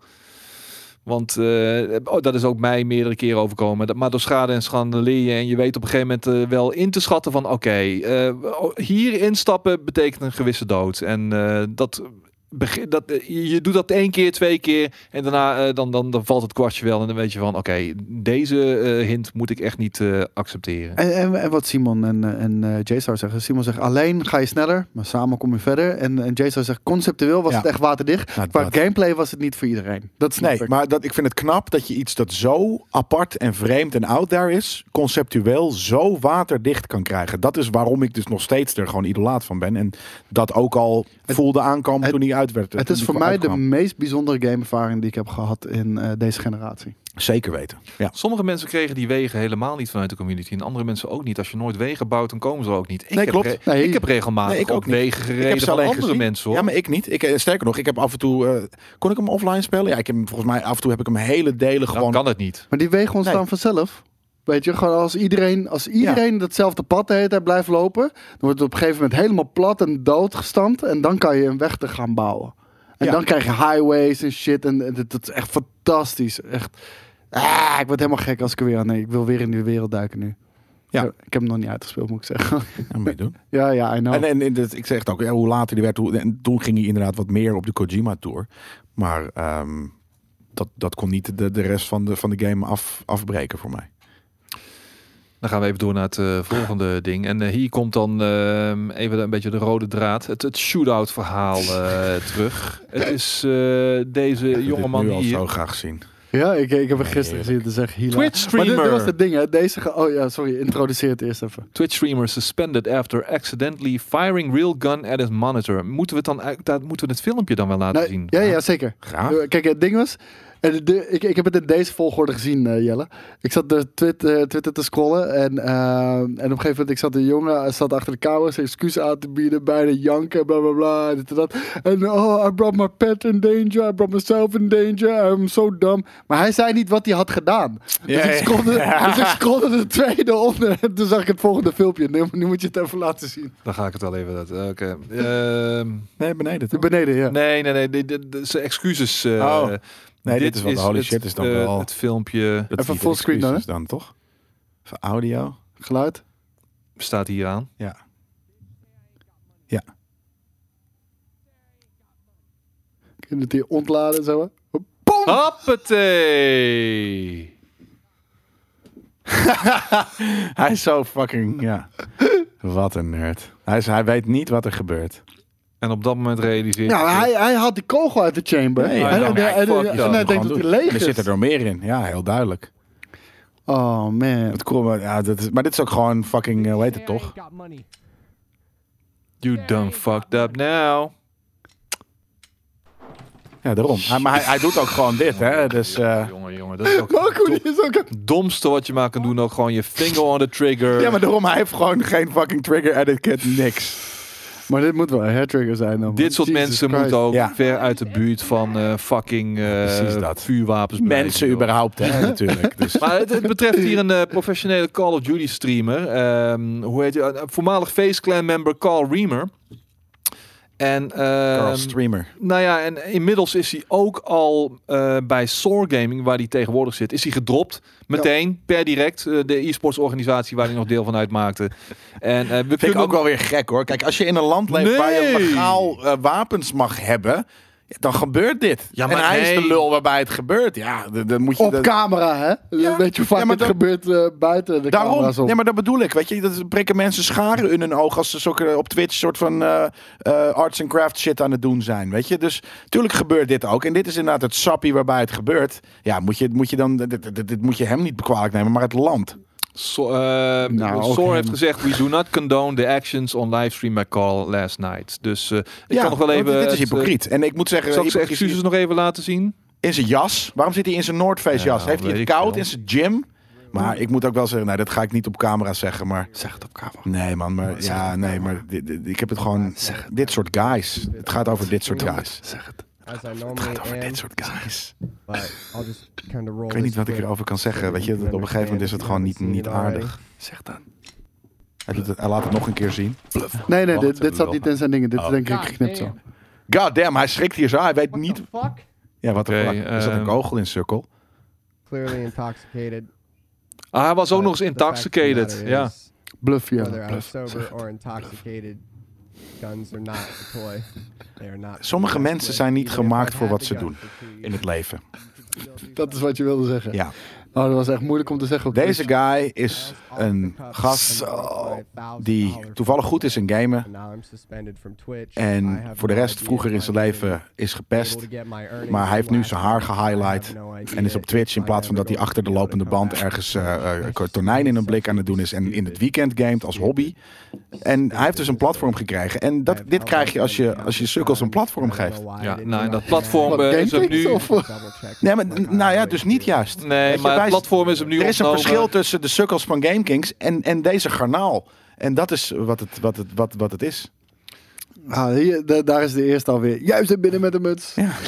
Speaker 1: Want eh, oh, dat is ook mij meerdere keren overkomen. Dat- Maar door schade en schande leer je. En je weet op een gegeven moment eh, wel in te schatten van... oké, eh, oh, hier instappen betekent een gewisse dood. En eh, dat... beg- Dat, eh, je- je doet dat één keer, twee keer en daarna eh, dan, dan, dan valt het kwartje wel en dan weet je van oké, deze eh, hint moet ik echt niet eh, accepteren.
Speaker 2: En, en, en wat Simon en, eh, en eh, JSTAR zeggen. Simon zegt, alleen ga je sneller, maar samen kom je verder. En, en JSTAR zegt, conceptueel was
Speaker 3: Ja.
Speaker 2: het echt waterdicht.
Speaker 3: Nou,
Speaker 2: Qua
Speaker 3: dat-
Speaker 2: gameplay was het niet voor iedereen. Dat snap
Speaker 3: Nee,
Speaker 2: ik.
Speaker 3: maar dat, ik vind het knap dat je iets dat zo apart en vreemd en out daar is, conceptueel zo waterdicht kan krijgen. Dat is waarom ik dus nog steeds er gewoon idolaat van ben. En dat ook al voelde aankomen
Speaker 2: het-
Speaker 3: toen hij uit werd.
Speaker 2: het
Speaker 3: toen
Speaker 2: is
Speaker 3: die
Speaker 2: voor mij de
Speaker 3: uitkwam.
Speaker 2: meest bijzondere gameervaring die ik heb gehad in eh, deze generatie.
Speaker 3: Zeker weten. Ja.
Speaker 1: Sommige mensen kregen die wegen helemaal niet vanuit de community. En andere mensen ook niet. Als je nooit wegen bouwt, dan komen ze er ook niet. Ik,
Speaker 3: Nee,
Speaker 1: heb,
Speaker 3: klopt.
Speaker 1: re-
Speaker 2: Nee.
Speaker 1: ik heb regelmatig
Speaker 3: Nee, ik
Speaker 1: ook
Speaker 3: ook niet.
Speaker 1: wegen gereden
Speaker 3: ze
Speaker 1: van
Speaker 3: alleen
Speaker 1: andere
Speaker 3: gezien.
Speaker 1: mensen. Hoor.
Speaker 3: Ja, maar ik niet. Ik, eh, sterker nog, ik heb af en toe. eh, kon ik hem offline spelen? Ja, ik heb hem, volgens mij af en toe heb ik hem hele delen
Speaker 1: dan
Speaker 3: gewoon.
Speaker 1: kan het niet.
Speaker 2: Maar die wegen
Speaker 3: Nee.
Speaker 2: ontstaan vanzelf. Weet je, gewoon als iedereen, als iedereen datzelfde pad de hele tijd blijft lopen, dan wordt het op een gegeven moment helemaal plat en doodgestampt. En dan kan je een weg te gaan bouwen. En
Speaker 3: Ja.
Speaker 2: dan krijg je highways en shit. En, en dat, dat is echt fantastisch. Echt. Ah, ik word helemaal gek als ik er weer aan. Nee, ik wil weer in die wereld duiken nu.
Speaker 3: Ja.
Speaker 2: Ik, ik heb hem nog niet uitgespeeld, moet ik zeggen.
Speaker 3: Ja, moet je doen.
Speaker 2: ja, ja, I know.
Speaker 3: En, eh, en, en dat, ik zeg het ook, ja, hoe later die werd, hoe, en toen ging hij inderdaad wat meer op de Kojima-tour. Maar ehm, dat, dat kon niet de, de rest van de, van de game af, afbreken voor mij.
Speaker 1: Dan gaan we even door naar het eh, volgende ding. En eh, hier komt dan ehm, even een beetje de rode draad. Het, het shootout verhaal eh, terug. Het is eh, deze jongeman
Speaker 3: nu al
Speaker 1: hier.
Speaker 3: zo graag zien.
Speaker 2: Ja, ik, ik heb er gisteren
Speaker 3: Heerlijk.
Speaker 2: gezien te zeggen. Hila.
Speaker 1: Twitch
Speaker 2: Maar dit,
Speaker 1: streamer.
Speaker 2: dit was het ding, hè? Deze. ge- Oh ja, sorry. Introduceer het eerst even.
Speaker 1: Twitch streamer suspended after accidentally firing real gun at his monitor. Moeten we, het dan, uit- daar, moeten we het filmpje dan wel laten
Speaker 2: Nou,
Speaker 1: zien?
Speaker 2: ja, ja, zeker.
Speaker 3: Graag?
Speaker 2: Kijk, het ding was, En de- ik, ik heb het in deze volgorde gezien, eh, Jelle. Ik zat de Twitter, Twitter te scrollen en, eh, en op een gegeven moment ik zat de jongen eh, zat achter de kouwen zijn excuus aan te bieden, bijna janken, bla bla bla, dit en dat. En oh, I brought my pet in danger, I brought myself in danger, I'm so dumb. Maar hij zei niet wat hij had gedaan. Dus,
Speaker 3: Ja,
Speaker 2: ik
Speaker 3: ja.
Speaker 2: scrollde, dus ik scrollde de tweede onder en toen zag ik het volgende filmpje. Nu, nu moet je het even laten zien.
Speaker 1: Dan ga ik het wel even. Dat, oké. Ehm,
Speaker 3: Nee, beneden.
Speaker 2: De
Speaker 3: toch?
Speaker 2: beneden, ja.
Speaker 1: nee, nee, nee. Dit, dit- dit zijn excuses. eh,
Speaker 3: Oh. Nee, dit is wel de holy
Speaker 1: het,
Speaker 3: shit is dan
Speaker 1: eh,
Speaker 3: wel.
Speaker 1: Het filmpje
Speaker 3: Dat
Speaker 2: Even
Speaker 3: is
Speaker 2: full
Speaker 3: niet de
Speaker 2: screen dan,
Speaker 3: excuses dan, toch? Even audio.
Speaker 2: Geluid.
Speaker 1: staat hier aan.
Speaker 3: Ja. Ja.
Speaker 2: Je kunt het hier ontladen, zo. hè. Hop.
Speaker 1: Hoppatee!
Speaker 3: Hij is zo fucking. Ja. wat een nerd. Hij, is, hij weet niet wat er gebeurt.
Speaker 1: En op dat moment realiseert
Speaker 2: Ja,
Speaker 3: Nou,
Speaker 2: maar hij, hij haalt die kogel uit de chamber.
Speaker 3: Nee,
Speaker 2: en,
Speaker 3: hij
Speaker 2: en-
Speaker 3: dacht,
Speaker 2: en- en-
Speaker 1: fuck
Speaker 2: en
Speaker 1: dat.
Speaker 2: hij denkt dat
Speaker 3: Gewoon
Speaker 2: hij
Speaker 3: doen.
Speaker 2: leeg
Speaker 3: Er zit
Speaker 2: is.
Speaker 3: er door meer in. Ja, heel duidelijk.
Speaker 2: Oh man.
Speaker 3: Het cool, maar, ja, dat is, maar dit is ook gewoon fucking. eh, Hoe heet het toch?
Speaker 1: You done fucked up now.
Speaker 3: Ja, daarom. Hij, maar hij, hij doet ook gewoon dit, hè? Dus. eh,
Speaker 1: jongen, jongen, dat is ook
Speaker 2: Marco, die is ook...
Speaker 1: het domste wat je maar kan doen. Ook gewoon je finger on the trigger.
Speaker 3: ja, maar daarom. Hij heeft gewoon geen fucking trigger edit kit. Niks.
Speaker 2: Maar dit moet wel een hairtrigger zijn dan. man.
Speaker 1: Dit soort
Speaker 2: Jesus
Speaker 1: mensen
Speaker 2: Christ.
Speaker 1: moeten ook
Speaker 3: Ja.
Speaker 1: ver uit de buurt van eh, fucking eh,
Speaker 3: precies dat. Dus
Speaker 1: vuurwapens blijven,
Speaker 3: Mensen
Speaker 1: joh.
Speaker 3: überhaupt, hè? Natuurlijk. Dus.
Speaker 1: Maar het, het betreft hier een eh, professionele Call of Duty streamer. Ehm, hoe heet hij? Een voormalig Face Clan member Carl Reamer. En, ehm,
Speaker 3: Carl Streamer.
Speaker 1: nou ja, en inmiddels is hij ook al eh, bij Soar Gaming, waar hij tegenwoordig zit, is hij gedropt. Meteen, per direct, eh, de e-sports organisatie waar hij nog deel van uitmaakte. En eh, we
Speaker 3: Vind
Speaker 1: kunnen
Speaker 3: ik ook wel weer gek hoor. Kijk, als je in een land leeft waar je
Speaker 1: Nee.
Speaker 3: legaal eh, wapens mag hebben, dan gebeurt dit.
Speaker 1: Ja, maar
Speaker 3: en hij is
Speaker 1: nee.
Speaker 3: de lul waarbij het gebeurt. Ja, d- dan moet je.
Speaker 2: Op
Speaker 3: dat-
Speaker 2: camera, hè?
Speaker 3: Ja.
Speaker 2: Weet je hoe vaak
Speaker 3: Ja, maar
Speaker 2: het
Speaker 3: dat-
Speaker 2: gebeurt eh, buiten de
Speaker 3: Daarom,
Speaker 2: camera's om?
Speaker 3: nee, maar dat bedoel ik. Weet je, dat prikken mensen scharen in hun oog als ze zulke, op Twitch soort van eh, eh, arts and craft shit aan het doen zijn. Weet je, dus tuurlijk gebeurt dit ook. En dit is inderdaad het sappie waarbij het gebeurt. Ja, moet je, moet je dan, dit, dit, dit moet je hem niet kwalijk nemen, maar het land.
Speaker 1: So, eh,
Speaker 2: Nou, ook
Speaker 1: Soar
Speaker 2: hem.
Speaker 1: heeft gezegd: We do not condone the actions on livestream by Carl last night. Dus eh, ik
Speaker 3: ja,
Speaker 1: kan nog wel
Speaker 3: want
Speaker 1: even.
Speaker 3: Dit is
Speaker 1: het, eh,
Speaker 3: hypocriet. En ik moet zeggen,
Speaker 1: zal ik zijn
Speaker 3: hypocrisie-
Speaker 1: excuses nog even laten zien?
Speaker 3: in zijn jas. Waarom zit hij in zijn Noordface jas?
Speaker 1: Ja,
Speaker 3: Heeft hij het
Speaker 1: weet ik
Speaker 3: koud
Speaker 1: veel.
Speaker 3: in zijn gym? Maar ik moet ook wel zeggen, nou, dat ga ik niet op camera zeggen, maar...
Speaker 2: Zeg het op camera.
Speaker 3: Nee man, maar ja, nee, maar dit- dit- ik heb het gewoon... Dit soort guys. Het gaat over dit soort guys.
Speaker 2: Zeg het.
Speaker 4: As I
Speaker 3: Het
Speaker 4: normally
Speaker 3: gaat over
Speaker 4: am,
Speaker 3: dit soort guys.
Speaker 4: but I'll just kind of roll
Speaker 3: Ik weet niet
Speaker 4: this
Speaker 3: wat ik
Speaker 4: clip.
Speaker 3: erover kan zeggen. Weet je, dat op een gegeven moment is het gewoon niet, niet aardig.
Speaker 2: Zeg dan.
Speaker 3: Hij, doet het- hij laat het nog een keer zien.
Speaker 2: Nee, nee,
Speaker 3: Wacht,
Speaker 2: dit, dit zat
Speaker 3: lul.
Speaker 2: niet in zijn dingen. Dit is
Speaker 3: Oh.
Speaker 2: denk ik geknipt zo.
Speaker 3: God damn, hij schrikt hier zo. Hij weet
Speaker 4: What
Speaker 3: niet...
Speaker 4: the fuck?
Speaker 3: Ja, wat er...
Speaker 1: Oké,
Speaker 3: vlak- Er zat een
Speaker 1: ehm,
Speaker 3: kogel in sukkel.
Speaker 4: Clearly intoxicated.
Speaker 1: Ah, hij was ook
Speaker 4: but
Speaker 1: nog eens
Speaker 4: the fact of the
Speaker 1: intoxicated.
Speaker 4: matter
Speaker 1: Ja.
Speaker 4: is,
Speaker 2: Bluff,
Speaker 4: Whether
Speaker 2: ja.
Speaker 4: I'm
Speaker 2: Bluff. Zeg
Speaker 4: sober
Speaker 2: het.
Speaker 4: or intoxicated, guns are not a toy. They are not. to be
Speaker 3: Sommige
Speaker 4: messed
Speaker 3: mensen
Speaker 4: with,
Speaker 3: zijn niet
Speaker 4: even if I
Speaker 3: gemaakt
Speaker 4: had
Speaker 3: voor
Speaker 4: the
Speaker 3: wat ze
Speaker 4: gun
Speaker 3: doen
Speaker 4: for two
Speaker 3: in
Speaker 4: years.
Speaker 3: het leven.
Speaker 2: Dat is wat je wilde zeggen.
Speaker 3: Ja.
Speaker 2: Oh, dat was echt moeilijk om te zeggen. op
Speaker 3: Deze
Speaker 2: Twitch.
Speaker 3: guy is een gast die toevallig goed is in gamen.
Speaker 4: And now I'm suspended from Twitch. I
Speaker 3: En
Speaker 4: have
Speaker 3: voor de
Speaker 4: no
Speaker 3: rest,
Speaker 4: idea
Speaker 3: vroeger
Speaker 4: if
Speaker 3: in zijn
Speaker 4: I'm
Speaker 3: leven is
Speaker 4: able
Speaker 3: gepest.
Speaker 4: to get my earnings
Speaker 3: Maar hij heeft nu
Speaker 4: last
Speaker 3: zijn haar
Speaker 4: year. I have
Speaker 3: gehighlight.
Speaker 4: no idea
Speaker 3: En is op Twitch in
Speaker 4: if
Speaker 3: plaats
Speaker 4: I
Speaker 3: van dat hij
Speaker 4: ever
Speaker 3: achter de
Speaker 4: will be able
Speaker 3: lopende
Speaker 4: to come
Speaker 3: band
Speaker 4: back.
Speaker 3: ergens eh, eh, tonijn in een blik aan het doen is. En in het weekend gamet als hobby. En hij heeft dus een platform gekregen. En dat, dit krijg je als je, als je sukkels een platform geeft.
Speaker 1: Ja, nou, en dat platform
Speaker 2: Wat,
Speaker 1: eh, is hem
Speaker 2: Gamekings
Speaker 1: nu.
Speaker 2: of-
Speaker 3: Nee, maar nou ja, dus niet juist.
Speaker 1: Nee,
Speaker 3: Weet je,
Speaker 1: maar het
Speaker 3: wij-
Speaker 1: platform is hem nu
Speaker 3: Er is een
Speaker 1: ontnomen.
Speaker 3: verschil tussen de sukkels van GameKings en, en deze garnaal. En dat is wat het, wat het, wat, wat het is.
Speaker 2: Ah, hier, da- daar is de eerste alweer. Juist in binnen met de muts.
Speaker 3: Nou,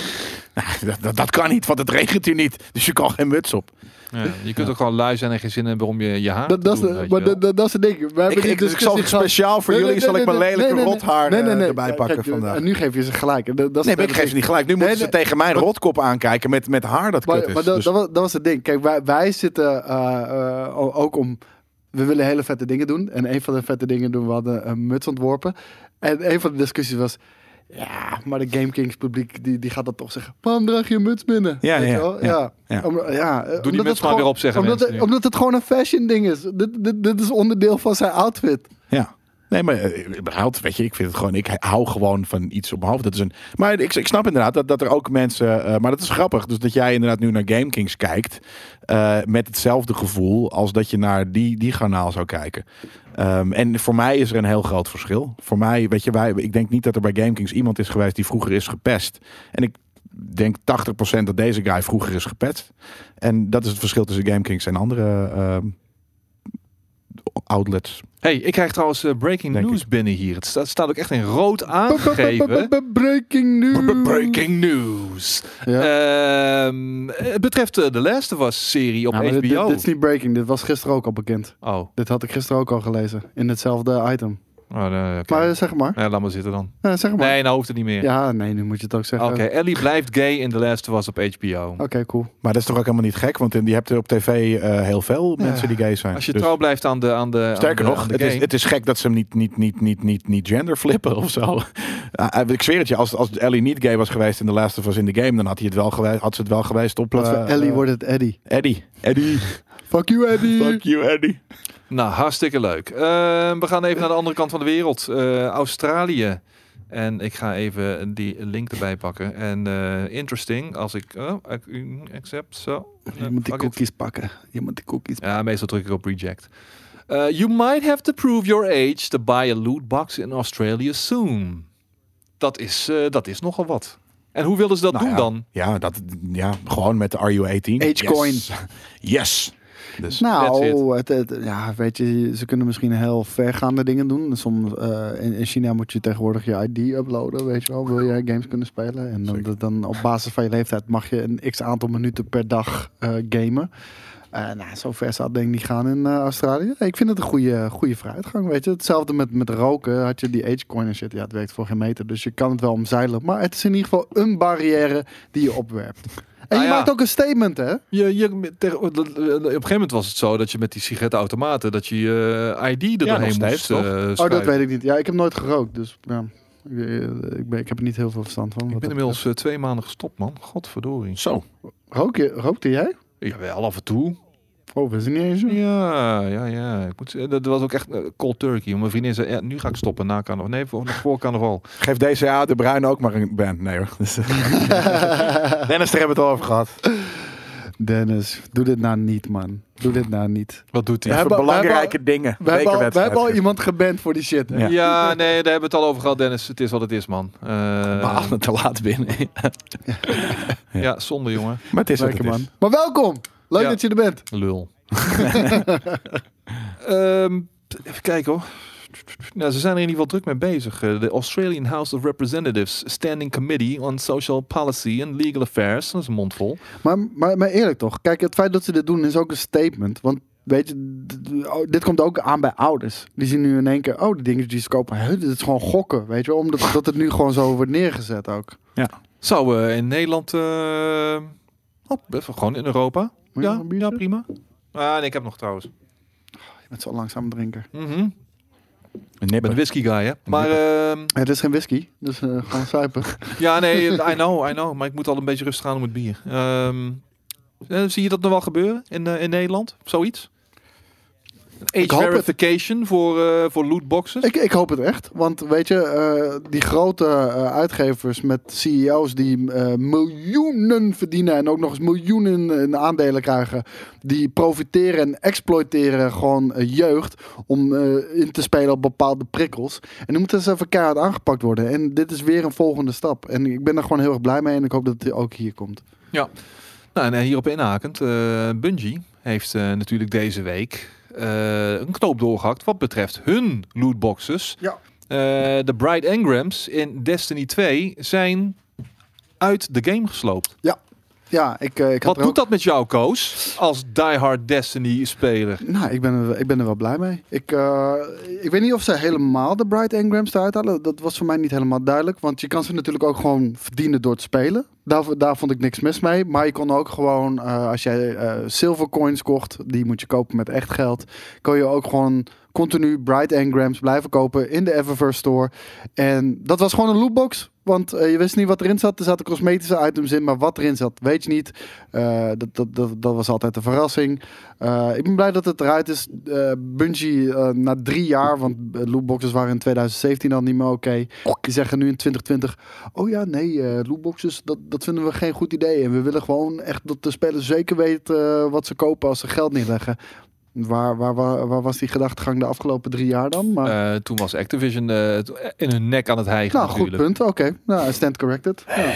Speaker 3: Dat, dat, dat kan niet, want het regent hier niet. Dus je kan geen muts op.
Speaker 1: Ja, je kunt ook gewoon lui zijn en geen zin hebben om je, je haar
Speaker 2: Dat,
Speaker 1: te
Speaker 2: dat, is
Speaker 1: doen.
Speaker 2: de,
Speaker 1: weet
Speaker 2: maar
Speaker 1: je wel.
Speaker 2: dat, dat, dat is het ding. We hebben
Speaker 3: Ik,
Speaker 2: die
Speaker 3: ik, ik
Speaker 2: discussie
Speaker 3: zal het
Speaker 2: gehad.
Speaker 3: speciaal voor
Speaker 2: Nee,
Speaker 3: jullie
Speaker 2: nee,
Speaker 3: zal
Speaker 2: nee,
Speaker 3: ik mijn
Speaker 2: nee,
Speaker 3: lelijke
Speaker 2: nee, nee,
Speaker 3: rothaar
Speaker 2: nee, nee, nee.
Speaker 3: eh, erbij
Speaker 2: Kijk,
Speaker 3: pakken
Speaker 2: kijk,
Speaker 3: vandaag.
Speaker 2: En nu geef je ze gelijk. En dat, dat is
Speaker 3: Nee, maar
Speaker 2: het
Speaker 3: ik geef
Speaker 2: ding.
Speaker 3: ze niet gelijk. Nu moeten
Speaker 2: nee.
Speaker 3: ze tegen mijn rotkop aankijken met, met haar dat kut
Speaker 2: Maar,
Speaker 3: is.
Speaker 2: maar dat,
Speaker 3: Dus-
Speaker 2: dat, was, dat was het ding. Kijk, wij, wij zitten eh, eh, o- ook om... We willen hele vette dingen doen. En een van de vette dingen doen, we hadden een muts ontworpen. En een van de discussies was... Ja, maar de GameKings publiek die, die gaat dat toch zeggen. Waarom draag je een muts binnen?
Speaker 3: Ja,
Speaker 2: Weet
Speaker 3: ja,
Speaker 2: je wel?
Speaker 3: ja,
Speaker 2: ja.
Speaker 3: ja.
Speaker 2: Om- ja, eh, omdat
Speaker 1: muts
Speaker 2: het
Speaker 1: maar
Speaker 2: gewoon-
Speaker 1: weer op, zeggen
Speaker 2: omdat,
Speaker 1: mensen nu.
Speaker 2: het- Omdat het gewoon een fashion ding is. Dit, dit, dit is onderdeel van zijn outfit.
Speaker 3: Ja. Nee, maar eh, überhaupt, weet je, ik vind het gewoon, ik hou gewoon van iets op mijn hoofd. Dat is een, maar ik, ik snap inderdaad dat, dat er ook mensen, eh, maar dat is grappig, dus dat jij inderdaad nu naar GameKings kijkt eh, met hetzelfde gevoel als dat je naar die, die garnaal zou kijken. Ehm, en voor mij is er een heel groot verschil. Voor mij, weet je, wij, ik denk niet dat er bij GameKings iemand is geweest die vroeger is gepest. En ik denk 80% dat deze guy vroeger is gepatcht. En dat is het verschil tussen GameKings en andere eh, outlets.
Speaker 1: hey, ik krijg trouwens eh, breaking
Speaker 3: Denk
Speaker 1: news binnen hier. Het staat, staat ook echt in rood aangegeven.
Speaker 2: Breaking news.
Speaker 1: Breaking Eh, news.
Speaker 2: Ja.
Speaker 1: Ehm, het betreft eh, de Last of Us serie op
Speaker 2: Ja, maar dit,
Speaker 1: HBO.
Speaker 2: dit- dit is niet breaking, dit was gisteren ook al bekend.
Speaker 1: Oh, oh
Speaker 2: Dit had ik gisteren ook al gelezen. In hetzelfde item.
Speaker 1: nee, oké.
Speaker 2: Maar eh, zeg maar.
Speaker 1: Ja, laat maar zitten dan.
Speaker 2: Ja, zeg maar.
Speaker 1: Nee, nou hoeft het niet meer.
Speaker 2: Ja, nee, nu moet je het ook zeggen.
Speaker 1: Oké, Ellie blijft gay in The Last of Us op HBO.
Speaker 2: Oké, cool.
Speaker 3: Maar dat is toch ook helemaal niet gek, want je hebt op tv eh, heel veel mensen die gay zijn.
Speaker 1: Als je
Speaker 3: Dus-
Speaker 1: trouw blijft aan de aan de
Speaker 3: Sterker
Speaker 1: aan de-
Speaker 3: nog,
Speaker 1: aan de
Speaker 3: het is,
Speaker 1: game.
Speaker 3: het is gek dat ze hem niet, niet, niet, niet, niet, niet genderflippen of zo. Eh, ik zweer het je, als, als Ellie niet gay was geweest in The Last of Us in the Game, dan had, hij het wel geweest, had ze het wel geweest op...
Speaker 2: Plaats
Speaker 3: eh,
Speaker 2: van Ellie
Speaker 3: eh,
Speaker 2: wordt het Eddie.
Speaker 3: Eddie. Eddie.
Speaker 1: Mm.
Speaker 2: Fuck you, Eddie.
Speaker 3: Fuck you, Eddie.
Speaker 1: Nou, hartstikke leuk. Ehm, we gaan even naar de andere kant van de wereld. Eh, Australië. En ik ga even die link erbij pakken. En eh, interesting, als ik... Oh, ik- mm, accept, zo.
Speaker 2: Je moet die
Speaker 1: Fuck it.
Speaker 2: cookies pakken. Je moet die cookies
Speaker 1: Ja, meestal druk ik op reject. Eh, you might have to prove your age to buy a loot box in Australia soon. Dat is, eh, dat is nogal wat. En hoe willen ze dat
Speaker 3: Nou
Speaker 1: doen
Speaker 3: ja.
Speaker 1: dan?
Speaker 3: Ja, dat, ja, gewoon met de RU18.
Speaker 2: Agecoin.
Speaker 3: Yes. yes. Dus,
Speaker 2: Nou, het, het- ja, weet je, ze kunnen misschien heel vergaande dingen doen. Soms, eh, in, in China moet je tegenwoordig je ID uploaden, weet je wel. Wil jij games kunnen spelen? En dan, dan op basis van je leeftijd mag je een x aantal minuten per dag eh, gamen. Eh nou, zo ver zou het denk ik niet gaan in eh, Australië. Ik vind het een goede, goede vooruitgang, weet je. Hetzelfde met, met roken, had je die agecoin en shit. Ja, het werkt voor geen meter, dus je kan het wel omzeilen. Maar het is in ieder geval een barrière die je opwerpt. En
Speaker 1: Ah,
Speaker 2: je
Speaker 1: ja.
Speaker 2: maakt ook een statement, hè?
Speaker 1: Je, je, ter- op een gegeven moment was het zo dat je met die sigarettenautomaten dat je je ID er
Speaker 3: Ja,
Speaker 1: doorheen
Speaker 3: nog steeds,
Speaker 1: moest eh,
Speaker 3: toch?
Speaker 2: Oh, dat
Speaker 1: schuiven.
Speaker 2: weet ik niet. Ja, ik heb nooit gerookt, dus ja. Ik, ik, ben, ik heb er niet heel veel verstand van.
Speaker 1: Ik
Speaker 2: Wat
Speaker 1: ben
Speaker 2: dat
Speaker 1: inmiddels eh, twee maanden gestopt, man. Godverdorie.
Speaker 3: zo.
Speaker 2: betreft. Rook je, rookte jij?
Speaker 1: Ja, wel af en toe.
Speaker 2: Oh, we zijn niet eens.
Speaker 1: Ja, ja, ja. Ik moet, eh, dat was ook echt eh, cold turkey. Mijn vriendin zei, ja, nu ga ik stoppen na carnaval. Nee, voor, nog voor carnaval.
Speaker 3: Geef DCA de Bruin ook maar een band. Nee hoor. Dus, Dennis, daar hebben we het al over gehad.
Speaker 2: Dennis, doe dit nou niet, man. Doe dit nou niet.
Speaker 1: Wat doet hij?
Speaker 3: Even
Speaker 2: hebben-
Speaker 3: belangrijke dingen.
Speaker 2: We hebben, al, we
Speaker 3: Bekerwedstrijd.
Speaker 2: hebben al iemand geband voor die shit.
Speaker 1: Ja.
Speaker 3: Ja.
Speaker 1: nee, daar hebben we het al over gehad, Dennis. Het is wat het is, man. Eh,
Speaker 3: Behalve te laat binnen.
Speaker 1: ja, zonde, jongen.
Speaker 3: Maar het is
Speaker 2: Lekker,
Speaker 3: wat
Speaker 2: man.
Speaker 3: het is.
Speaker 2: Maar welkom! Leuk
Speaker 1: Ja.
Speaker 2: dat je er bent.
Speaker 1: Lul. Ehm, even kijken hoor. Nou, ze zijn er in ieder geval druk mee bezig. Eh, De Australian House of Representatives Standing Committee on Social Policy and Legal Affairs. Dat is een mondvol.
Speaker 2: Maar, maar, maar eerlijk toch, kijk, het feit dat ze dit doen is ook een statement. Want weet je, d- d- oh, dit komt ook aan bij ouders. Die zien nu in één keer, oh, die dingen die ze kopen, hè, dit is gewoon gokken, weet je wel. Omdat dat het nu gewoon zo wordt neergezet ook.
Speaker 1: Zou eh, in Nederland. eh, oh, best wel gewoon in Europa.
Speaker 2: Moet je nog
Speaker 1: Ja,
Speaker 2: een
Speaker 1: ja,
Speaker 2: biertje?
Speaker 1: prima. Ah, nee, ik heb nog trouwens.
Speaker 2: Je bent zo langzaam drinken.
Speaker 1: Mhm. Ik
Speaker 3: Een
Speaker 1: ben
Speaker 3: nipper.
Speaker 1: een whisky guy, hè? Maar ehm,
Speaker 2: Het is geen whisky, dus eh, gewoon suipen.
Speaker 1: ja, nee, I know, I know. Maar ik moet al een beetje rustig aan om het bier. Ehm, eh, zie je dat nog wel gebeuren in, eh, in Nederland? Zoiets? Age
Speaker 2: Ik hoop het.
Speaker 1: verification voor, eh voor lootboxes?
Speaker 2: Ik, ik hoop het echt. Want weet je, eh, die grote eh, uitgevers met CEO's die eh, miljoenen verdienen en ook nog eens miljoenen in aandelen krijgen, die profiteren en exploiteren gewoon eh, jeugd om eh, in te spelen op bepaalde prikkels. En die moeten eens even keihard aangepakt worden. En dit is weer een volgende stap. En ik ben er gewoon heel erg blij mee en ik hoop dat het ook hier komt.
Speaker 1: Nou, en eh, hierop inhakend, eh Bungie heeft eh, natuurlijk deze week eh, een knoop doorgehakt wat betreft hun lootboxes.
Speaker 2: Ja.
Speaker 1: Eh, de Bright Engrams in Destiny 2 zijn uit de game gesloopt.
Speaker 2: Ja, ik, eh, ik had
Speaker 1: Wat
Speaker 2: er ook-
Speaker 1: doet dat met jou, Koos, als diehard Destiny-speler?
Speaker 2: Nou, ik ben er, ik ben er wel blij mee. Ik, eh, ik weet niet of ze helemaal de Bright Engrams eruit halen. Dat was voor mij niet helemaal duidelijk. Want je kan ze natuurlijk ook gewoon verdienen door te spelen. Daar, daar vond ik niks mis mee. Maar je kon ook gewoon, eh, als jij eh silver coins kocht, die moet je kopen met echt geld. Kon je ook gewoon continu Bright Engrams blijven kopen in de Eververse Store. En dat was gewoon een lootbox. Want eh, je wist niet wat erin zat. Er zaten cosmetische items in, maar wat erin zat, weet je niet. Eh, dat, dat, dat, dat was altijd een verrassing. Eh, ik ben blij dat het eruit is. Eh Bungie eh, na drie jaar, want eh, lootboxes waren in 2017 al niet meer oké. Die zeggen nu in 2020, oh ja, nee, eh lootboxes, dat, dat vinden we geen goed idee. En we willen gewoon echt dat de spelers zeker weten eh, wat ze kopen als ze geld neerleggen. Waar, waar, waar, waar was die gedachtegang de afgelopen drie jaar dan? Maar,
Speaker 1: Eh, toen was Activision eh, in hun nek aan het hijgen
Speaker 2: nou, goed
Speaker 1: natuurlijk.
Speaker 2: punt. Oké, nou, I stand corrected. Ja.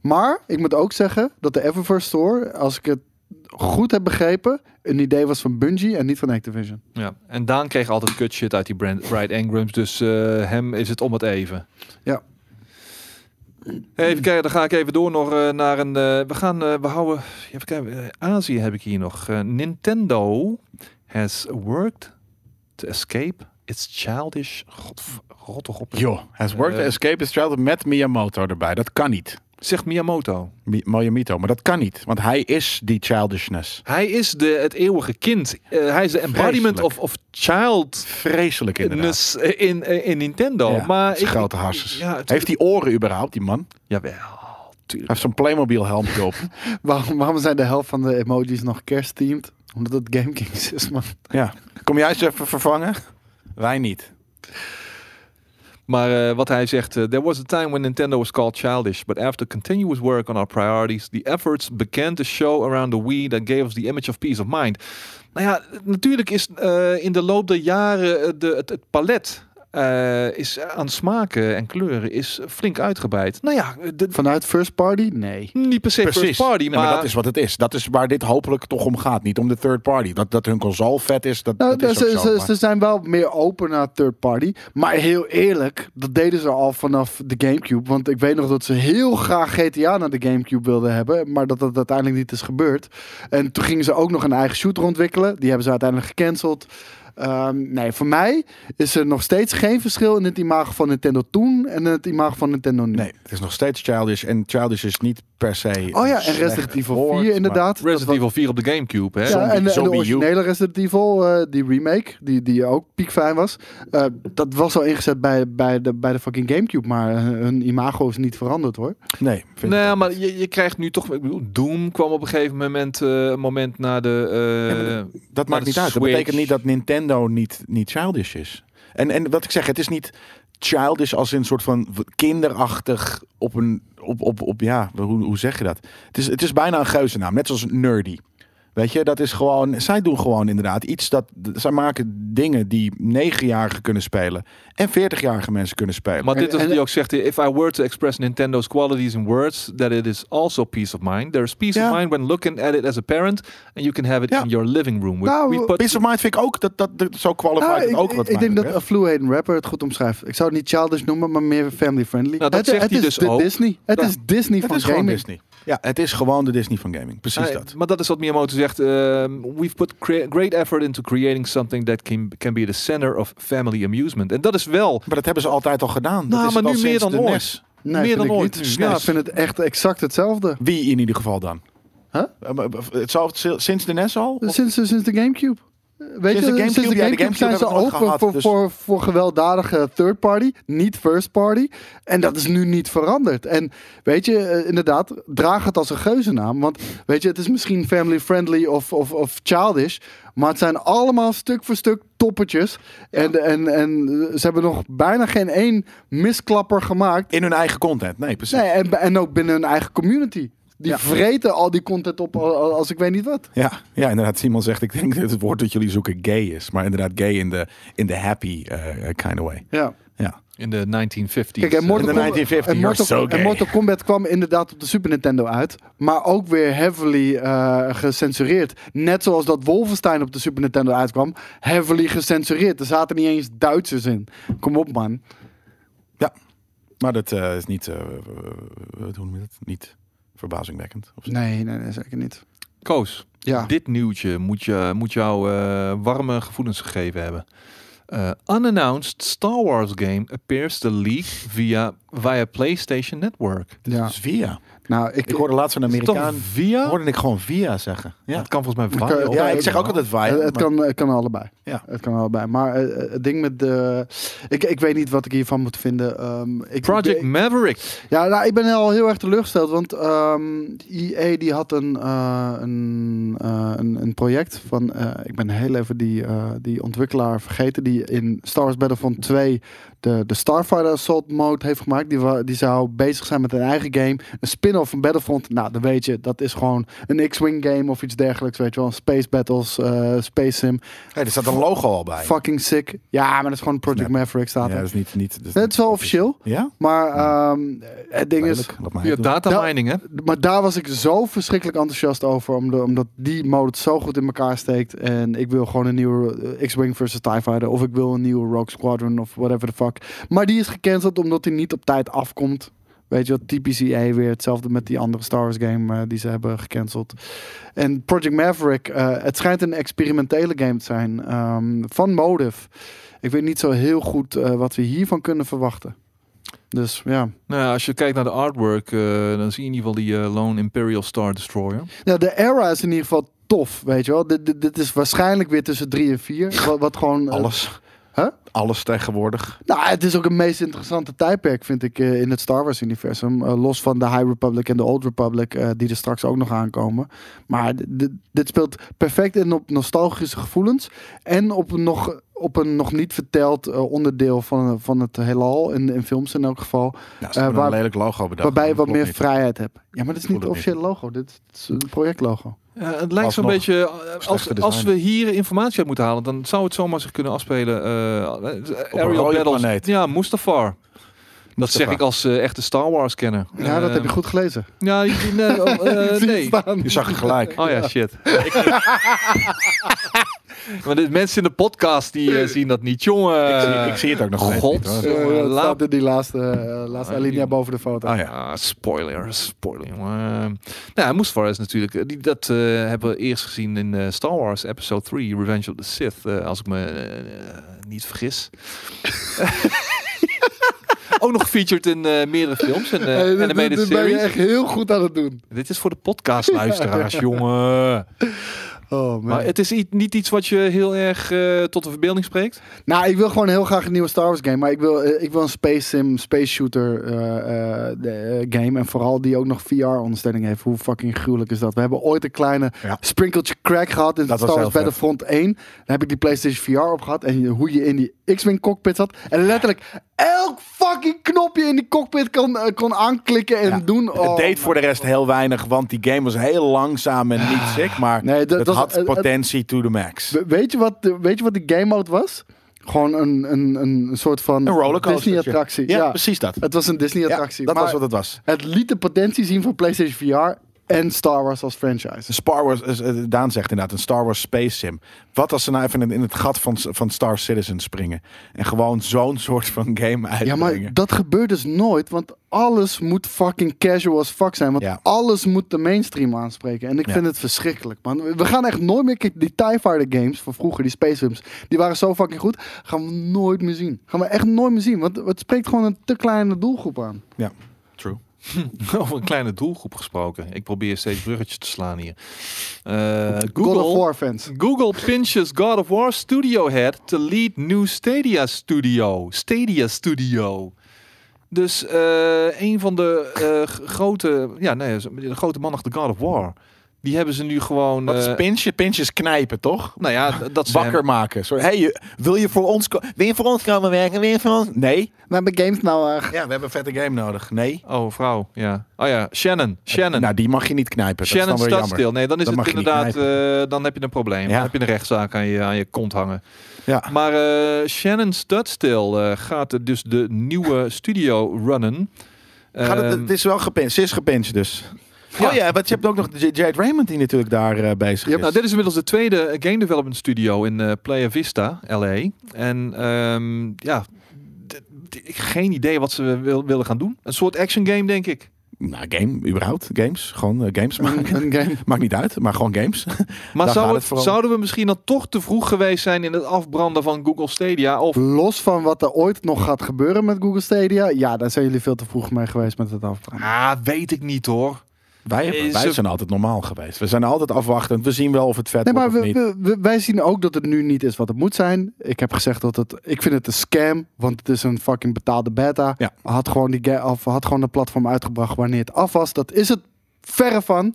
Speaker 2: Maar ik moet ook zeggen dat de Eververse Store, als ik het goed heb begrepen, een idee was van Bungie en niet van Activision.
Speaker 1: Ja. En Daan kreeg altijd kut shit uit die brand, Bright Engrams. Dus eh, hem is het om het even.
Speaker 2: Ja.
Speaker 1: Even kijken, dan ga ik even door nog eh, naar een... eh, we gaan, eh we houden... Even kijken, eh, Azië heb ik hier nog. Eh, Nintendo has worked to escape its childish... God, rot toch op.
Speaker 3: Joh, has worked
Speaker 1: Eh.
Speaker 3: Escape is Child met Miyamoto erbij. Dat kan niet.
Speaker 1: Zegt Miyamoto.
Speaker 3: Mi- Miyamoto, maar dat kan niet. Want hij is die childishness.
Speaker 1: Hij is de, het eeuwige kind. Eh, hij is de embodiment of, of childness
Speaker 3: Vreselijk inderdaad.
Speaker 1: in, in, eh, in Nintendo.
Speaker 3: Ja,
Speaker 1: maar
Speaker 3: zijn
Speaker 1: ik-
Speaker 3: grote harsjes.
Speaker 1: Ja, het-
Speaker 3: Heeft hij oren überhaupt, die man? Hij
Speaker 1: Jawel, tuurlijk.
Speaker 3: heeft zo'n Playmobil helmpje op.
Speaker 2: Waarom, waarom zijn de helft van de emojis nog kerstteamed? Omdat het Game Kings is, man.
Speaker 3: ja. Kom jij eens even vervangen? Wij niet.
Speaker 1: Maar eh, wat hij zegt, eh, there was a time when Nintendo was called childish, but after continuous work on our priorities, the efforts began to show around the Wii that gave us the image of peace of mind. Nou ja, natuurlijk is eh, in de loop der jaren eh, de, het, het palet eh, is aan smaken en kleuren is flink uitgebreid. Nou ja, de,
Speaker 2: Vanuit first party? Nee.
Speaker 1: niet per se first party,
Speaker 3: Nee,
Speaker 1: maar,
Speaker 3: dat is wat het is. Dat is waar dit hopelijk toch om gaat. Niet om de third party. Dat, dat hun console vet is, dat,
Speaker 2: Nou,
Speaker 3: dat is
Speaker 2: ze,
Speaker 3: ook zo.
Speaker 2: ze,
Speaker 3: maar-
Speaker 2: ze zijn wel meer open naar third party. Maar heel eerlijk, dat deden ze al vanaf de Gamecube. Want ik weet nog dat ze heel graag GTA naar de Gamecube wilden hebben. Maar dat dat uiteindelijk niet is gebeurd. En toen gingen ze ook nog een eigen shooter ontwikkelen. Die hebben ze uiteindelijk gecanceld. Ehm, nee, voor mij is er nog steeds geen verschil in het imago van Nintendo toen en het imago van Nintendo nu.
Speaker 3: Nee, het is nog steeds childish. En childish is niet per se...
Speaker 2: Oh ja, en
Speaker 3: slecht
Speaker 2: Resident Evil
Speaker 3: woord,
Speaker 2: 4
Speaker 3: maar-
Speaker 2: inderdaad. Dat
Speaker 1: Resident
Speaker 2: was-
Speaker 1: Evil 4 op de Gamecube, hè?
Speaker 2: Ja,
Speaker 3: Zombie-
Speaker 2: en, de- en de
Speaker 3: Zombie U.
Speaker 2: originele Resident Evil, eh, die remake, die, die ook piekfijn was, eh, dat was al ingezet bij, bij, de, bij de fucking Gamecube, maar eh, hun imago is niet veranderd hoor.
Speaker 3: Nee, vind ik
Speaker 1: Nee,
Speaker 3: ook
Speaker 1: Nou maar
Speaker 3: niet.
Speaker 1: je, je krijgt nu toch... Ik bedoel, Doom kwam op een gegeven moment, eh, een moment na de... eh,
Speaker 3: Ja, maar dat
Speaker 1: Maar
Speaker 3: maakt
Speaker 1: de
Speaker 3: niet uit. Dat
Speaker 1: Switch-
Speaker 3: betekent niet dat Nintendo niet, niet childish is. En, en wat ik zeg, het is niet childish als in een soort van w- kinderachtig op een... Op, op, op, ja, hoe, hoe zeg je dat? Het is, het is bijna een geuzennaam. Net zoals nerdy. Weet je, dat is gewoon... Zij doen gewoon inderdaad iets dat... d- Zij maken dingen die negenjarigen kunnen spelen. En veertigjarige mensen kunnen spelen.
Speaker 1: Maar
Speaker 2: En-
Speaker 1: dit is
Speaker 2: en-
Speaker 1: wat hij ook zegt. If I were to express Nintendo's qualities in words, that it is also peace of mind. There is peace
Speaker 3: Ja.
Speaker 1: of mind when looking at it as a parent. And you can have it
Speaker 3: Ja.
Speaker 1: in your living room. We,
Speaker 2: Nou,
Speaker 1: we put-
Speaker 3: Peace of Mind vind ik ook... Dat, dat, dat- zo qualified
Speaker 2: Nou,
Speaker 3: het
Speaker 2: ik,
Speaker 3: ook wat
Speaker 2: ik
Speaker 3: mij
Speaker 2: denk dat
Speaker 3: betreft.
Speaker 2: Affluent Rapper het goed omschrijft. Ik zou het niet childish noemen, maar meer family friendly.
Speaker 1: Nou, dat
Speaker 2: het,
Speaker 1: zegt
Speaker 2: het
Speaker 1: hij
Speaker 2: is
Speaker 1: dus
Speaker 2: de
Speaker 1: ook.
Speaker 2: Disney. Het
Speaker 1: Ja.
Speaker 2: is Disney
Speaker 3: Het
Speaker 2: van
Speaker 3: is gewoon
Speaker 2: gaming.
Speaker 3: Disney. Ja, het is gewoon de Disney van gaming. Precies
Speaker 1: Ah,
Speaker 3: dat.
Speaker 1: Maar dat is wat Miyamoto zegt. ehm, we've put crea- great effort into creating something that can, can be the center of family amusement. En dat is wel.
Speaker 3: Maar dat hebben ze altijd al gedaan.
Speaker 1: Nou,
Speaker 3: dat is
Speaker 1: maar
Speaker 3: het al
Speaker 1: nu meer
Speaker 3: sinds
Speaker 1: dan
Speaker 3: de E
Speaker 1: ooit.
Speaker 3: NES.
Speaker 2: Nee,
Speaker 1: Meer
Speaker 2: vind
Speaker 1: dan
Speaker 2: ik
Speaker 1: ooit
Speaker 2: niet.
Speaker 1: nu.
Speaker 2: Ja, ik
Speaker 1: Yes.
Speaker 2: vind het echt exact hetzelfde.
Speaker 3: Wie in ieder geval dan?
Speaker 2: Huh? Dus-
Speaker 3: Eh, maar, eh, Hetzelfde sinds de NES al? Of-
Speaker 2: Sinds, sinds de Gamecube. Eh, Weet
Speaker 3: Sinds
Speaker 2: je,
Speaker 3: de Gamecube,
Speaker 2: sinds de
Speaker 3: ja, de
Speaker 2: Gamecube,
Speaker 3: Gamecube
Speaker 2: zijn ze
Speaker 3: hebben we nog
Speaker 2: open
Speaker 3: gehad,
Speaker 2: voor,
Speaker 3: dus-
Speaker 2: voor, voor gewelddadige third party, niet first party. En dat is nu niet veranderd. En weet je, eh, inderdaad, draag het als een geuzennaam. Want weet je, het is misschien family friendly of, of, of childish. Maar het zijn allemaal stuk voor stuk toppetjes. En, en, en eh, ze hebben nog bijna geen één misklapper gemaakt.
Speaker 3: In hun eigen content. Nee, precies.
Speaker 2: Nee, en, en ook binnen hun eigen community. Die
Speaker 3: Ja.
Speaker 2: vreten al die content op al- al- als ik weet niet wat.
Speaker 3: Ja, ja, inderdaad. Simon zegt, ik denk dat het woord dat jullie zoeken gay is. Maar inderdaad gay in de in de happy eh, eh, kind of way.
Speaker 2: Ja.
Speaker 3: Ja.
Speaker 1: In de 1950s.
Speaker 2: Kijk, en Mortal,
Speaker 3: In de
Speaker 2: Kombat-
Speaker 3: 1950,
Speaker 2: en Mortal,
Speaker 3: you're so gay.
Speaker 2: en Mortal Kombat kwam inderdaad op de Super Nintendo uit. Maar ook weer heavily eh, gecensureerd. Net zoals dat Wolfenstein op de Super Nintendo uitkwam. Heavily gecensureerd. Er zaten niet eens Duitsers in. Kom op, man.
Speaker 3: Maar dat eh, is niet, eh, eh, hoe noem je dat? Niet verbazingwekkend. Of zo.
Speaker 2: Nee, nee, nee zeker niet.
Speaker 1: Koos,
Speaker 2: Ja.
Speaker 1: dit nieuwtje moet, je, moet jou eh, warme gevoelens gegeven hebben. Eh, unannounced Star Wars game appears to leak via, via PlayStation Network.
Speaker 2: ja.
Speaker 3: Dus via.
Speaker 2: Nou, ik,
Speaker 3: Ik hoorde laatst een
Speaker 1: Is het toch
Speaker 3: Amerikaan.
Speaker 1: via?
Speaker 3: Hoorde ik gewoon via zeggen. Ja.
Speaker 1: Het kan volgens mij
Speaker 2: Maar
Speaker 1: via.
Speaker 2: kan-
Speaker 1: of
Speaker 3: Oh. Ja,
Speaker 1: via.
Speaker 3: ik zeg ook altijd via.
Speaker 2: het, het
Speaker 3: maar-
Speaker 2: kan, het kan allebei.
Speaker 3: Ja.
Speaker 2: Het kan allebei. Maar eh, eh, het ding met de... Ik, ik weet niet wat ik hiervan moet vinden. Ehm, ik,
Speaker 1: Project
Speaker 2: ik-
Speaker 1: Maverick.
Speaker 2: Ja, nou, ik ben al heel erg teleurgesteld, want ehm EA die had een, eh, een, eh, een, een project van, eh, ik ben heel even die, eh, die ontwikkelaar vergeten, die in Star Wars Battlefront 2 de, de Starfighter Assault Mode heeft gemaakt. Die, wa- die zou bezig zijn met een eigen game, een spin spin-off van Battlefront, nou, dan weet je, dat is gewoon een X-Wing game of iets dergelijks, weet je wel. Space Battles, eh, Space Sim,
Speaker 3: Hey, er staat een logo al bij.
Speaker 2: fucking sick. Ja, maar dat is gewoon Project
Speaker 3: Snap.
Speaker 2: Maverick staat
Speaker 3: Ja,
Speaker 2: er.
Speaker 3: dat is niet... niet dat
Speaker 2: Nee,
Speaker 3: is
Speaker 2: het
Speaker 3: niet-
Speaker 2: is wel officieel,
Speaker 3: Ja?
Speaker 2: maar ehm, het ding is...
Speaker 3: Duidelijk, laat maar
Speaker 1: Ja,
Speaker 3: doen.
Speaker 1: data mining, hè?
Speaker 2: Maar daar was ik zo verschrikkelijk enthousiast over. Omdat, omdat die mode het zo goed in elkaar steekt. En ik wil gewoon een nieuwe eh, X-Wing versus TIE Fighter. Of ik wil een nieuwe Rogue Squadron of whatever the fuck. Maar die is gecanceld omdat die niet op tijd afkomt. Weet je wat, typisch EA weer. Hetzelfde met die andere Star Wars game eh, die ze hebben gecanceld. En Project Maverick, eh, het schijnt een experimentele game te zijn. ehm, van Motive. Ik weet niet zo heel goed eh, wat we hiervan kunnen verwachten. Dus ja.
Speaker 1: Nou, ja, als je kijkt naar de artwork, eh, dan zie je in ieder geval die eh, Lone Imperial Star Destroyer.
Speaker 2: Nou, de era is in ieder geval tof, weet je wel. Dit, dit, dit is waarschijnlijk weer tussen drie en vier. Wat, wat gewoon... eh,
Speaker 3: Alles.
Speaker 2: Huh?
Speaker 3: Alles tegenwoordig.
Speaker 2: nou, het is ook het meest interessante tijdperk, vind ik, eh, in het Star Wars-universum. Eh, los van de High Republic en de Old Republic, eh, die er straks ook nog aankomen. Maar d- dit, dit speelt perfect in op nostalgische gevoelens. En op een nog, op een nog niet verteld eh, onderdeel van, van het heelal, in, in films in elk geval.
Speaker 3: Nou, ze
Speaker 2: Eh,
Speaker 3: hebben
Speaker 2: waar-
Speaker 3: een lelijk logo bedacht.
Speaker 2: waarbij je
Speaker 3: Dat
Speaker 2: wat
Speaker 3: klopt
Speaker 2: meer
Speaker 3: niet.
Speaker 2: vrijheid hebt. Ja, maar dit is niet
Speaker 3: Voelde
Speaker 2: het
Speaker 3: niet.
Speaker 2: officiële logo. Dit, is een projectlogo.
Speaker 1: Ja, het lijkt zo'n
Speaker 3: Alsnog
Speaker 1: beetje, eh, als,
Speaker 3: slechte
Speaker 1: als we
Speaker 3: design.
Speaker 1: hier informatie uit moeten halen, dan zou het zomaar zich kunnen afspelen. eh, eh,
Speaker 3: een
Speaker 1: aerial
Speaker 3: rode
Speaker 1: battles.
Speaker 3: planeet.
Speaker 1: Ja, Mustafar. Dat zeg ik als eh, echte Star Wars kenner.
Speaker 2: Ja, dat
Speaker 3: Ehm.
Speaker 1: Eh,
Speaker 2: heb je goed gelezen.
Speaker 1: Ja, ik- nee. oh, eh,
Speaker 2: Ik zie het
Speaker 1: nee.
Speaker 2: staan.
Speaker 3: Je zag het gelijk.
Speaker 1: Oh ja, shit. maar de mensen in de podcast die eh, zien dat niet, jongen.
Speaker 3: ik, zie, ik zie het ook nog steeds
Speaker 1: God.
Speaker 3: niet, hoor.
Speaker 1: Ja,
Speaker 2: Eh, dat
Speaker 1: laat-
Speaker 2: staat in die laatste, eh, laatste
Speaker 1: Ah,
Speaker 2: alinea
Speaker 1: die-
Speaker 2: boven de foto.
Speaker 3: Ah, ja.
Speaker 1: Ja, spoiler, spoiler, jongen. Nou, Mustafar is natuurlijk... eh, Die, dat eh, hebben we eerst gezien in eh, Star Wars Episode 3, Revenge of the Sith. eh, als ik me eh, niet vergis. Ook nog featured in eh, meerdere films en eh,
Speaker 2: Hey, dit- dit-
Speaker 1: animated
Speaker 2: dit ben je
Speaker 1: series.
Speaker 2: echt heel goed aan het doen.
Speaker 1: Dit is voor de podcastluisteraars, jongen.
Speaker 2: Oh, man.
Speaker 1: Maar het is i- niet iets wat je heel erg eh, tot de verbeelding spreekt.
Speaker 2: Nou, ik wil gewoon heel graag een nieuwe Star Wars game. Maar ik wil, eh, ik wil een space sim, space shooter eh, eh, de, eh, game. En vooral die ook nog VR-ondersteuning heeft. Hoe fucking gruwelijk is dat? We hebben ooit een kleine
Speaker 3: Ja.
Speaker 2: sprinkeltje crack gehad in
Speaker 3: Dat was
Speaker 2: Star Wars
Speaker 3: heel vet.
Speaker 2: Battlefront 1. Daar heb ik die PlayStation VR op gehad. En hoe je in die X-Wing cockpit zat. En letterlijk elk fucking knopje in die cockpit kon, eh, kon aanklikken en
Speaker 3: Ja.
Speaker 2: doen. Oh, Ah.
Speaker 3: het deed voor de rest heel weinig, want die game was heel langzaam en niet sick. Maar
Speaker 2: Nee, dat
Speaker 3: het
Speaker 2: was-
Speaker 3: had
Speaker 2: het- het-
Speaker 3: potentie to the max.
Speaker 2: We- Weet je wat, de- weet je wat de game mode was? Gewoon een, een, een soort van
Speaker 3: een rollercoaster.
Speaker 2: Disney-attractie.
Speaker 3: Ja,
Speaker 2: Ja,
Speaker 3: precies dat.
Speaker 2: Het was een
Speaker 3: Ja,
Speaker 2: Disney-attractie.
Speaker 3: dat
Speaker 2: maar
Speaker 3: was wat het was.
Speaker 2: het liet de potentie zien van PlayStation VR en Star Wars als
Speaker 3: Een
Speaker 2: franchise.
Speaker 3: Star Wars, eh, eh, Daan zegt inderdaad, een Star Wars Space Sim. Wat als ze nou even in- in het gat van, van Star Citizen springen? En gewoon zo'n soort van game uitbrengen.
Speaker 2: Ja, maar dat gebeurt dus nooit, want alles moet fucking casual as fuck zijn. Want
Speaker 3: Ja.
Speaker 2: alles moet de mainstream aanspreken. En ik
Speaker 3: Ja.
Speaker 2: vind het verschrikkelijk, man. We- We gaan echt nooit meer... Kijk, die TIE Fighter games van vroeger, die Space Sims, die waren zo fucking goed. Gaan we nooit meer zien. Gaan we echt nooit meer zien, want het spreekt gewoon een te kleine doelgroep aan.
Speaker 3: Ja, true.
Speaker 1: Over een kleine doelgroep gesproken. Ik probeer steeds bruggetjes te slaan hier. Eh,
Speaker 2: God of
Speaker 1: Google,
Speaker 2: War fans.
Speaker 1: Google pinches God of War studio head to lead new Stadia studio. Stadia studio. Dus eh, een van de eh, g- grote, ja, nee, de grote man achter God of War. Die hebben ze nu gewoon.
Speaker 3: Wat is
Speaker 1: eh,
Speaker 3: pinchen? Pinches knijpen, toch?
Speaker 1: nou ja, d- dat ze hem-
Speaker 3: Wakker maken. Zo, hey, je- wil, je voor ons ko- wil je voor ons komen werken? Wil je voor ons? Nee.
Speaker 2: We hebben games nou... eh,
Speaker 3: Ja, we hebben een vette game nodig. Nee.
Speaker 1: Oh, vrouw, ja. Oh ja, Shannon. Shannon.
Speaker 3: Nou, die mag je niet knijpen.
Speaker 1: Shannon
Speaker 3: dat is dan weer
Speaker 1: staat
Speaker 3: jammer.
Speaker 1: stil. Nee, dan is
Speaker 3: Dat
Speaker 1: het
Speaker 3: mag je niet
Speaker 1: inderdaad, eh, dan heb je een probleem.
Speaker 3: Ja.
Speaker 1: Dan heb je een rechtszaak aan je, aan je kont hangen.
Speaker 3: Ja.
Speaker 1: Maar eh, Shannon Studstill eh gaat dus de nieuwe studio runnen.
Speaker 3: Gaat het,
Speaker 1: Ehm,
Speaker 3: het is wel gepincht. Ze is gepincht dus.
Speaker 1: Ja.
Speaker 3: Oh ja, want je hebt ook nog J- Jade Raymond die natuurlijk daar eh, bezig
Speaker 2: Ja,
Speaker 3: is.
Speaker 1: nou, dit is inmiddels de tweede game development studio in eh Playa Vista, LA. En ehm, ja, d- d- ik geen idee wat ze wil, willen gaan doen. Een soort action game, denk ik.
Speaker 3: Nou, game, überhaupt. Games. Gewoon eh, games maken.
Speaker 2: een game.
Speaker 3: Maakt niet uit, maar gewoon games.
Speaker 1: Maar zou
Speaker 3: Daar gaat
Speaker 1: het-
Speaker 3: het vooral.
Speaker 1: zouden we misschien dan toch te vroeg geweest zijn in het afbranden van Google Stadia? Of
Speaker 2: Los van wat er ooit nog gaat gebeuren met Google Stadia. Ja, daar zijn jullie veel te vroeg mee geweest met het afbranden.
Speaker 1: Ah, weet ik niet hoor.
Speaker 3: Wij, hebben-
Speaker 1: Is
Speaker 3: wij
Speaker 1: er-
Speaker 3: zijn altijd normaal geweest. We zijn altijd afwachtend. We zien wel of het vet
Speaker 2: Nee, maar
Speaker 3: wordt of
Speaker 2: we,
Speaker 3: niet.
Speaker 2: we- we- wij zien ook dat het nu niet is wat het moet zijn. Ik heb gezegd dat het... Ik vind het een scam, want het is een fucking betaalde beta.
Speaker 3: Ja.
Speaker 2: Had, gewoon die ga- of had gewoon een platform uitgebracht wanneer het af was. Dat is het verre van.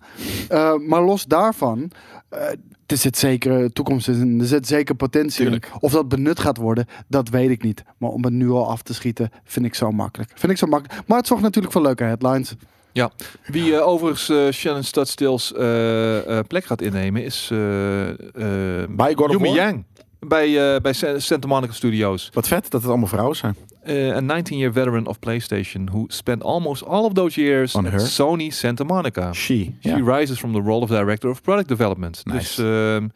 Speaker 2: Eh, maar los daarvan... eh, er zit zeker toekomst in. Er zit zeker potentie
Speaker 3: Tuurlijk.
Speaker 2: in. Of dat benut gaat worden, dat weet ik niet. Maar om het nu al af te schieten, vind ik zo makkelijk. Vind ik zo makkelijk. Maar het zorgt natuurlijk voor leuke headlines.
Speaker 1: Ja, wie eh, overigens eh, Shannon Studstill's eh, eh, plek gaat innemen is eh, eh,
Speaker 3: Bij God of
Speaker 1: Yumi
Speaker 3: War?
Speaker 1: Yang bij, eh, bij Sa- Santa Monica Studios.
Speaker 3: Wat vet dat het allemaal vrouwen zijn.
Speaker 1: Eh, a 19-year veteran of PlayStation who spent almost all of those years
Speaker 3: On
Speaker 1: at
Speaker 3: her?
Speaker 1: Sony Santa Monica.
Speaker 3: She.
Speaker 1: She
Speaker 3: Ja.
Speaker 1: rises from the role of director of product development.
Speaker 3: Nice.
Speaker 1: Dus ehm,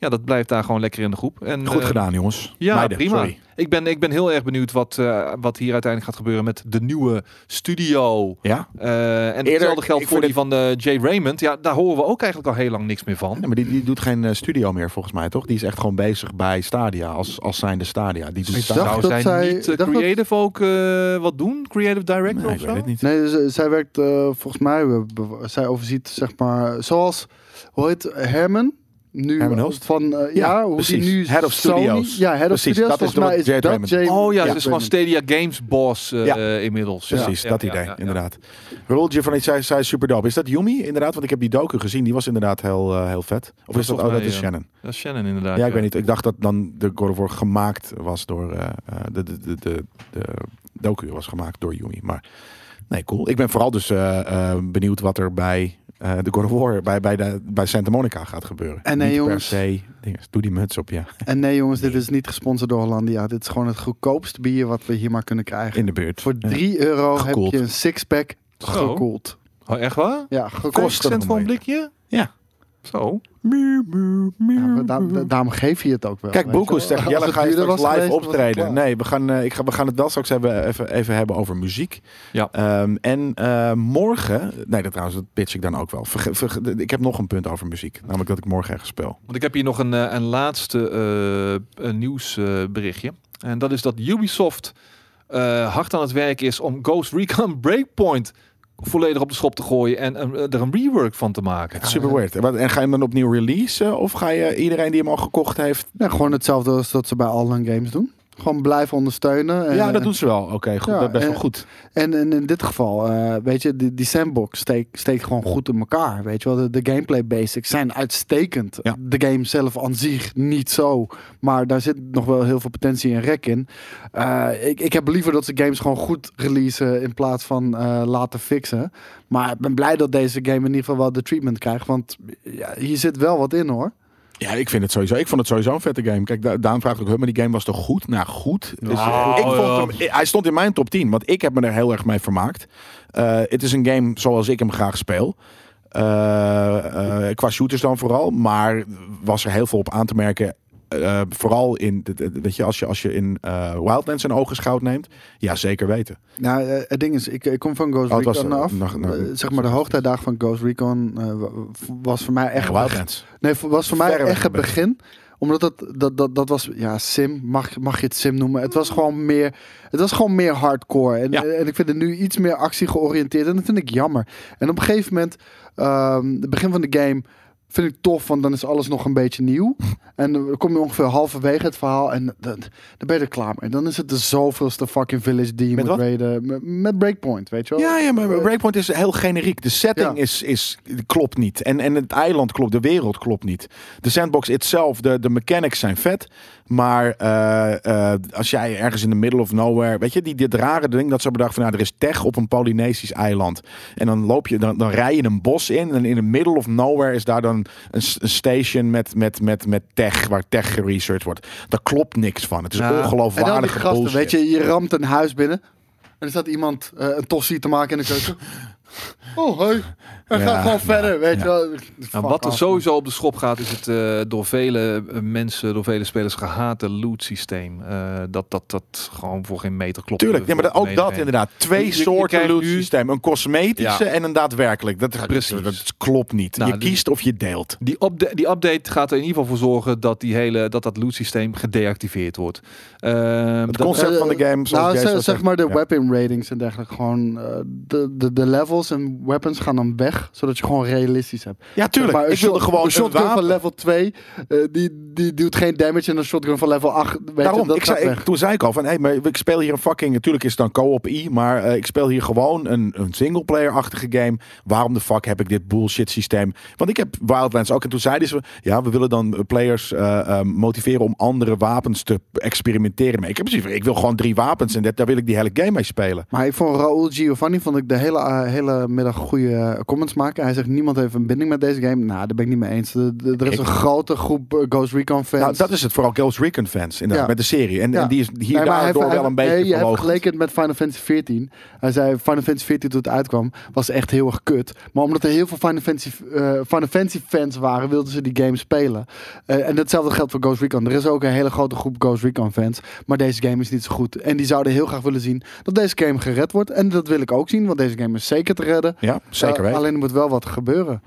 Speaker 1: ja, dat blijft daar gewoon lekker in de groep. En,
Speaker 3: Goed
Speaker 1: eh,
Speaker 3: gedaan, jongens.
Speaker 1: Ja,
Speaker 3: Meiden,
Speaker 1: prima.
Speaker 3: sorry.
Speaker 1: Ik ben, ik ben heel erg benieuwd wat, eh, wat hier uiteindelijk gaat gebeuren met de nieuwe studio.
Speaker 3: Ja.
Speaker 1: Eh, en
Speaker 3: Eerder-
Speaker 1: hetzelfde geldt
Speaker 3: ik
Speaker 1: voor die
Speaker 3: vind
Speaker 1: van eh, Jay Raymond. Ja, daar horen we ook eigenlijk al heel lang niks meer van.
Speaker 3: Nee, maar die, die doet geen eh, studio meer volgens mij, toch? Die is echt gewoon bezig bij Stadia, als, als zijnde Stadia. Die doet
Speaker 2: Ik
Speaker 3: Stadia.
Speaker 2: dacht
Speaker 1: Zou zij
Speaker 2: dat zij-
Speaker 1: Nou, niet eh,
Speaker 2: ik dacht dat-
Speaker 1: creative ook eh, wat doen? Creative director
Speaker 3: Nee,
Speaker 1: of
Speaker 3: ik
Speaker 1: zo?
Speaker 3: weet het niet.
Speaker 2: Nee, z- zij werkt eh, volgens mij, eh, be- zij overziet zeg maar, zoals, hoe heet Herman? Nu,
Speaker 3: Herman Hulst?
Speaker 2: Van, eh, ja,
Speaker 3: Ja,
Speaker 2: hoe die
Speaker 3: precies.
Speaker 2: nu
Speaker 3: Head of
Speaker 2: Sony-
Speaker 3: Studios.
Speaker 2: Ja, Head of
Speaker 3: Precies,
Speaker 2: Studios.
Speaker 3: dat is
Speaker 2: volgens mij
Speaker 3: wat
Speaker 2: is
Speaker 3: Jay
Speaker 2: dat
Speaker 3: Raymond-
Speaker 2: Jay-
Speaker 1: Oh ja, ze is
Speaker 2: ik
Speaker 1: gewoon
Speaker 2: weet niet.
Speaker 1: Stadia Games boss eh,
Speaker 3: Ja.
Speaker 1: eh, inmiddels.
Speaker 3: Precies,
Speaker 1: Ja,
Speaker 3: dat
Speaker 1: ja,
Speaker 3: idee,
Speaker 1: ja, ja.
Speaker 3: inderdaad. Roeltje van iets zei, zei superdope. Is dat Yumi, inderdaad? Want ik heb die docu gezien, die was inderdaad heel, eh, heel vet. Of is dat,
Speaker 1: Volgens
Speaker 3: oh, dat
Speaker 1: mij, eh,
Speaker 3: is
Speaker 1: ja.
Speaker 3: Shannon.
Speaker 1: Dat is Shannon inderdaad.
Speaker 3: Ja, ik weet niet. Ik dacht dat dan de God of War gemaakt was door... eh, eh, de, de, de, de, de docu was gemaakt door Yumi. Maar nee, cool. Ik ben vooral dus eh, eh, benieuwd wat er bij eh, de God of War... bij, bij, de, bij Santa Monica gaat gebeuren.
Speaker 2: En nee,
Speaker 3: Niet
Speaker 2: jongens.
Speaker 3: per se. dingen. Doe die muts op, ja.
Speaker 2: En nee jongens, dit is niet gesponsord door Hollandia. Dit is gewoon het goedkoopste bier wat we hier maar kunnen krijgen.
Speaker 3: In de buurt.
Speaker 2: Voor 3 euro
Speaker 3: Gekoeld.
Speaker 2: heb je een sixpack
Speaker 1: Zo.
Speaker 2: gekoeld.
Speaker 1: Oh, echt waar?
Speaker 2: Ja,
Speaker 3: Kost.
Speaker 2: gekost.
Speaker 1: 50 cent voor een blikje?
Speaker 3: Ja.
Speaker 1: Zo.
Speaker 3: Muur, muur, muur,
Speaker 2: Ja, maar da-
Speaker 3: muur.
Speaker 2: da- daarom geef je het ook wel.
Speaker 3: Kijk,
Speaker 2: weet je
Speaker 3: Boekoes
Speaker 2: wel.
Speaker 3: zegt,
Speaker 2: Als
Speaker 3: Jelle
Speaker 2: het
Speaker 3: ga je
Speaker 2: duurder
Speaker 3: straks
Speaker 2: was
Speaker 3: live
Speaker 2: geweest, was het
Speaker 3: optreden.
Speaker 2: klaar.
Speaker 3: Nee, we gaan, eh, ik ga, we gaan het wel straks hebben, even, even hebben over muziek.
Speaker 1: Ja.
Speaker 3: Ehm, en eh, morgen, nee dat trouwens, dat pitch ik dan ook wel. Verge- verge- ik heb nog een punt over muziek, namelijk dat ik morgen ergens speel.
Speaker 1: Want ik heb hier nog een, eh, een laatste eh, nieuwsberichtje. en dat is dat Ubisoft eh, hard aan het werk is om Ghost Recon Breakpoint volledig op de schop te gooien en een- er een rework van te maken.
Speaker 3: Super weird. En wat- En ga je hem dan opnieuw releasen? Of ga je iedereen die hem al gekocht heeft?
Speaker 2: Ja, gewoon hetzelfde als dat ze bij Allen Games doen. Gewoon blijven ondersteunen. En,
Speaker 3: ja, dat doen ze wel. Oké, goed.
Speaker 2: Eh, Ja, eh,
Speaker 3: dat is best
Speaker 2: en-
Speaker 3: wel goed.
Speaker 2: En, en in dit geval, eh, weet je, die, die sandbox steek- steekt gewoon goed in elkaar. Weet je wel, de, de gameplay basics zijn uitstekend.
Speaker 3: Ja.
Speaker 2: De game zelf aan zich niet zo. Maar daar zit nog wel heel veel potentie en rek in. Eh, ik, ik heb liever dat ze games gewoon goed releasen in plaats van eh, laten fixen. Maar ik ben blij dat deze game in ieder geval wel de treatment krijgt. Want ja, hier zit wel wat in hoor.
Speaker 3: Ja, ik vind het sowieso. Ik vond het sowieso een vette game. Kijk, Da- Daan vraagt ook, "Huh, maar die game was toch goed? Nou, goed. Is-
Speaker 1: Nou,
Speaker 3: ik
Speaker 1: ja.
Speaker 3: vond hem, hij stond in mijn top 10, want ik heb me er heel erg mee vermaakt. Eh, het is een game zoals ik hem graag speel. Eh, eh, qua shooters dan vooral, maar was er heel veel op aan te merken. Eh, vooral in, de- de- weet je, als je, als je in eh, Wildlands een ogenschouw neemt, ja, zeker weten.
Speaker 2: Nou, eh, het ding is, ik, ik kom van Ghost
Speaker 3: Oh, het was,
Speaker 2: Recon
Speaker 3: eh,
Speaker 2: af.
Speaker 3: nog- nog-
Speaker 2: Eh, zeg maar, de hoogtijdagen van Ghost Recon eh, wa- was voor mij echt...
Speaker 3: Echt Wildlands.
Speaker 2: Nee, voor- was voor mij
Speaker 3: Verreweg
Speaker 2: echt het
Speaker 3: het
Speaker 2: begin. Omdat dat, dat, dat, dat was, ja, sim, mag, mag je het sim noemen. Het was gewoon meer, het was gewoon meer hardcore. En,
Speaker 3: Ja.
Speaker 2: en ik vind het nu iets meer actie georiënteerd. En dat vind ik jammer. En op een gegeven moment, ehm, het begin van de game vind ik tof. Want dan is alles nog een beetje nieuw. en dan kom je ongeveer halverwege het verhaal. En dan, dan ben je er klaar mee. Dan is het de zoveelste fucking village die je
Speaker 3: Met
Speaker 2: moet
Speaker 3: wat?
Speaker 2: raiden. Met, met Breakpoint, weet je wel? Eh,
Speaker 3: Ja, ja, maar Breakpoint is heel generiek. De setting
Speaker 2: Ja.
Speaker 3: is, is, klopt niet. En, en het eiland klopt, de wereld klopt niet. De sandbox itself, de, de mechanics zijn vet. Maar eh, eh, als jij ergens in de middle of nowhere... Weet je, die, dit rare ding dat ze hebben bedacht van... Nou, er is tech op een Polynesisch eiland. En dan loop je, dan, dan rij je een bos in. En in de middle of nowhere is daar dan een, s- een station met, met, met, met tech... waar tech geresearched wordt. Daar klopt niks van. Het is
Speaker 1: Ja.
Speaker 2: En dan die
Speaker 3: ongeloofwaardige
Speaker 2: gasten,
Speaker 3: bullshit.
Speaker 2: weet je, je ramt een huis binnen. En er staat iemand eh, een tossie te maken in de keuken. Oh, hoi. En
Speaker 3: Ja,
Speaker 2: gaat gewoon
Speaker 3: nou,
Speaker 2: verder, weet
Speaker 3: ja.
Speaker 2: je wel.
Speaker 1: Nou,
Speaker 2: Fuck
Speaker 1: wat er
Speaker 2: off.
Speaker 1: sowieso op de schop gaat, is het eh, door vele eh, mensen, door vele spelers gehate loot systeem. Eh, dat, dat dat gewoon voor geen meter klopt.
Speaker 3: Tuurlijk, nee, maar dat- ook
Speaker 1: Nee,
Speaker 3: dat
Speaker 1: nee.
Speaker 3: inderdaad. Twee
Speaker 1: Je- je- je
Speaker 3: soorten
Speaker 1: krijgt
Speaker 3: loot
Speaker 1: nu-
Speaker 3: systeem. Een cosmetische
Speaker 1: Ja.
Speaker 3: en een daadwerkelijk. Dat,
Speaker 1: Precies.
Speaker 3: dat klopt niet.
Speaker 1: Nou,
Speaker 3: je
Speaker 1: die-
Speaker 3: kiest of je deelt.
Speaker 1: Die, upda- die update gaat er in ieder geval voor zorgen dat die hele, dat, dat loot systeem gedeactiveerd wordt. Ehm,
Speaker 3: Het
Speaker 1: dat-
Speaker 3: concept
Speaker 2: eh,
Speaker 3: van de game. Zoals
Speaker 2: Nou,
Speaker 3: Jay
Speaker 2: zeg,
Speaker 3: zou
Speaker 2: zeg
Speaker 3: zeggen.
Speaker 2: maar de
Speaker 3: Ja.
Speaker 2: weapon ratings en dergelijke. Gewoon eh, de, de, de levels en weapons gaan dan weg, zodat je gewoon realistisch hebt.
Speaker 3: Ja, tuurlijk.
Speaker 2: Maar een
Speaker 3: ik wilde
Speaker 2: shot-
Speaker 3: gewoon
Speaker 2: een
Speaker 3: een
Speaker 2: shotgun van
Speaker 3: wapen.
Speaker 2: level 2, eh, die, die doet geen damage. En een shotgun van level 8, weet je,
Speaker 3: Daarom,
Speaker 2: dat
Speaker 3: ik
Speaker 2: gaat
Speaker 3: zei, ik-
Speaker 2: weg.
Speaker 3: toen zei ik al van, hey, maar ik speel hier een fucking, natuurlijk is het dan co-op i, maar eh, ik speel hier gewoon een, een singleplayer-achtige game. Waarom de fuck heb ik dit bullshit systeem? Want ik heb Wildlands ook en toen zeiden ze, ja, we willen dan players eh, eh, motiveren om andere wapens te experimenteren mee. Ik heb precies, ik wil gewoon drie wapens en dat, daar wil ik die hele game mee spelen.
Speaker 2: Maar ik vond Raul Giovanni vond ik de hele, eh, hele hele middag goede eh, comments maken. Hij zegt, niemand heeft een binding met deze game. Nou, daar ben ik niet mee eens. De- de- er is
Speaker 3: Ik-
Speaker 2: een grote groep eh, Ghost Recon fans.
Speaker 3: Nou, dat is het vooral Ghost Recon fans inderdaad,
Speaker 2: Ja.
Speaker 3: met de serie. En,
Speaker 2: Ja.
Speaker 3: en die is hier
Speaker 2: Nee, maar hij heeft-
Speaker 3: daardoor
Speaker 2: hij-
Speaker 3: wel een beetje
Speaker 2: nee, je hebt
Speaker 3: verloochend.
Speaker 2: vergeleken het met Final Fantasy 14. Hij zei Final Fantasy 14 toen het uitkwam was echt heel erg kut. Maar omdat er heel veel Final Fantasy, eh, Final Fantasy fans waren, wilden ze die game spelen. Eh, en datzelfde geldt voor Ghost Recon. Er is ook een hele grote groep Ghost Recon fans, maar deze game is niet zo goed. En die zouden heel graag willen zien dat deze game gered wordt. En dat wil ik ook zien, want deze game is zeker te redden.
Speaker 3: Ja, zeker
Speaker 2: Eh,
Speaker 3: weten.
Speaker 2: alleen er moet wel wat gebeuren.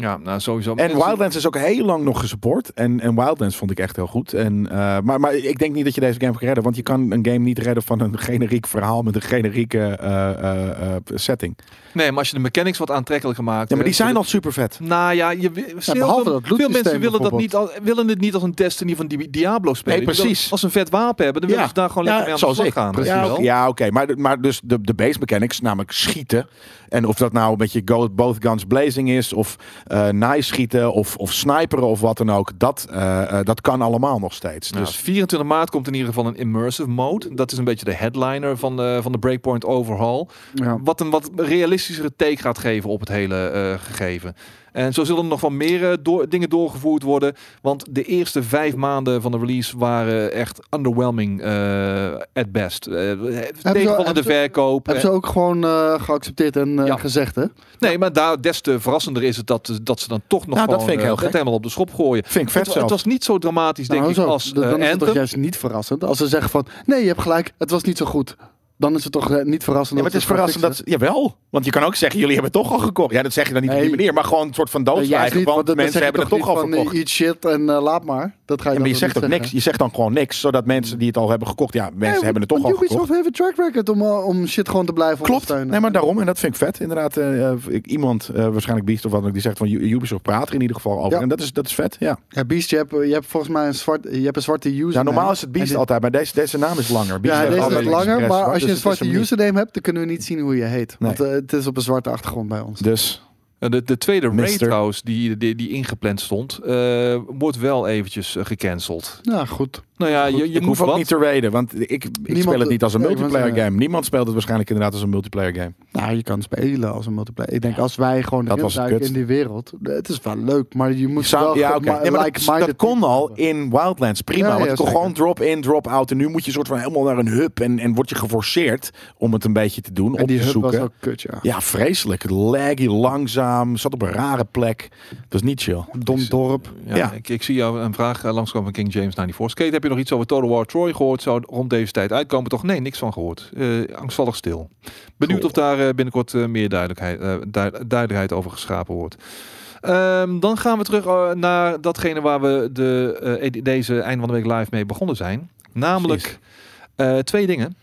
Speaker 1: Ja, nou sowieso.
Speaker 3: En Wildlands is ook heel lang nog gesupport. En, en Wildlands vond ik echt heel goed. En, eh, maar, maar ik denk niet dat je deze game kan redden. Want je kan een game niet redden van een generiek verhaal met een generieke eh, eh, eh, setting.
Speaker 1: Nee, maar als je de mechanics wat aantrekkelijker maakt.
Speaker 3: Ja, maar die
Speaker 2: Eh,
Speaker 1: hè,
Speaker 3: zijn al super vet.
Speaker 1: Nou ja, je, veel,
Speaker 2: behalve dat
Speaker 1: veel
Speaker 2: lootsysteem
Speaker 1: mensen willen, dat niet,
Speaker 2: bijvoorbeeld.
Speaker 1: al- willen het niet als een Destiny van Di- Diablo spelen.
Speaker 3: Nee,
Speaker 1: Die willen-
Speaker 3: precies.
Speaker 1: Als ze een vet wapen hebben, dan willen ze daar gewoon lekker mee aan de
Speaker 3: zoals
Speaker 1: slag
Speaker 3: ik.
Speaker 1: gaan. weet je
Speaker 3: Ja,
Speaker 1: wel.
Speaker 3: oké. ja oké. Maar, de- maar dus de, de base mechanics, namelijk schieten. En of dat nou een beetje go, both guns blazing is, of eh nice schieten, of, of sniperen, of wat dan ook. Dat, eh, eh, dat kan allemaal nog steeds.
Speaker 1: Nou,
Speaker 3: dus
Speaker 1: 24 maart komt in ieder geval een immersive mode. Dat is een beetje de headliner van de, van de Breakpoint overhaul.
Speaker 2: Ja.
Speaker 1: Wat een wat realistischere take gaat geven op het hele eh, gegeven. En zo zullen er nog wel meer eh, door, dingen doorgevoerd worden. Want de eerste vijf maanden van de release waren echt underwhelming eh, at best. Eh tegenvallende
Speaker 2: hebben ze-
Speaker 1: verkoop.
Speaker 2: Hebben ze ook gewoon eh, geaccepteerd en eh,
Speaker 1: Ja.
Speaker 2: gezegd, hè?
Speaker 1: Nee, maar daar, des te verrassender is het dat, dat ze dan toch nog
Speaker 3: Nou, dat
Speaker 1: gewoon,
Speaker 3: vind ik
Speaker 1: eh,
Speaker 3: heel
Speaker 1: het
Speaker 3: gek.
Speaker 1: helemaal op de schop gooien.
Speaker 3: vind ik vet
Speaker 1: Het, wa- het
Speaker 3: zelf.
Speaker 1: was niet zo dramatisch, denk
Speaker 2: Nou,
Speaker 1: ik,
Speaker 2: zo.
Speaker 1: als
Speaker 2: Dan-
Speaker 1: eh,
Speaker 2: dan is het toch
Speaker 1: Anthem.
Speaker 2: juist niet verrassend. Als ze zeggen van, nee, je hebt gelijk, het was niet zo goed. Dan is het toch eh, niet verrassend.
Speaker 3: Ja, maar
Speaker 2: dat
Speaker 3: het is
Speaker 2: ze
Speaker 3: verrassend dat...
Speaker 2: gaan
Speaker 3: Jawel. Want je kan ook zeggen, jullie hebben toch al gekocht. Ja, dat zeg je dan niet op die
Speaker 2: Nee.
Speaker 3: manier. Maar gewoon een soort van
Speaker 2: fixen. Eh, juist
Speaker 3: doodzwijgen.
Speaker 2: niet,
Speaker 3: want
Speaker 2: dan zeg
Speaker 3: mensen
Speaker 2: je
Speaker 3: hebben het toch
Speaker 2: niet
Speaker 3: al
Speaker 2: van,
Speaker 3: verkocht.
Speaker 2: eh, Eat shit en eh, laat maar. Dat ga je
Speaker 3: Ja,
Speaker 2: dan
Speaker 3: maar je
Speaker 2: toch
Speaker 3: zegt
Speaker 2: niet
Speaker 3: ook niks.
Speaker 2: zeggen.
Speaker 3: Je zegt dan gewoon niks. Zodat mensen die het al hebben gekocht... Ja, mensen
Speaker 2: Nee,
Speaker 3: hebben het toch al
Speaker 2: want
Speaker 3: gekocht.
Speaker 2: Ubisoft heeft een track record om, eh, om shit gewoon te blijven
Speaker 3: Klopt.
Speaker 2: ondersteunen.
Speaker 3: Nee, maar daarom. En dat vind ik vet. Inderdaad, eh, eh, ik- iemand, eh, waarschijnlijk Beast of wat dan ook, die zegt van U- Ubisoft praat er in ieder geval over.
Speaker 2: Ja.
Speaker 3: En dat is, dat is vet, ja.
Speaker 2: Ja, Beast, je hebt, eh, je hebt volgens mij een, zwart, je hebt een zwarte username.
Speaker 3: ja. Normaal is het Beast
Speaker 2: En die-
Speaker 3: altijd, maar deze, deze naam is langer. Beast
Speaker 2: Ja,
Speaker 3: heeft
Speaker 2: deze
Speaker 3: altijd
Speaker 2: is langer,
Speaker 3: expres
Speaker 2: maar als je
Speaker 3: zwart, dus
Speaker 2: een
Speaker 3: het is
Speaker 2: zwarte
Speaker 3: hem niet.
Speaker 2: username hebt, dan kunnen we niet zien hoe je heet.
Speaker 3: Nee.
Speaker 2: Want eh, het is op een zwarte achtergrond bij ons.
Speaker 3: Dus,
Speaker 1: Eh, De, de tweede raid
Speaker 3: Mister.
Speaker 1: trouwens, die, die, die ingepland stond, eh, wordt wel eventjes eh, gecanceld.
Speaker 2: Nou, goed.
Speaker 1: Nou ja, je, je
Speaker 3: ik
Speaker 1: moet
Speaker 3: hoef
Speaker 1: wat.
Speaker 3: ook niet te raiden, want ik, ik speel het niet als een
Speaker 2: ja, ik wou
Speaker 3: multiplayer
Speaker 2: zeggen.
Speaker 3: game. Niemand speelt het waarschijnlijk inderdaad als een multiplayer game.
Speaker 2: Nou, je kan spelen als een multiplayer. Ik denk, als wij gewoon
Speaker 3: Dat
Speaker 2: erin
Speaker 3: was het
Speaker 2: duiken
Speaker 3: kut.
Speaker 2: in die wereld. Het is wel leuk, maar je moet
Speaker 3: Samen-
Speaker 2: wel...
Speaker 3: ja, oké.
Speaker 2: maar
Speaker 3: Nee, maar dat,
Speaker 2: like-minded
Speaker 3: dat kon
Speaker 2: people
Speaker 3: al
Speaker 2: hebben.
Speaker 3: in Wildlands. Prima.
Speaker 2: Ja, ja,
Speaker 3: want het kon
Speaker 2: zeker.
Speaker 3: gewoon drop-in, drop-out. En nu moet je soort van helemaal naar een hub. En, en word je geforceerd om het een beetje te doen,
Speaker 2: En
Speaker 3: op
Speaker 2: die
Speaker 3: te
Speaker 2: hub was
Speaker 3: zoeken.
Speaker 2: ook kut, ja.
Speaker 3: Ja, vreselijk. Laggy, langzaam. Zat op een rare plek. Dat is niet chill.
Speaker 2: Dom dorp.
Speaker 1: Ja,
Speaker 3: Ja.
Speaker 1: Ik, ik zie jou een vraag eh, langskomen van King James 94. Skate, heb je nog iets over Total War Troy gehoord? Zou rond deze tijd uitkomen? Toch? Nee, niks van gehoord. Eh, angstvallig stil. Benieuwd of daar eh, binnenkort eh, meer duidelijkheid, eh, duid- duidelijkheid over geschapen wordt. Ehm, dan gaan we terug eh, naar datgene waar we de, eh, ed- deze einde van de week live mee begonnen zijn. Namelijk eh, twee dingen.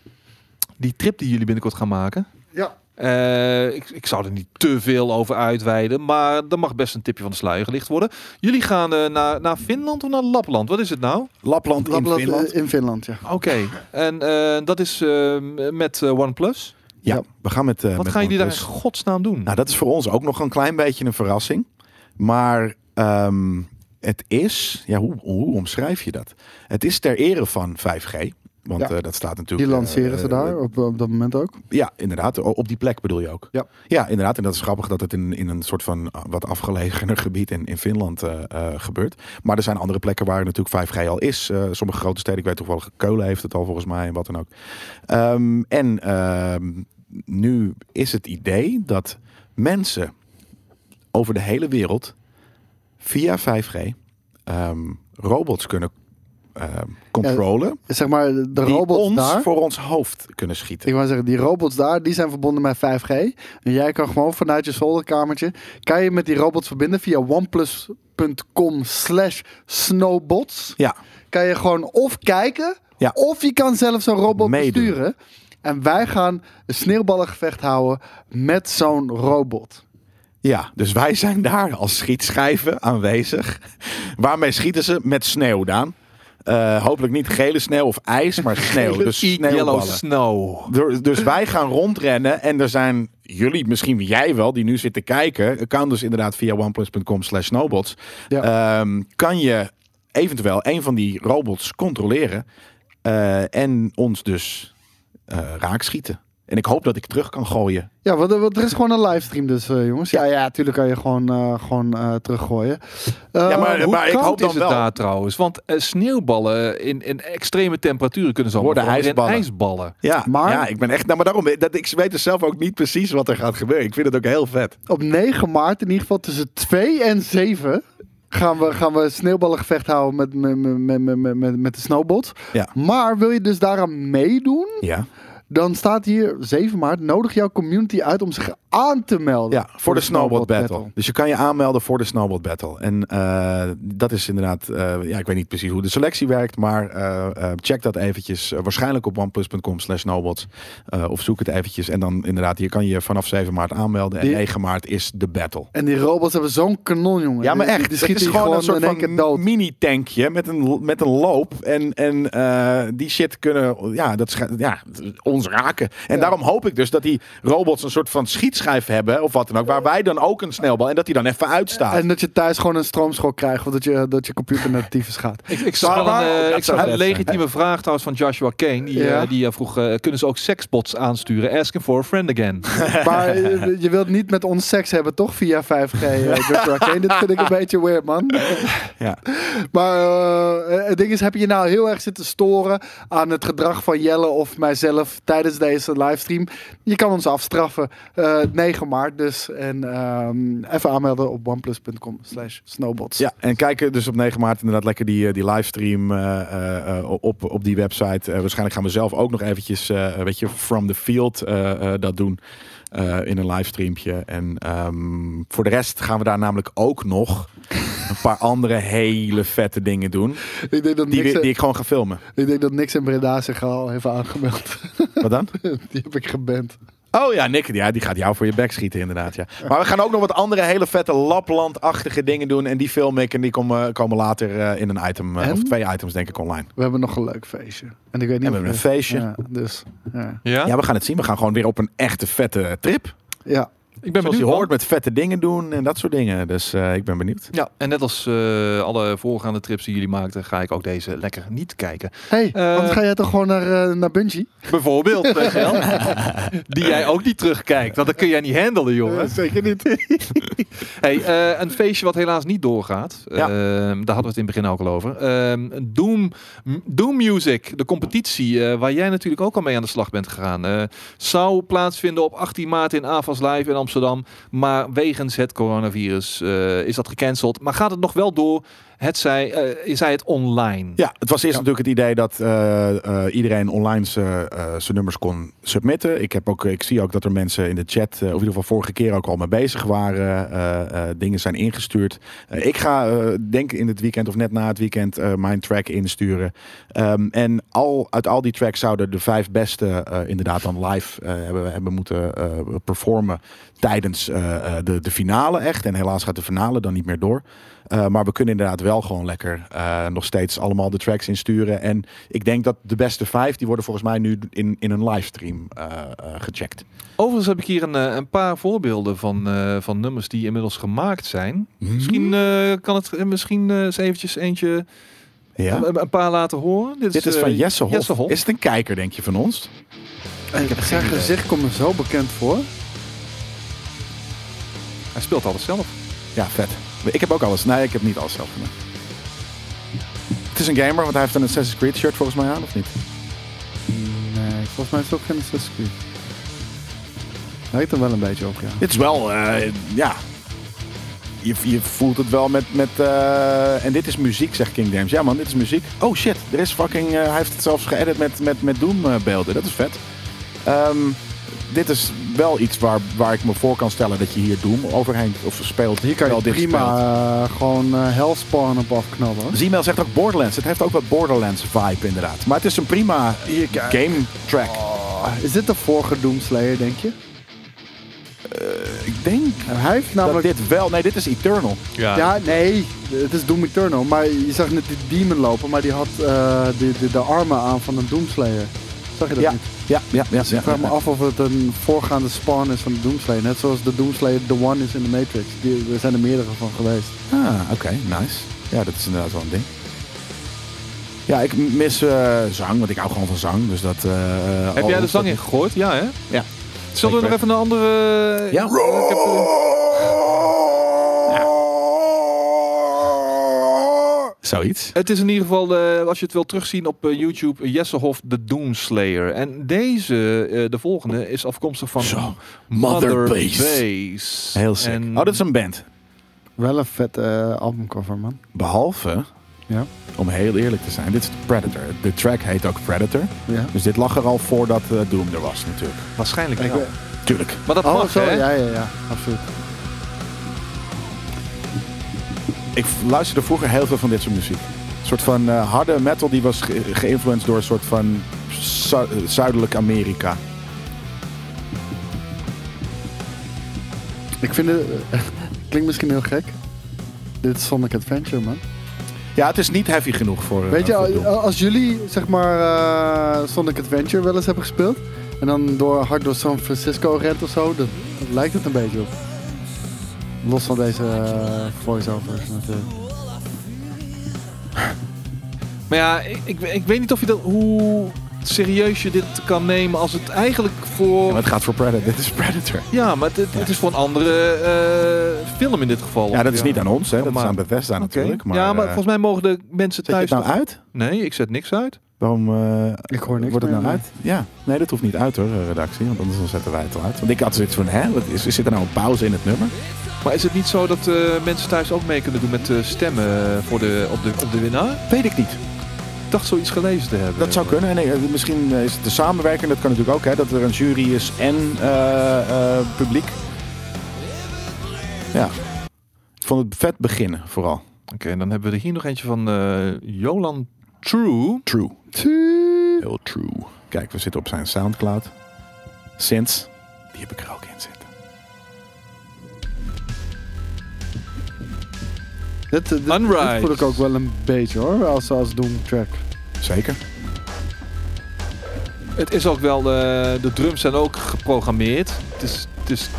Speaker 1: Die trip die jullie binnenkort gaan maken.
Speaker 2: Ja.
Speaker 1: Eh, ik, ik zou er niet te veel over uitweiden, maar er mag best een tipje van de sluier gelicht worden. Jullie gaan eh, naar, naar Finland of naar Lapland? Wat is het nou?
Speaker 3: Lapland,
Speaker 2: Lapland,
Speaker 3: in Finland.
Speaker 2: eh, In Finland, ja.
Speaker 1: Oké, en eh, dat is eh, met eh, OnePlus.
Speaker 3: ja,
Speaker 2: ja.
Speaker 3: we gaan met... eh,
Speaker 1: Wat
Speaker 3: met
Speaker 1: gaan jullie daar in
Speaker 3: OnePlus.
Speaker 1: godsnaam doen?
Speaker 3: Nou, dat is voor ons ook nog een klein beetje een verrassing. Maar ehm, het is... Ja, hoe, hoe omschrijf je dat? Het is ter ere van 5G. Want
Speaker 2: Ja.
Speaker 3: eh, dat staat natuurlijk...
Speaker 2: Die lanceren
Speaker 3: eh,
Speaker 2: ze
Speaker 3: eh,
Speaker 2: daar op, op dat moment ook.
Speaker 3: Ja, inderdaad. O- Op die plek bedoel je ook.
Speaker 2: Ja.
Speaker 3: ja inderdaad. En dat is grappig dat het in, in een soort van ah, wat afgelegener gebied in, in Finland eh, eh, gebeurt. Maar er zijn andere plekken waar natuurlijk 5G al is. Eh, sommige grote steden, ik weet toevallig, Keulen heeft het al volgens mij en wat dan ook. Ehm, en ehm, nu is het idee dat mensen over de hele wereld via 5G ehm, robots kunnen ehm, controlen.
Speaker 2: Zeg maar, de
Speaker 3: die
Speaker 2: robots
Speaker 3: ons
Speaker 2: daar...
Speaker 3: voor ons hoofd kunnen schieten.
Speaker 2: Ik wou zeggen, die robots daar, die zijn verbonden met 5G. En jij kan gewoon vanuit je zolderkamertje... kan je met die robots verbinden via oneplus.com slash snowbots.
Speaker 3: Ja.
Speaker 2: Kan je gewoon of kijken...
Speaker 3: Ja.
Speaker 2: of je kan zelf zo'n robot
Speaker 3: Meedoen.
Speaker 2: besturen. En wij gaan een sneeuwballengevecht houden met zo'n robot.
Speaker 3: Ja, dus wij zijn daar als schietschijven aanwezig. Waarmee schieten ze? Met sneeuw, Daan. Eh, hopelijk niet gele sneeuw of ijs, maar sneeuw. Dus
Speaker 1: Eat Yellow
Speaker 3: sneeuwballen.
Speaker 1: Snow.
Speaker 3: Door- Dus wij gaan rondrennen en er zijn jullie, misschien jij wel, die nu zitten kijken. Kan dus inderdaad via oneplus.com slash snowbots. Ehm, kan je eventueel een van die robots controleren eh, en ons dus eh raak schieten. En ik hoop dat ik terug kan gooien.
Speaker 2: Ja, want, eh, want er is gewoon een livestream dus, eh, jongens. Ja, ja, tuurlijk kan je gewoon, eh, gewoon eh, teruggooien. Eh,
Speaker 3: Ja, maar-
Speaker 1: Hoe
Speaker 3: ik
Speaker 1: koud
Speaker 3: hoop dan
Speaker 1: is het
Speaker 3: wel-
Speaker 1: daar trouwens? Want eh, sneeuwballen in, in extreme temperaturen kunnen zo
Speaker 3: Worden
Speaker 1: in
Speaker 3: ijsballen.
Speaker 1: ijsballen.
Speaker 3: Ja,
Speaker 2: Maar-
Speaker 3: ja ik ben echt. Nou, maar daarom, dat, ik weet dus zelf ook niet precies wat er gaat gebeuren. Ik vind het ook heel vet.
Speaker 2: Op 9 maart in ieder geval tussen 2 en 7 gaan we, gaan we sneeuwballengevecht houden met, met, met, met- met, met, met de snowbot.
Speaker 3: Ja.
Speaker 2: Maar wil je dus daaraan meedoen?
Speaker 3: Ja.
Speaker 2: Dan staat hier 7 maart, nodig jouw community uit om zich aan te melden.
Speaker 3: Ja, voor de Snowboard
Speaker 2: Snowboard
Speaker 3: Battle. Dus je kan je aanmelden voor de Snowboard Battle. En eh, dat is inderdaad, eh, ja, ik weet niet precies hoe de selectie werkt, maar eh, eh, check dat eventjes. Eh, waarschijnlijk op oneplus.com slash snowboards. Eh, of zoek het eventjes. En dan inderdaad, je kan je vanaf 7 maart aanmelden. En
Speaker 2: Die-
Speaker 3: 9 maart is de battle.
Speaker 2: En die robots hebben zo'n kanon, jongen.
Speaker 3: Ja, maar
Speaker 2: Die-
Speaker 3: echt.
Speaker 2: Die
Speaker 3: Het is
Speaker 2: schieten je
Speaker 3: gewoon,
Speaker 2: gewoon,
Speaker 3: een soort
Speaker 2: in één keer dood.
Speaker 3: van mini-tankje met een, met een loop. En, en eh, die shit kunnen ja, dat scha- ja, ons raken. En daarom hoop ik dus dat die robots een soort van schietschijf hebben. Of wat dan ook. Waar wij dan ook een snelbal. En dat die dan even uitstaat.
Speaker 2: En dat je thuis gewoon een stroomschok krijgt, of dat je, dat je computer naar de tyfus gaat.
Speaker 1: Ik, ik zag wel
Speaker 3: waar-
Speaker 1: een, eh,
Speaker 3: dat
Speaker 1: ik
Speaker 3: zou
Speaker 1: zag een
Speaker 3: vet zijn.
Speaker 1: legitieme vraag trouwens van Joshua Kane. Die, eh,
Speaker 2: Ja.
Speaker 1: die eh, vroeg, eh, kunnen ze ook seksbots aansturen? Asking for a friend again.
Speaker 2: Maar eh, je wilt niet met ons seks hebben, toch? Via 5G. eh, Joshua Kane. Dit vind ik een beetje weird, man.
Speaker 3: Ja.
Speaker 2: Maar eh, het ding is, heb je nou heel erg zitten storen aan het gedrag van Jelle of mijzelf tijdens deze livestream? Je kan ons afstraffen. Eh 9 maart dus. En ehm, even aanmelden op oneplus.com slash snowbots.
Speaker 3: Ja, en kijken dus op 9 maart inderdaad lekker die, eh, die livestream eh, eh, eh, op, op die website. Eh, waarschijnlijk gaan we zelf ook nog eventjes, eh, weet je, from the field eh, eh, dat doen eh, in een livestreampje. En ehm, voor de rest gaan we daar namelijk ook nog een paar andere hele vette dingen doen.
Speaker 2: Ik, denk dat
Speaker 3: Die,
Speaker 2: niks, eh.
Speaker 3: we- die ik gewoon ga filmen.
Speaker 2: ik denk dat niks in Breda zich al heeft aangemeld.
Speaker 3: Wat dan?
Speaker 2: die heb ik geband.
Speaker 3: Oh ja, Nick, ja, die gaat jou voor je bek schieten inderdaad. Ja. Maar we gaan ook nog wat andere hele vette Lapland-achtige dingen doen. En die film ik en die komen, komen later eh, in een item, eh,
Speaker 2: En?
Speaker 3: of twee items denk ik online.
Speaker 2: We hebben nog een leuk feestje. En ik weet niet
Speaker 3: En we hebben
Speaker 2: of-
Speaker 3: een feestje.
Speaker 2: Ja, dus, ja.
Speaker 3: Ja, we gaan het zien. We gaan gewoon weer op een echte vette trip.
Speaker 2: ja.
Speaker 1: ik ben
Speaker 3: Zoals je
Speaker 1: benieuwd. man.
Speaker 3: hoort, met vette dingen doen en dat soort dingen. Dus eh, ik ben benieuwd.
Speaker 1: Ja, en net als eh, alle voorgaande trips die jullie maakten, ga ik ook deze lekker niet kijken.
Speaker 2: Hé, hey,
Speaker 1: Eh,
Speaker 2: want ga jij toch gewoon naar, eh, naar Bungie?
Speaker 1: Bijvoorbeeld, weet je wel. die jij ook niet terugkijkt, want dat kun jij niet handelen, jongen.
Speaker 2: zeker niet.
Speaker 1: Hey, eh, een feestje wat helaas niet doorgaat.
Speaker 3: Ja.
Speaker 1: Ehm, daar hadden we het in het begin ook al over. Ehm, Doom, M- Doom Music, de competitie eh, waar jij natuurlijk ook al mee aan de slag bent gegaan. eh, zou plaatsvinden op 18 maart in AFAS Live in Amsterdam. Maar wegens het coronavirus eh, is dat gecanceld. Maar gaat het nog wel door? Het zij, eh, zij het online.
Speaker 3: Ja, het was eerst natuurlijk het idee dat eh, eh, iedereen online zijn eh, zijn nummers kon submitten. Ik, heb ook, ik zie ook dat er mensen in de chat, eh, of in ieder geval vorige keer ook al mee bezig waren. eh, eh, dingen zijn ingestuurd. Eh, ik ga eh, denk in het weekend of net na het weekend eh, mijn track insturen. Ehm, en al, uit al die tracks zouden de vijf beste eh, inderdaad dan live eh, hebben, hebben moeten eh, performen tijdens eh, eh, de, de finale echt. En helaas gaat de finale dan niet meer door. Eh, maar we kunnen inderdaad wel gewoon lekker eh, nog steeds allemaal de tracks insturen. En ik denk dat de beste vijf, die worden volgens mij nu in, in een livestream eh, eh, gecheckt.
Speaker 1: Overigens heb ik hier een, eh, een paar voorbeelden van, eh, van nummers die inmiddels gemaakt zijn.
Speaker 3: Mhm.
Speaker 1: Misschien eh, kan het eh, misschien eh, eens eventjes eentje
Speaker 3: Ja.
Speaker 1: een, een paar laten horen.
Speaker 3: Dit is van
Speaker 1: eh,
Speaker 3: Jesse Hof.
Speaker 1: Jesse Hof.
Speaker 3: Is het een kijker, denk je, van ons?
Speaker 2: Ik heb zijn gezicht komt me zo bekend voor.
Speaker 1: Hij speelt alles zelf.
Speaker 3: Ja, vet. Ik heb ook alles. Nee, ik heb niet alles zelf gedaan. Het is een gamer, want hij heeft een Assassin's Creed shirt volgens mij aan, of niet?
Speaker 2: Nee, volgens mij is het ook geen Assassin's Creed. Lijkt er wel een beetje op, ja.
Speaker 3: Dit is wel, eh, ja. Je, je voelt het wel met. met eh, en dit is muziek, zegt King James. Ja, man, dit is muziek. Oh shit, er is fucking. eh, hij heeft het zelfs geëdit met, met, met Doom-beelden. Dat is vet. Ehm, dit is wel iets waar, waar ik me voor kan stellen dat je hier Doom overheen of speelt.
Speaker 2: Hier kan
Speaker 3: terwijl
Speaker 2: je
Speaker 3: dit
Speaker 2: prima
Speaker 3: speelt.
Speaker 2: eh, gewoon eh, Hellspawn op afknallen. hoor.
Speaker 3: Zmail zegt ook Borderlands. Het heeft ook wat Borderlands vibe, inderdaad. Maar het is een prima
Speaker 2: Hier, kijk.
Speaker 3: game track.
Speaker 2: Ah, Is dit de vorige Doomslayer, denk je?
Speaker 3: Ik denk
Speaker 2: Hij heeft
Speaker 3: dat
Speaker 2: namelijk...
Speaker 3: dit wel. Nee, dit is Eternal.
Speaker 2: Ja, nee, het is Doom Eternal. Maar je zag net die demon lopen, maar die had eh, de, de, de armen aan van een Doomslayer. Zag je dat
Speaker 3: Ja,
Speaker 2: niet?
Speaker 3: ja, ja. ja, ja,
Speaker 2: Ik vraag me af of het een voorgaande spawn is van de Doomslayer. Net zoals de Doomslayer The One is in de Matrix. Die, er zijn er meerdere van geweest.
Speaker 3: Ah, oké, nice. Ja, dat is inderdaad wel een ding. Ja, ik mis eh, zang, want ik hou gewoon van zang. Dus dat, eh,
Speaker 1: Heb
Speaker 3: al-
Speaker 1: jij de zang in gegooid? Ja, hè?
Speaker 3: Ja.
Speaker 1: Zullen we nog
Speaker 3: Zeker.
Speaker 1: even een andere...
Speaker 3: Ja.
Speaker 1: Ik heb, eh,
Speaker 3: Zoiets.
Speaker 1: Het is in ieder geval, eh, als je het wilt terugzien op eh, YouTube, Jessehoff de Doomslayer. En deze, eh, de volgende, is afkomstig van
Speaker 3: Zo.
Speaker 1: Mother,
Speaker 3: Mother
Speaker 1: Base.
Speaker 3: Base. Heel sick.
Speaker 1: En-
Speaker 3: Oh, dat is een band.
Speaker 2: Wel een vet eh, albumcover, man.
Speaker 3: Behalve,
Speaker 2: Ja.
Speaker 3: om heel eerlijk te zijn, dit is Predator. De track heet ook Predator.
Speaker 2: Ja.
Speaker 3: Dus dit lag er al voordat eh, Doom er was natuurlijk.
Speaker 1: Waarschijnlijk
Speaker 2: Ik
Speaker 1: wel.
Speaker 2: weet-
Speaker 3: Tuurlijk.
Speaker 1: Maar dat
Speaker 2: oh,
Speaker 1: mag,
Speaker 2: zo,
Speaker 1: hè?
Speaker 2: ja, ja, ja, absoluut.
Speaker 3: Ik luisterde vroeger heel veel van dit soort muziek. Een soort van eh, harde metal die was ge- geïnfluenced door een soort van zu- eh, Zuidelijk Amerika.
Speaker 2: Ik vind het... klinkt misschien heel gek. Dit is Sonic Adventure, man.
Speaker 3: Ja, het is niet heavy genoeg voor. eh,
Speaker 2: Weet je,
Speaker 3: voor Doom.
Speaker 2: al- oh. als jullie zeg maar eh, Sonic Adventure wel eens hebben gespeeld... en dan door, hard door San Francisco rent of zo... dat, dat lijkt het een beetje op. Los van deze eh, voice-overs natuurlijk.
Speaker 1: Maar ja, ik, ik, ik weet niet of je dat, hoe serieus je dit kan nemen als het eigenlijk voor...
Speaker 3: Ja,
Speaker 1: Ja,
Speaker 3: maar
Speaker 1: maar,
Speaker 3: het gaat voor Predator. Dit is Predator.
Speaker 1: het, het is voor een andere eh, film in dit geval.
Speaker 3: Ja, dat is niet aan ons, hè. dat is
Speaker 1: Maar-
Speaker 3: aan Bethesda
Speaker 1: Oké.
Speaker 3: natuurlijk. Maar,
Speaker 1: ja, maar
Speaker 3: eh,
Speaker 1: volgens mij mogen de mensen
Speaker 3: Zet je
Speaker 1: thuis...
Speaker 3: het nou uit?
Speaker 1: Nee, ik zet niks uit.
Speaker 3: Waarom eh,
Speaker 2: Ik hoor niks
Speaker 3: wordt het
Speaker 2: meer,
Speaker 3: nou
Speaker 2: nee.
Speaker 3: uit? Ja, nee, dat hoeft niet uit hoor, eh, redactie. Want anders dan zetten wij het al uit. Want ik had zoiets van, hè, wat is, zit er nou een pauze in het nummer?
Speaker 1: Maar is het niet zo dat eh, mensen thuis ook mee kunnen doen met eh, stemmen voor de, op, de, op de winnaar?
Speaker 3: Weet ik niet.
Speaker 1: Ik dacht zoiets gelezen te hebben.
Speaker 3: Dat zou kunnen. Nee, eh, misschien eh, is het de samenwerking. Dat kan natuurlijk ook, hè. Dat er een jury is en eh, eh, publiek. Ja. Ik vond het vet beginnen, vooral.
Speaker 1: Oké, en dan hebben we er hier nog eentje van eh, Jolan True.
Speaker 3: True. Heel true. Kijk, we zitten op zijn Soundcloud. Sinds. Die heb ik er ook in zitten.
Speaker 2: Dit, dit, dit
Speaker 1: Unrise.
Speaker 2: voel ik ook wel een beetje hoor, als, als Doom track.
Speaker 3: Zeker.
Speaker 1: Het is ook wel, eh, de drums zijn ook geprogrammeerd. Het is, het is,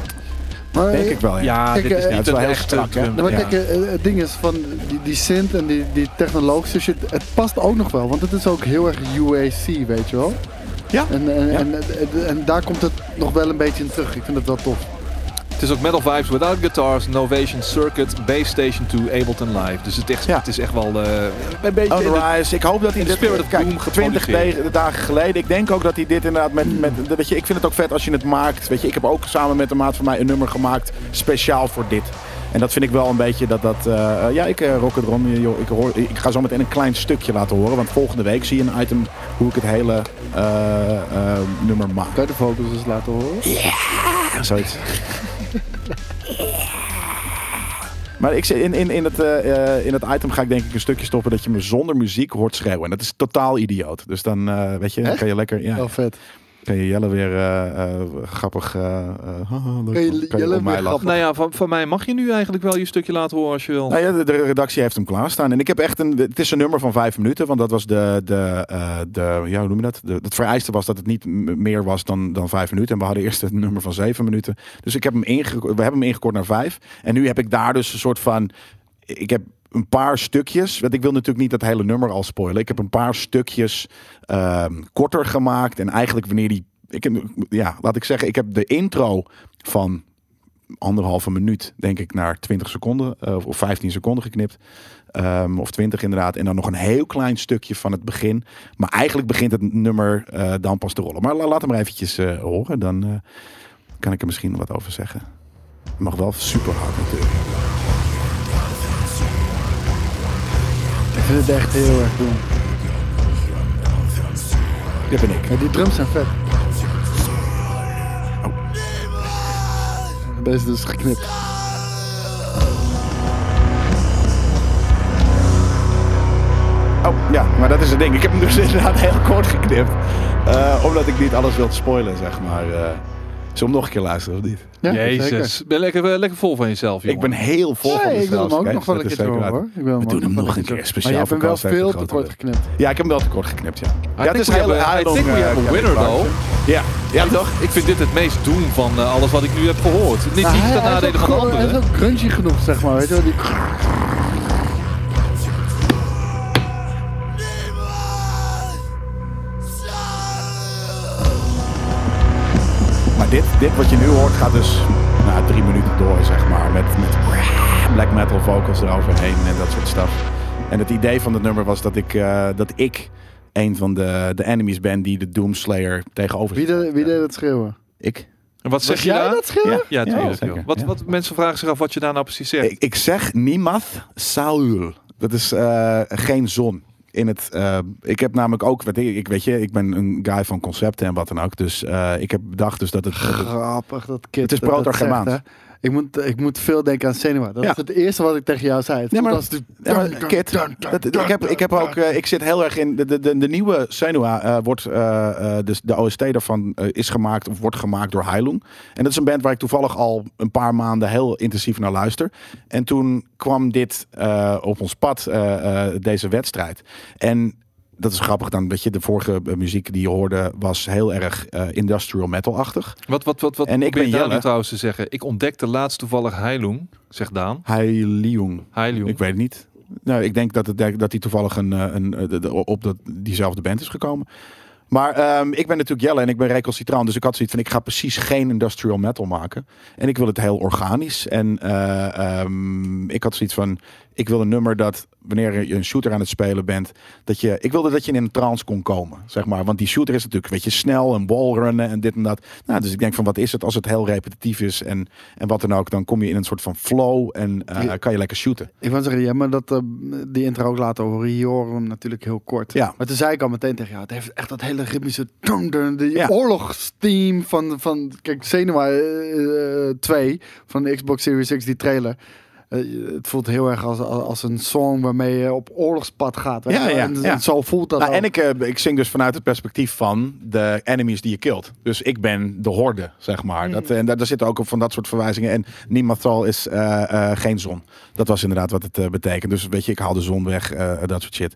Speaker 2: Maar,
Speaker 3: Denk ik wel,
Speaker 1: ja,
Speaker 3: ja.
Speaker 2: Kijk,
Speaker 1: dit
Speaker 2: eh,
Speaker 1: is
Speaker 2: ja,
Speaker 3: het
Speaker 1: niet
Speaker 3: is wel
Speaker 1: een
Speaker 3: heel
Speaker 1: echte
Speaker 3: strak, hè?
Speaker 1: drum.
Speaker 2: Ja, maar
Speaker 1: ja.
Speaker 2: kijk, eh, eh, het ding is van die, die synth en die, die technologische shit, het past ook nog wel, want het is ook heel erg UAC, weet je wel.
Speaker 3: Ja.
Speaker 2: En, en,
Speaker 3: Ja.
Speaker 2: En, en, en daar komt het nog wel een beetje in terug. Ik vind het wel tof.
Speaker 1: Het is ook Metal Vibes Without Guitars, Novation Circuit, Base Station 2, Ableton Live. Dus het is,
Speaker 3: Ja.
Speaker 1: het is echt wel eh, een beetje... in de-
Speaker 3: Unrise. Ik hoop dat hij
Speaker 1: in de
Speaker 3: dit... eh,
Speaker 1: spirit of
Speaker 3: kijk,
Speaker 1: Doom
Speaker 3: 20
Speaker 1: geproduceerd. Hmm.
Speaker 3: de- dagen geleden. Ik denk ook dat hij dit inderdaad met... met weet je, ik vind het ook vet als je het maakt. Weet je, ik heb ook samen met een maat van mij een nummer gemaakt. Speciaal voor dit. En dat vind ik wel een beetje dat dat... eh, eh, ja, ik eh rock het erom. Je- joh, Ik, hoor, ik ga zo meteen een klein stukje laten horen. Want volgende week zie je een item hoe ik het hele eh, eh, nummer maak.
Speaker 2: Kan je de vocals eens laten horen?
Speaker 3: Zoiets. Maar ik, zit- in, in, in, het, eh, eh, in het item ga ik denk ik een stukje stoppen dat je me zonder muziek hoort schreeuwen. En dat is totaal idioot. Dus dan eh, weet je, dan
Speaker 2: Echt?
Speaker 3: kan je lekker. Ja,
Speaker 2: Wel vet.
Speaker 3: kan je Jelle weer eh, eh, grappig. eh, eh, haha, leuk,
Speaker 2: Kan je
Speaker 3: man.
Speaker 2: Jelle weer
Speaker 3: om mij lachen.
Speaker 2: grappig?
Speaker 1: Nou ja, van, van mij mag je nu eigenlijk wel je stukje laten horen als je wil.
Speaker 3: Nou ja, de, de redactie heeft hem klaarstaan. En ik heb echt een. Het is een nummer van vijf minuten. Want dat was de. de, eh, de ja, hoe noem je dat? De, het vereiste was dat het niet m- meer was dan, dan vijf minuten. En we hadden eerst het nummer van zeven minuten. Dus ik heb hem inge, we hebben hem ingekort naar vijf. En nu heb ik daar dus een soort van. Ik heb een paar stukjes. Want ik wil natuurlijk niet dat hele nummer al spoilen. Ik heb een paar stukjes ehm, korter gemaakt. En eigenlijk wanneer die. Ik heb, ja, laat ik zeggen, ik heb de intro van anderhalve minuut, denk ik, naar 20 seconden eh, of 15 seconden geknipt. Ehm, of 20 inderdaad. En dan nog een heel klein stukje van het begin. Maar eigenlijk begint het nummer eh, dan pas te rollen. Maar la- laat hem maar eventjes eh, horen. Dan eh, kan ik er misschien wat over zeggen. Het mag wel super hard natuurlijk.
Speaker 2: Ik vind het echt heel erg Doom.
Speaker 3: Dit ben ik.
Speaker 2: Ja, die drums zijn vet. Deze is dus geknipt.
Speaker 3: Oh ja, maar dat is het ding. Ik heb hem dus inderdaad heel kort geknipt. Eh, omdat ik niet alles wil spoilen, zeg maar. eh Zullen we hem nog een keer luisteren of niet?
Speaker 2: Ja, zeker.
Speaker 1: Jezus, ben lekker, eh, lekker vol van jezelf, jongen.
Speaker 3: Ik ben heel vol van
Speaker 2: Nee, ik wil
Speaker 3: mezelf,
Speaker 2: hem ook
Speaker 3: oké?
Speaker 2: nog wel
Speaker 3: Dat
Speaker 2: een
Speaker 3: is
Speaker 2: keer
Speaker 3: zeker
Speaker 2: horen
Speaker 3: waar.
Speaker 2: hoor. Ik wil hem
Speaker 3: We
Speaker 2: ook
Speaker 3: doen hem
Speaker 2: wel
Speaker 3: nog een
Speaker 2: horen.
Speaker 3: keer speciaal.
Speaker 2: Maar je hebt hem
Speaker 3: voor
Speaker 2: wel
Speaker 3: Kast heeft
Speaker 2: veel
Speaker 3: een
Speaker 2: te
Speaker 3: grote
Speaker 2: kort geknipt.
Speaker 3: lul. Ja, ik heb hem wel te kort geknipt, ja. ja,
Speaker 1: think we hebben- I
Speaker 3: aardig,
Speaker 1: think we
Speaker 3: eh,
Speaker 1: have a
Speaker 3: Kevin
Speaker 1: winner,
Speaker 3: Clarkson.
Speaker 1: though.
Speaker 3: Ja, ja toch?
Speaker 1: Ik vind dit het meest doen van eh, alles wat ik nu heb gehoord. Niet,
Speaker 2: Nou,
Speaker 1: niet
Speaker 2: hij,
Speaker 1: ten
Speaker 2: hij is
Speaker 1: nadele
Speaker 2: ook
Speaker 1: van de
Speaker 2: gewoon-
Speaker 1: anderen.
Speaker 2: Hij is ook grungy genoeg, zeg maar. Weet je wel? Die...
Speaker 3: Dit wat je nu hoort gaat dus na drie minuten door, zeg maar. Met, met black metal vocals eroverheen en dat soort stuff. En het idee van het nummer was dat ik, eh, dat ik een van de, de enemies ben die de Doomslayer tegenover
Speaker 2: Wie, de, wie deed dat schreeuwen?
Speaker 3: Ik.
Speaker 1: En wat zeg
Speaker 2: Was
Speaker 1: je
Speaker 2: jij
Speaker 1: daar?
Speaker 2: dat schreeuwen?
Speaker 1: Ja,
Speaker 3: Ja,
Speaker 1: tuurlijk.
Speaker 3: zeker.
Speaker 1: joh. wat,
Speaker 3: Ja.
Speaker 1: wat mensen vragen zich af wat je daar nou precies zegt.
Speaker 3: ik. Ik zeg niemand Saul. Dat is eh, geen zon. In het, eh, ik heb namelijk ook, weet ik, ik weet je, ik ben een guy van concepten en wat dan ook. Dus eh, ik heb bedacht dus dat het, dat het-
Speaker 2: Grappig, dat kind.
Speaker 3: Het is
Speaker 2: dat dat
Speaker 3: proto-Germaans.
Speaker 2: zegt, hè. Ik moet, ik moet veel denken aan cinema. Dat
Speaker 3: Ja.
Speaker 2: is het eerste wat ik tegen jou zei. Het
Speaker 3: Nee, maar-
Speaker 2: voelt als de-
Speaker 3: Ja, maar Kit, dat- ik, heb, ik heb ook, eh, ik zit heel erg in de, de, de, de nieuwe Senua eh, wordt, eh, eh, dus de OST daarvan eh, is gemaakt of wordt gemaakt door Heilung. En dat is een band waar ik toevallig al een paar maanden heel intensief naar luister. En toen kwam dit eh, op ons pad, eh, eh, deze wedstrijd. En dat is grappig dan, weet je, de vorige eh, muziek die je hoorde was heel erg eh, industrial metal-achtig.
Speaker 1: Wat, wat, wat, wat
Speaker 3: En ik
Speaker 1: probeer
Speaker 3: ben
Speaker 1: je daar
Speaker 3: Jelle.
Speaker 1: nu trouwens te zeggen? Ik ontdekte laatst toevallig Heilung, zegt Daan.
Speaker 3: Heilung.
Speaker 1: Heilung.
Speaker 3: Ik weet het niet. Nou, ik denk dat, het, dat hij toevallig een, eh, een, eh, de- de- op dat, diezelfde band is gekomen. Maar ehm, ik ben natuurlijk Jelle en ik ben recalcitrant. Dus ik had zoiets van, ik ga precies geen industrial metal maken. En ik wil het heel organisch. En eh, ehm, ik had zoiets van, ik wil een nummer dat wanneer je een shooter aan het spelen bent... Dat je, ik wilde dat je in een trance kon komen, zeg maar. Want die shooter is natuurlijk, weet je, snel en wallrunnen en dit en dat. Nou, dus ik denk van, wat is het als het heel repetitief is en, en wat dan ook. Dan kom je in een soort van flow en eh,
Speaker 2: Ja.
Speaker 3: kan je lekker shooten.
Speaker 2: Ik wou zeggen, ja, maar dat, eh, die intro ook laten horen. Hier horen we hem natuurlijk heel kort.
Speaker 3: Ja.
Speaker 2: Maar toen zei ik al meteen tegen jou, het heeft echt dat hele ritmische... dun, dun, Die
Speaker 3: Ja.
Speaker 2: oorlogsteam van, van... Kijk, Senua eh, eh, 2 van de Xbox Series X, die trailer. Eh, het voelt heel erg als, als als een song waarmee je op oorlogspad gaat. weet
Speaker 3: Ja,
Speaker 2: je wel.
Speaker 3: ja,
Speaker 2: en,
Speaker 3: ja.
Speaker 2: en zo voelt dat
Speaker 3: Nou,
Speaker 2: ook.
Speaker 3: en ik, eh, ik zing dus vanuit het perspectief van de enemies die je kilt. Dus ik ben de horde, zeg maar. Dat, eh, en daar, daar zitten ook op van dat soort verwijzingen. En Niematal is eh, eh, geen zon. Dat was inderdaad wat het eh, betekent. Dus weet je, ik haal de zon weg, eh, dat soort shit.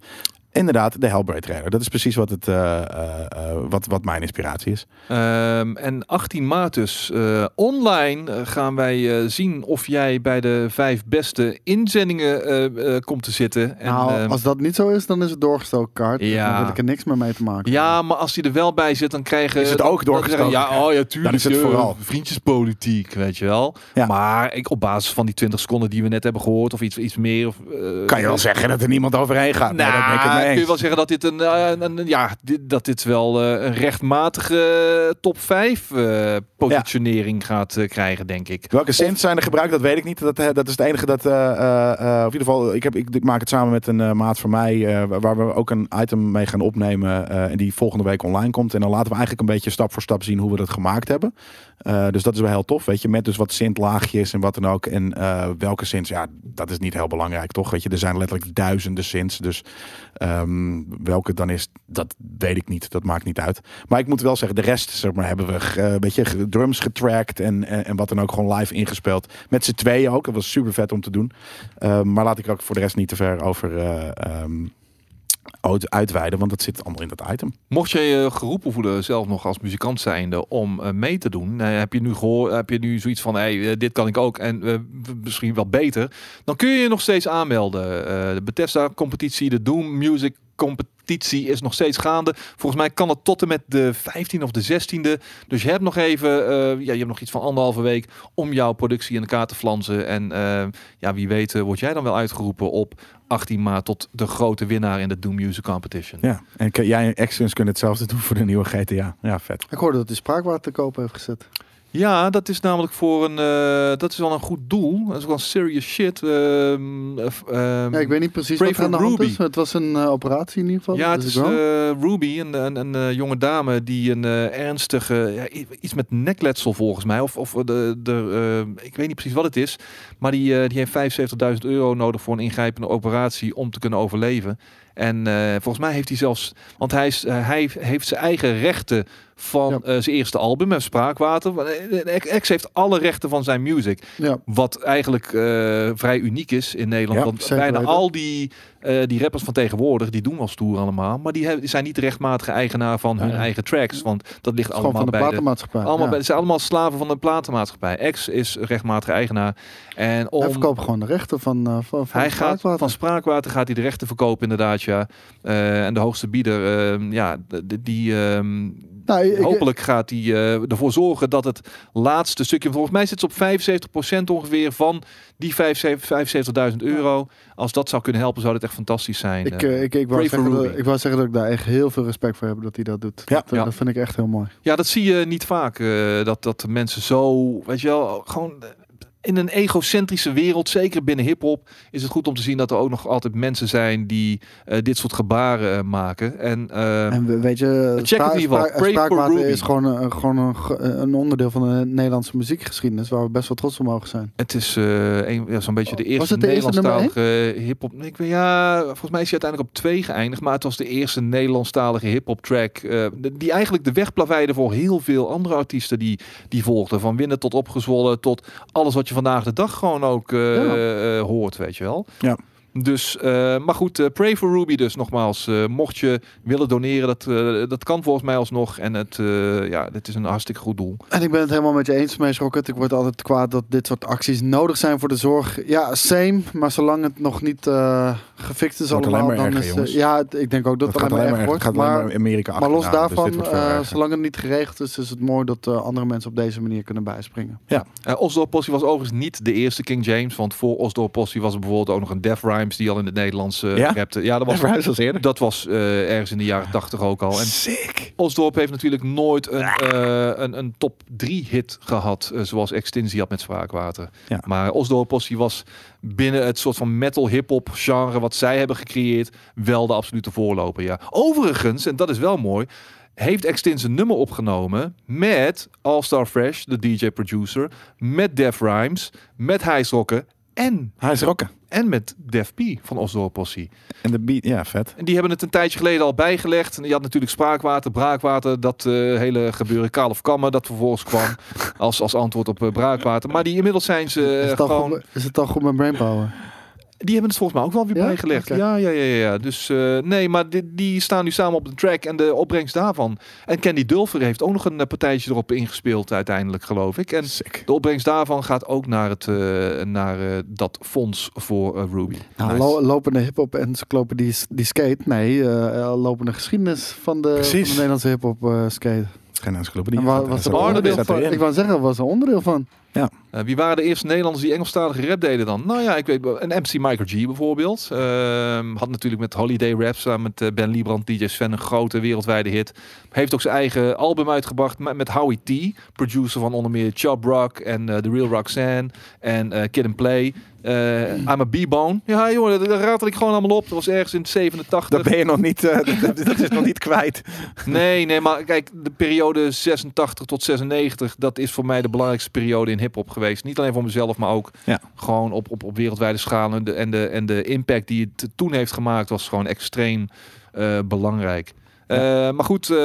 Speaker 3: Inderdaad, de Hellblade trailer. Dat is precies wat, het, eh, eh, eh, wat, wat mijn inspiratie is.
Speaker 1: Ehm, en 18 maart dus. eh, online eh, gaan wij eh, zien of jij bij de vijf beste inzendingen eh, eh, komt te zitten. En,
Speaker 2: nou,
Speaker 1: ehm,
Speaker 2: als dat niet zo is, dan is het doorgestoken kaart.
Speaker 1: Ja.
Speaker 2: Dan wil ik er niks meer mee te maken.
Speaker 1: Ja, maar als die er wel bij zit, dan krijgen...
Speaker 3: Is het ook
Speaker 1: dan zeggen ze,
Speaker 3: doorgestoken?
Speaker 1: Ja, oh ja, tuurlijk.
Speaker 3: Dan is het
Speaker 1: joh,
Speaker 3: vooral.
Speaker 1: Vriendjespolitiek, weet je wel.
Speaker 3: Ja.
Speaker 1: Maar ik, op basis van die 20 seconden die we net hebben gehoord, of iets, iets meer... Of, eh,
Speaker 3: Kan je wel zeggen dat er niemand overheen gaat. Nee, dat ben ik het
Speaker 1: Nou,
Speaker 3: mee
Speaker 1: kun je
Speaker 3: eens.
Speaker 1: wel zeggen dat dit, een, eh, een, een- ja, dit, dat dit wel eh, een rechtmatige eh, top 5 eh, positionering gaat eh, krijgen, denk ik.
Speaker 3: Welke cents zijn er gebruikt, dat weet ik niet. Dat, eh, dat is het enige dat... eh, eh, eh, of in ieder geval, ik, heb, ik, ik maak het samen met een eh, maat van mij... eh, waar- waar we ook een item mee gaan opnemen... eh, en die volgende week online komt. En dan laten we eigenlijk een beetje stap voor stap zien... hoe we dat gemaakt hebben. Eh, dus dat is wel heel tof, weet je. Met dus wat sint-laagjes en wat dan ook. En eh, welke sins, ja, dat is niet heel belangrijk, toch? Weet je, er zijn letterlijk duizenden sins. Dus ehm, welke het dan is, dat weet ik niet. Dat maakt niet uit. Maar ik moet wel zeggen, de rest zeg maar, hebben we eh, een beetje ge- drums getracked en, en, en wat dan ook gewoon live ingespeeld. Met z'n tweeën ook. Dat was super vet om te doen. Ehm, maar laat ik er ook voor de rest niet te ver over eh, ehm, uit- uitweiden, want dat zit allemaal in dat item.
Speaker 1: Mocht je je geroepen voelen, zelf nog als muzikant zijnde, om eh, mee te doen, eh, heb je nu gehoor, heb je nu zoiets van, hey, eh, dit kan ik ook en eh, w- misschien wel beter, dan kun je je nog steeds aanmelden. Eh, de Bethesda-competitie, de Doom Music competitie is nog steeds gaande. Volgens mij kan het tot en met de 15e of de 16e. Dus je hebt nog even, eh, ja, je hebt nog iets van anderhalve week om jouw productie in elkaar te flansen. En eh, ja, wie weet eh, word jij dan wel uitgeroepen op 18 maart tot de grote winnaar in de Doom Music Competition.
Speaker 3: Ja, en k- jij en Excellence kunnen hetzelfde doen voor de nieuwe GTA. Ja, vet.
Speaker 2: Ik hoorde dat hij spraakwater te koop heeft gezet.
Speaker 1: Ja, dat is namelijk voor een. eh, dat is wel een goed doel. Dat is wel serious shit. Ehm, of, ehm,
Speaker 2: Ja, ik weet niet precies
Speaker 1: Pray
Speaker 2: wat er aan de
Speaker 1: for
Speaker 2: hand
Speaker 1: Ruby.
Speaker 2: is. maar Het was een eh, operatie in ieder geval.
Speaker 1: ja, het
Speaker 2: Dus
Speaker 1: is
Speaker 2: ik wel.
Speaker 1: eh, Ruby, een, een, een eh, jonge dame die een eh, ernstige. ja, i- iets met nekletsel volgens mij. Of, of de, de, eh, ik weet niet precies wat het is. Maar die, eh, die heeft 75.000 euro nodig voor een ingrijpende operatie om te kunnen overleven. En eh, volgens mij heeft hij zelfs. Want hij, is, eh, hij heeft zijn eigen rechten van
Speaker 2: Ja.
Speaker 1: eh, zijn eerste album, eh, Spraakwater. Want, eh, X heeft alle rechten van zijn music.
Speaker 2: ja.
Speaker 1: Wat eigenlijk eh, vrij uniek is in Nederland.
Speaker 3: Ja,
Speaker 1: want
Speaker 2: zeker
Speaker 1: bijna
Speaker 2: weten.
Speaker 1: al die, eh, die rappers van tegenwoordig, die doen wel stoer allemaal. Maar die he- zijn niet rechtmatige eigenaar van hun
Speaker 3: Nee.
Speaker 1: eigen tracks. Want dat ligt
Speaker 2: Het is gewoon
Speaker 1: allemaal
Speaker 2: van de
Speaker 1: bij de...
Speaker 2: platenmaatschappij.
Speaker 1: Allemaal
Speaker 2: ja.
Speaker 1: bij, het zijn allemaal slaven van de platenmaatschappij. X is rechtmatige eigenaar. En om,
Speaker 2: Hij verkoopt gewoon de rechten van, eh, van, van
Speaker 1: hij
Speaker 2: het
Speaker 1: gaat
Speaker 2: spraakwater.
Speaker 1: van spraakwater gaat hij de rechten verkopen inderdaad ja. Eh, en de hoogste bieder, ehm, ja, d- d- die, ehm,
Speaker 2: Nou, ik- ik-
Speaker 1: Hopelijk gaat hij eh, ervoor zorgen dat het laatste stukje, volgens mij zit het op 75% ongeveer van die 75 75.000 euro. Als dat zou kunnen helpen, zou dat echt fantastisch zijn.
Speaker 2: Ik,
Speaker 1: Eh,
Speaker 2: eh, ik, ik, wou
Speaker 1: Pray
Speaker 2: zeggen
Speaker 1: for
Speaker 2: dat,
Speaker 1: Ruby.
Speaker 2: ik wou zeggen dat ik daar echt heel veel respect voor heb dat hij dat doet.
Speaker 3: Ja,
Speaker 2: dat, eh,
Speaker 1: ja.
Speaker 2: dat vind ik echt heel mooi.
Speaker 1: Ja, dat zie je niet vaak. eh, dat, dat mensen zo, weet je wel, gewoon eh, in een egocentrische wereld, zeker binnen hip-hop, is het goed om te zien dat er ook nog altijd mensen zijn die eh, dit soort gebaren eh, maken. En, eh,
Speaker 2: En we- weet je,
Speaker 1: check het in ieder geval. Pray for
Speaker 2: spraakwater
Speaker 1: Ruby.
Speaker 2: is gewoon, een, gewoon een, ge- een onderdeel van de Nederlandse muziekgeschiedenis waar we best wel trots op mogen zijn.
Speaker 1: het is eh, een, ja, zo'n beetje de eerste,
Speaker 2: het de eerste nummer één?
Speaker 1: Nederlandstalige hip-hop. Ik weet, ja, volgens mij is hij uiteindelijk op twee geëindigd, maar het was de eerste Nederlandstalige hip-hop track. eh, de- die eigenlijk de weg plaveide voor heel veel andere artiesten die, die volgden. Van winnen tot opgezwollen, tot alles wat je vandaag de dag gewoon ook eh,
Speaker 2: Ja.
Speaker 1: eh, hoort, weet je wel.
Speaker 3: Ja.
Speaker 1: Dus, eh, maar goed, eh, Pray for Ruby dus nogmaals. Eh, mocht je willen doneren, dat, eh, dat kan volgens mij alsnog. En het, eh, ja, dit is een hartstikke goed doel.
Speaker 2: En ik ben het helemaal met je eens, Smash Rocket. Ik word altijd kwaad dat dit soort acties nodig zijn voor de zorg. Ja, same, maar zolang het nog niet eh, gefixt is
Speaker 3: Wordt alleen
Speaker 2: allemaal,
Speaker 3: maar
Speaker 2: dan
Speaker 3: erger,
Speaker 2: is het-
Speaker 3: jongens.
Speaker 2: Ja, het- ik denk ook dat,
Speaker 3: Dat, gaat
Speaker 2: het alleen maar
Speaker 3: erg-
Speaker 2: erg wordt.
Speaker 3: gaat alleen
Speaker 2: maar,
Speaker 3: maar Amerika
Speaker 2: maar los
Speaker 3: achterna, dus
Speaker 2: daarvan,
Speaker 3: dit wordt veel
Speaker 2: eh,
Speaker 3: erger.
Speaker 2: zolang het niet geregeld is, is het mooi dat eh, andere mensen op deze manier kunnen bijspringen.
Speaker 1: Eh Osdorp Posse was overigens niet de eerste King James. Want voor Osdorp Posse was er bijvoorbeeld ook nog een Def Rhymes die al in het Nederlands eh,
Speaker 3: Ja?
Speaker 1: rapte. Ja, dat was,
Speaker 3: Verhuis als eerder.
Speaker 1: dat was eh, ergens in de jaren tachtig ook al. En
Speaker 3: Sick.
Speaker 1: Osdorp heeft natuurlijk nooit een, eh, een, een top 3 hit gehad. eh, zoals Extinzie had met Spraakwater.
Speaker 3: Ja.
Speaker 1: Maar Osdorp Posse was binnen het soort van metal hip-hop genre wat zij hebben gecreëerd. wel de absolute voorloper. Ja. Overigens, en dat is wel mooi. Heeft Extins een nummer opgenomen met All Star Fresh, de DJ-producer, met Def Rhymes, met Hijsrokken en,
Speaker 3: Hij is rocken.
Speaker 1: en met Def P van Osdorp Posse.
Speaker 3: En de beat, ja, vet.
Speaker 1: En die hebben het een tijdje geleden al bijgelegd. En je had natuurlijk spraakwater, braakwater, dat eh, hele gebeuren. Kaal of kammen, dat vervolgens kwam als, als antwoord op eh, braakwater. Maar die inmiddels zijn ze eh,
Speaker 2: is, het al
Speaker 1: gewoon...
Speaker 2: goed, is het al goed met brainpower?
Speaker 1: Die hebben het volgens mij ook wel weer
Speaker 2: Ja?
Speaker 1: bijgelegd.
Speaker 2: Oké.
Speaker 1: Ja, ja, ja, ja, ja. Dus eh, nee, maar die, die staan nu samen op de track en de opbrengst daarvan. En Candy Dulfer heeft ook nog een eh, partijtje erop ingespeeld uiteindelijk, geloof ik. En
Speaker 3: Sick.
Speaker 1: de opbrengst daarvan gaat ook naar, het, eh, naar eh, dat fonds voor eh, Ruby.
Speaker 2: Nou,
Speaker 3: Nice.
Speaker 2: lo- lopende hip-hop encyclopedie s- die skate. Nee, eh, eh, lopende geschiedenis van de, van de
Speaker 3: Precies.
Speaker 2: Nederlandse hip-hop eh, skate.
Speaker 3: Het is geen encyclopedie.
Speaker 2: En wa-
Speaker 3: Dat-
Speaker 2: was
Speaker 3: dat
Speaker 1: een
Speaker 2: er
Speaker 3: staat-
Speaker 1: onderdeel
Speaker 3: dat staat
Speaker 2: Ik
Speaker 3: erin.
Speaker 2: wou zeggen, was er onderdeel van.
Speaker 1: Eh, wie waren de eerste Nederlanders die Engelstalige rap deden dan? Nou ja, ik weet wel, een MC Michael G bijvoorbeeld. Ehm, had natuurlijk met Holiday Rap samen met eh, Ben Liebrand, DJ Sven een grote wereldwijde hit. Heeft ook zijn eigen album uitgebracht met, met Howie T. Producer van onder meer Chub Rock en eh, The Real Roxanne en eh, Kid and Play. Eh I'm a B-Bone. Ja jongen, dat, dat raad ik gewoon allemaal op. Dat was ergens in 87.
Speaker 3: Dat ben je nog niet, eh, dat, dat is nog niet kwijt.
Speaker 1: Nee, nee, maar kijk, de periode 86 tot 96, dat is voor mij de belangrijkste periode in hip-hop geweest. Niet alleen voor mezelf, maar ook
Speaker 3: Ja.
Speaker 1: gewoon op, op, op wereldwijde schaal. En de, en, de, en de impact die het toen heeft gemaakt, was gewoon extreem eh, belangrijk. Eh, maar goed, eh,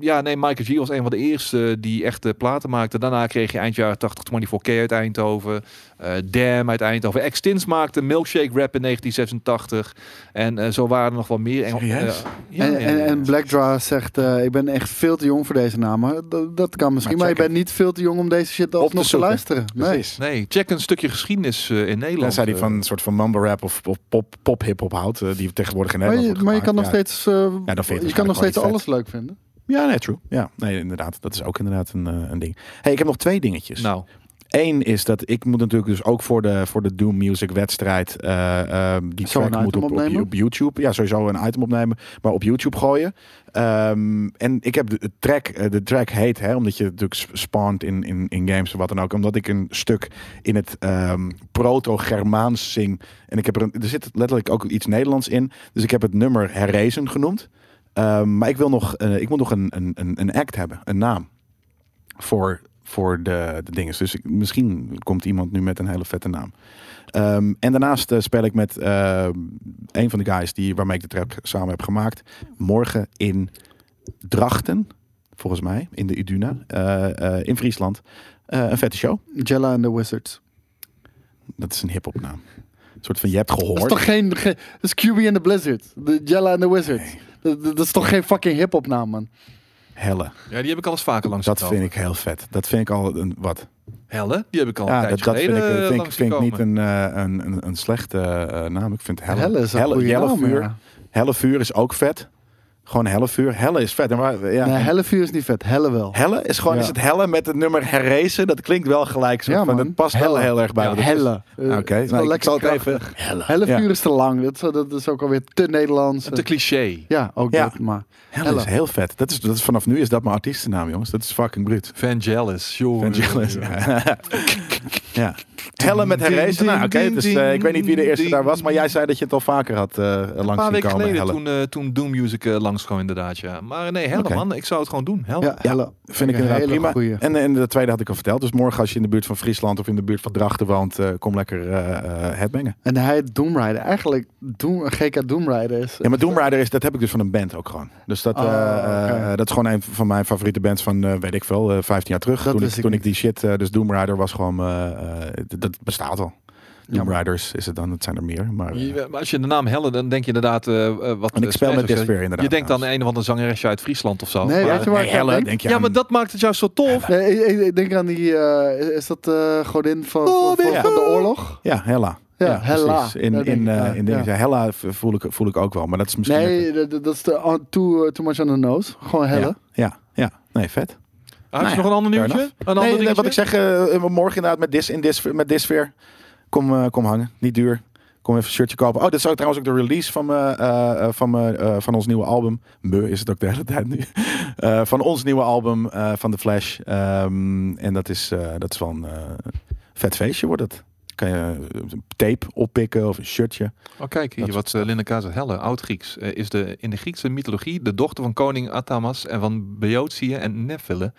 Speaker 1: ja, nee, Michael G was een van de eerste die echt eh, platen maakte. Daarna kreeg je eind jaren 80 24K uit Eindhoven, eh Damn uit Eindhoven. Extins maakte Milkshake Rap in 1986. En eh, zo waren er nog wel meer. Engel-
Speaker 3: Serieus?
Speaker 1: eh, ja,
Speaker 2: en,
Speaker 1: ja, ja,
Speaker 2: en,
Speaker 1: ja.
Speaker 2: en Black Draw zegt, eh, ik ben echt veel te jong voor deze namen. Eh, Dat, dat kan misschien, maar,
Speaker 3: Maar check
Speaker 2: je bent niet veel te jong om deze shit
Speaker 3: te
Speaker 2: alsnog te,
Speaker 3: zoeken.
Speaker 2: luisteren. Nee.
Speaker 3: Precies.
Speaker 1: Nee, check een stukje geschiedenis eh, in Nederland.
Speaker 3: Dan
Speaker 1: Eh,
Speaker 3: zei hij Dus van een soort van mumble rap of, of pop, pop hip-hop houdt, eh, die tegenwoordig in
Speaker 2: Maar
Speaker 3: Nederland
Speaker 2: je,
Speaker 3: wordt
Speaker 2: maar je
Speaker 3: gemaakt.
Speaker 2: kan nog
Speaker 3: Ja.
Speaker 2: steeds, eh,
Speaker 3: Ja, dan vind je het
Speaker 2: je kan nog
Speaker 3: waarschijnlijk
Speaker 2: steeds
Speaker 3: wel
Speaker 2: alles leuk vinden.
Speaker 3: Ja, nee, true. Ja, nee, inderdaad. Dat is ook inderdaad een, eh, een ding. Hey, ik heb nog twee dingetjes.
Speaker 1: Nou,
Speaker 3: Eén is dat ik moet natuurlijk dus ook voor de, voor de Doom Music wedstrijd eh, ehm, die
Speaker 2: Zo een
Speaker 3: track moet
Speaker 2: item
Speaker 3: op, op,
Speaker 2: opnemen?
Speaker 3: op YouTube. Ja, sowieso een item opnemen, maar op YouTube gooien. Ehm, en ik heb de, de track, eh, de track heet, hè, omdat je natuurlijk sp- spawnt in, in, in games en wat dan ook. Omdat ik een stuk in het ehm, proto-Germaans zing. En ik heb er, een, er zit letterlijk ook iets Nederlands in. Dus ik heb het nummer Herrezen genoemd. Ehm, maar ik wil nog, eh, ik moet nog een, een, een, een act hebben, een naam voor, voor de, de dingen. Dus ik- misschien komt iemand nu met een hele vette naam. Ehm, en daarnaast eh, speel ik met eh, een van de guys die, waarmee ik de track samen heb gemaakt. Morgen in Drachten, volgens mij, in de Iduna, eh, eh, in Friesland. Eh, een vette show.
Speaker 2: Jella and the Wizards.
Speaker 3: Dat is een hip-hop naam. Een soort van je hebt
Speaker 2: Dat is
Speaker 3: gehoord.
Speaker 2: toch geen, geen dat is QB and the Blizzard. De Jella and the Wizards. Dat, dat- dat is toch geen fucking hip-hop naam, man.
Speaker 3: Helle.
Speaker 1: ja, die heb ik al eens vaker langs
Speaker 3: Dat vind ik heel vet. Dat vind ik al een wat.
Speaker 1: Helle, die heb ik al een
Speaker 3: Ja, dat,
Speaker 1: tijdje
Speaker 3: dat vind ik,
Speaker 1: geleden
Speaker 3: dat
Speaker 1: eh,
Speaker 3: vind, ik-
Speaker 1: langs
Speaker 3: vind ik
Speaker 1: gekomen.
Speaker 3: niet een, eh, een, een, een slechte eh, naam. Ik vind helle,
Speaker 2: Helle is een goede
Speaker 3: Jelle
Speaker 2: naam,
Speaker 3: vuur.
Speaker 2: ja.
Speaker 3: Helle vuur is ook vet. Gewoon hellevuur. Helle is vet. En waar, ja.
Speaker 2: Nee, helle vuur is niet vet. Helle wel.
Speaker 3: Helle is gewoon,
Speaker 2: Ja.
Speaker 3: is het helle met het nummer herrezen? Dat klinkt wel gelijk zo.
Speaker 2: Ja,
Speaker 3: van,
Speaker 2: man.
Speaker 3: dat past wel
Speaker 2: Helle.
Speaker 3: heel erg bij.
Speaker 2: Ja,
Speaker 3: wat het is.
Speaker 2: helle. Eh,
Speaker 3: Oké,
Speaker 2: het is wel
Speaker 3: nou, ik
Speaker 2: lekker
Speaker 3: zal het
Speaker 2: krachtig.
Speaker 3: even... Helle.
Speaker 2: Helle
Speaker 3: Ja.
Speaker 2: vuur is te lang. Dat, is- dat is ook alweer te Nederlands.
Speaker 1: Te cliché.
Speaker 2: Ja, ook
Speaker 3: Ja.
Speaker 2: dat. Maar
Speaker 3: Helle
Speaker 2: Helle.
Speaker 3: is heel vet. Dat is, dat is, vanaf nu is dat mijn artiestennaam, jongens. Dat is fucking bruut.
Speaker 1: Vangelis. joh.
Speaker 3: Vangelis. ja. Helle met herrezen. Nou, oké. dus, eh, ik weet niet wie de eerste daar was, maar jij zei dat je het al vaker had eh
Speaker 1: Een
Speaker 3: langs
Speaker 1: paar
Speaker 3: zien
Speaker 1: weken
Speaker 3: komen.
Speaker 1: geleden
Speaker 3: Helle.
Speaker 1: toen, eh, toen Doom Music eh, langskwam inderdaad, ja. Maar nee, helemaal
Speaker 3: Oké.
Speaker 1: man. Ik zou het gewoon doen.
Speaker 3: Oh,
Speaker 1: Hel.
Speaker 2: ja, helle.
Speaker 3: Vind ik inderdaad
Speaker 2: Hele
Speaker 3: prima.
Speaker 2: goeie.
Speaker 3: En, en de tweede had ik al verteld. Dus morgen als je in de buurt van Friesland of in de buurt van Drachten woont, eh, kom lekker eh, eh, headbangen.
Speaker 2: En hij Doomrider. Eigenlijk Doom, GK Doomrider is...
Speaker 3: Ja, maar Doom Rider is, dat heb ik dus van een band ook gewoon. Dus dat, eh,
Speaker 2: Oh,
Speaker 3: eh,
Speaker 2: oké.
Speaker 3: dat is gewoon een van mijn favoriete bands van, eh, weet ik veel, eh 15 jaar terug.
Speaker 2: Dat
Speaker 3: toen ik,
Speaker 2: wist ik
Speaker 3: toen ik
Speaker 2: niet.
Speaker 3: die shit, eh, dus Doom Rider was gewoon, eh, eh, d- dat bestaat al. Doom
Speaker 2: Jammer.
Speaker 3: Riders is het dan, het zijn er meer. Maar, eh,
Speaker 1: Je- maar als je de naam Helle, dan denk je inderdaad eh, eh, wat...
Speaker 3: en ik
Speaker 1: eh,
Speaker 3: speel met
Speaker 1: Smash of zo.
Speaker 3: Despair inderdaad.
Speaker 1: Je denkt aan
Speaker 3: trouwens.
Speaker 1: een of andere zangeresje uit Friesland of zo.
Speaker 2: Nee,
Speaker 1: Maar-
Speaker 2: weet je waar
Speaker 3: Nee,
Speaker 2: ik aan
Speaker 3: Helle,
Speaker 2: denk?
Speaker 3: denk je
Speaker 1: ja,
Speaker 3: aan-
Speaker 1: maar dat maakt het juist zo tof.
Speaker 2: Nee, ik, ik- ik denk aan die... eh, is- is dat eh godin van,
Speaker 1: Oh,
Speaker 2: van, van-
Speaker 3: ja.
Speaker 2: van de oorlog?
Speaker 3: Ja, Hella.
Speaker 2: Ja, Hella.
Speaker 3: precies. In,
Speaker 2: Daar
Speaker 3: in,
Speaker 2: denk ik
Speaker 3: eh,
Speaker 2: aan,
Speaker 3: in dingen.
Speaker 2: ja.
Speaker 3: Hella v- voel ik, voel ik ook wel, maar dat is misschien...
Speaker 2: Nee, dat, dat- dat is de, on- too, eh, too much on the nose. Gewoon helle.
Speaker 3: Ja, ja, ja. Nee, vet.
Speaker 1: Ah, Heb je
Speaker 3: Nou ja,
Speaker 1: nog een ander
Speaker 3: fair
Speaker 1: nieuwtje? Een
Speaker 3: enough.
Speaker 1: ander
Speaker 3: nee,
Speaker 1: dingetje?
Speaker 3: nee, wat ik zeg, eh, morgen inderdaad met dis in dis met disfeer. Kom, eh, kom hangen, niet duur. Kom even een shirtje kopen. Oh, dat zou trouwens ook de release van, mijn, eh, eh, van, mijn, eh, van ons nieuwe album. Me is het ook de hele tijd nu. Eh, van ons nieuwe album eh, van The Flash. Ehm, en dat is, eh, dat is wel een eh, vet feestje wordt het. Kan je eh, tape oppikken of een shirtje.
Speaker 1: Oh, kijk hier,
Speaker 3: Dat-
Speaker 1: wat eh, Linda Kaas zegt. Helle, oud-Grieks, eh, is de, in de Griekse mythologie de dochter van koning Atamas en van Beotië en Nephele.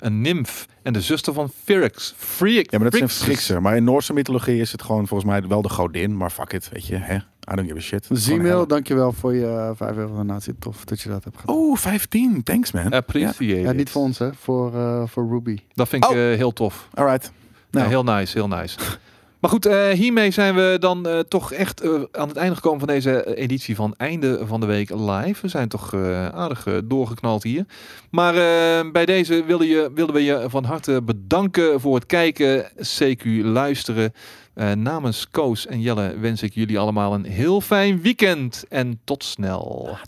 Speaker 1: Een nimf en de zuster van Phrix. Phrix.
Speaker 3: Ja, maar dat is een Griekse. Maar in Noorse mythologie is het gewoon volgens mij wel de godin. Maar fuck it, weet je. Hè? I don't give a shit.
Speaker 2: Gmail, dankjewel voor je eh, 5 euro donatie. Tof dat je dat hebt gedaan.
Speaker 3: Oh, 15. Thanks, man.
Speaker 1: Appreciate
Speaker 2: ja,
Speaker 1: it.
Speaker 2: niet voor ons, hè. Voor, eh, voor Ruby.
Speaker 1: Dat vind ik
Speaker 3: Oh.
Speaker 1: eh, heel tof.
Speaker 3: All right. Nou.
Speaker 1: Ja, heel nice, heel nice. Maar goed, eh, hiermee zijn we dan eh, toch echt eh, aan het einde gekomen van deze editie van Einde van de Week Live. We zijn toch eh, aardig eh, doorgeknald hier. Maar eh, bij deze wilden, je, wilden we je van harte bedanken voor het kijken, CQ luisteren. Eh, namens Koos en Jelle wens ik jullie allemaal een heel fijn weekend en tot snel.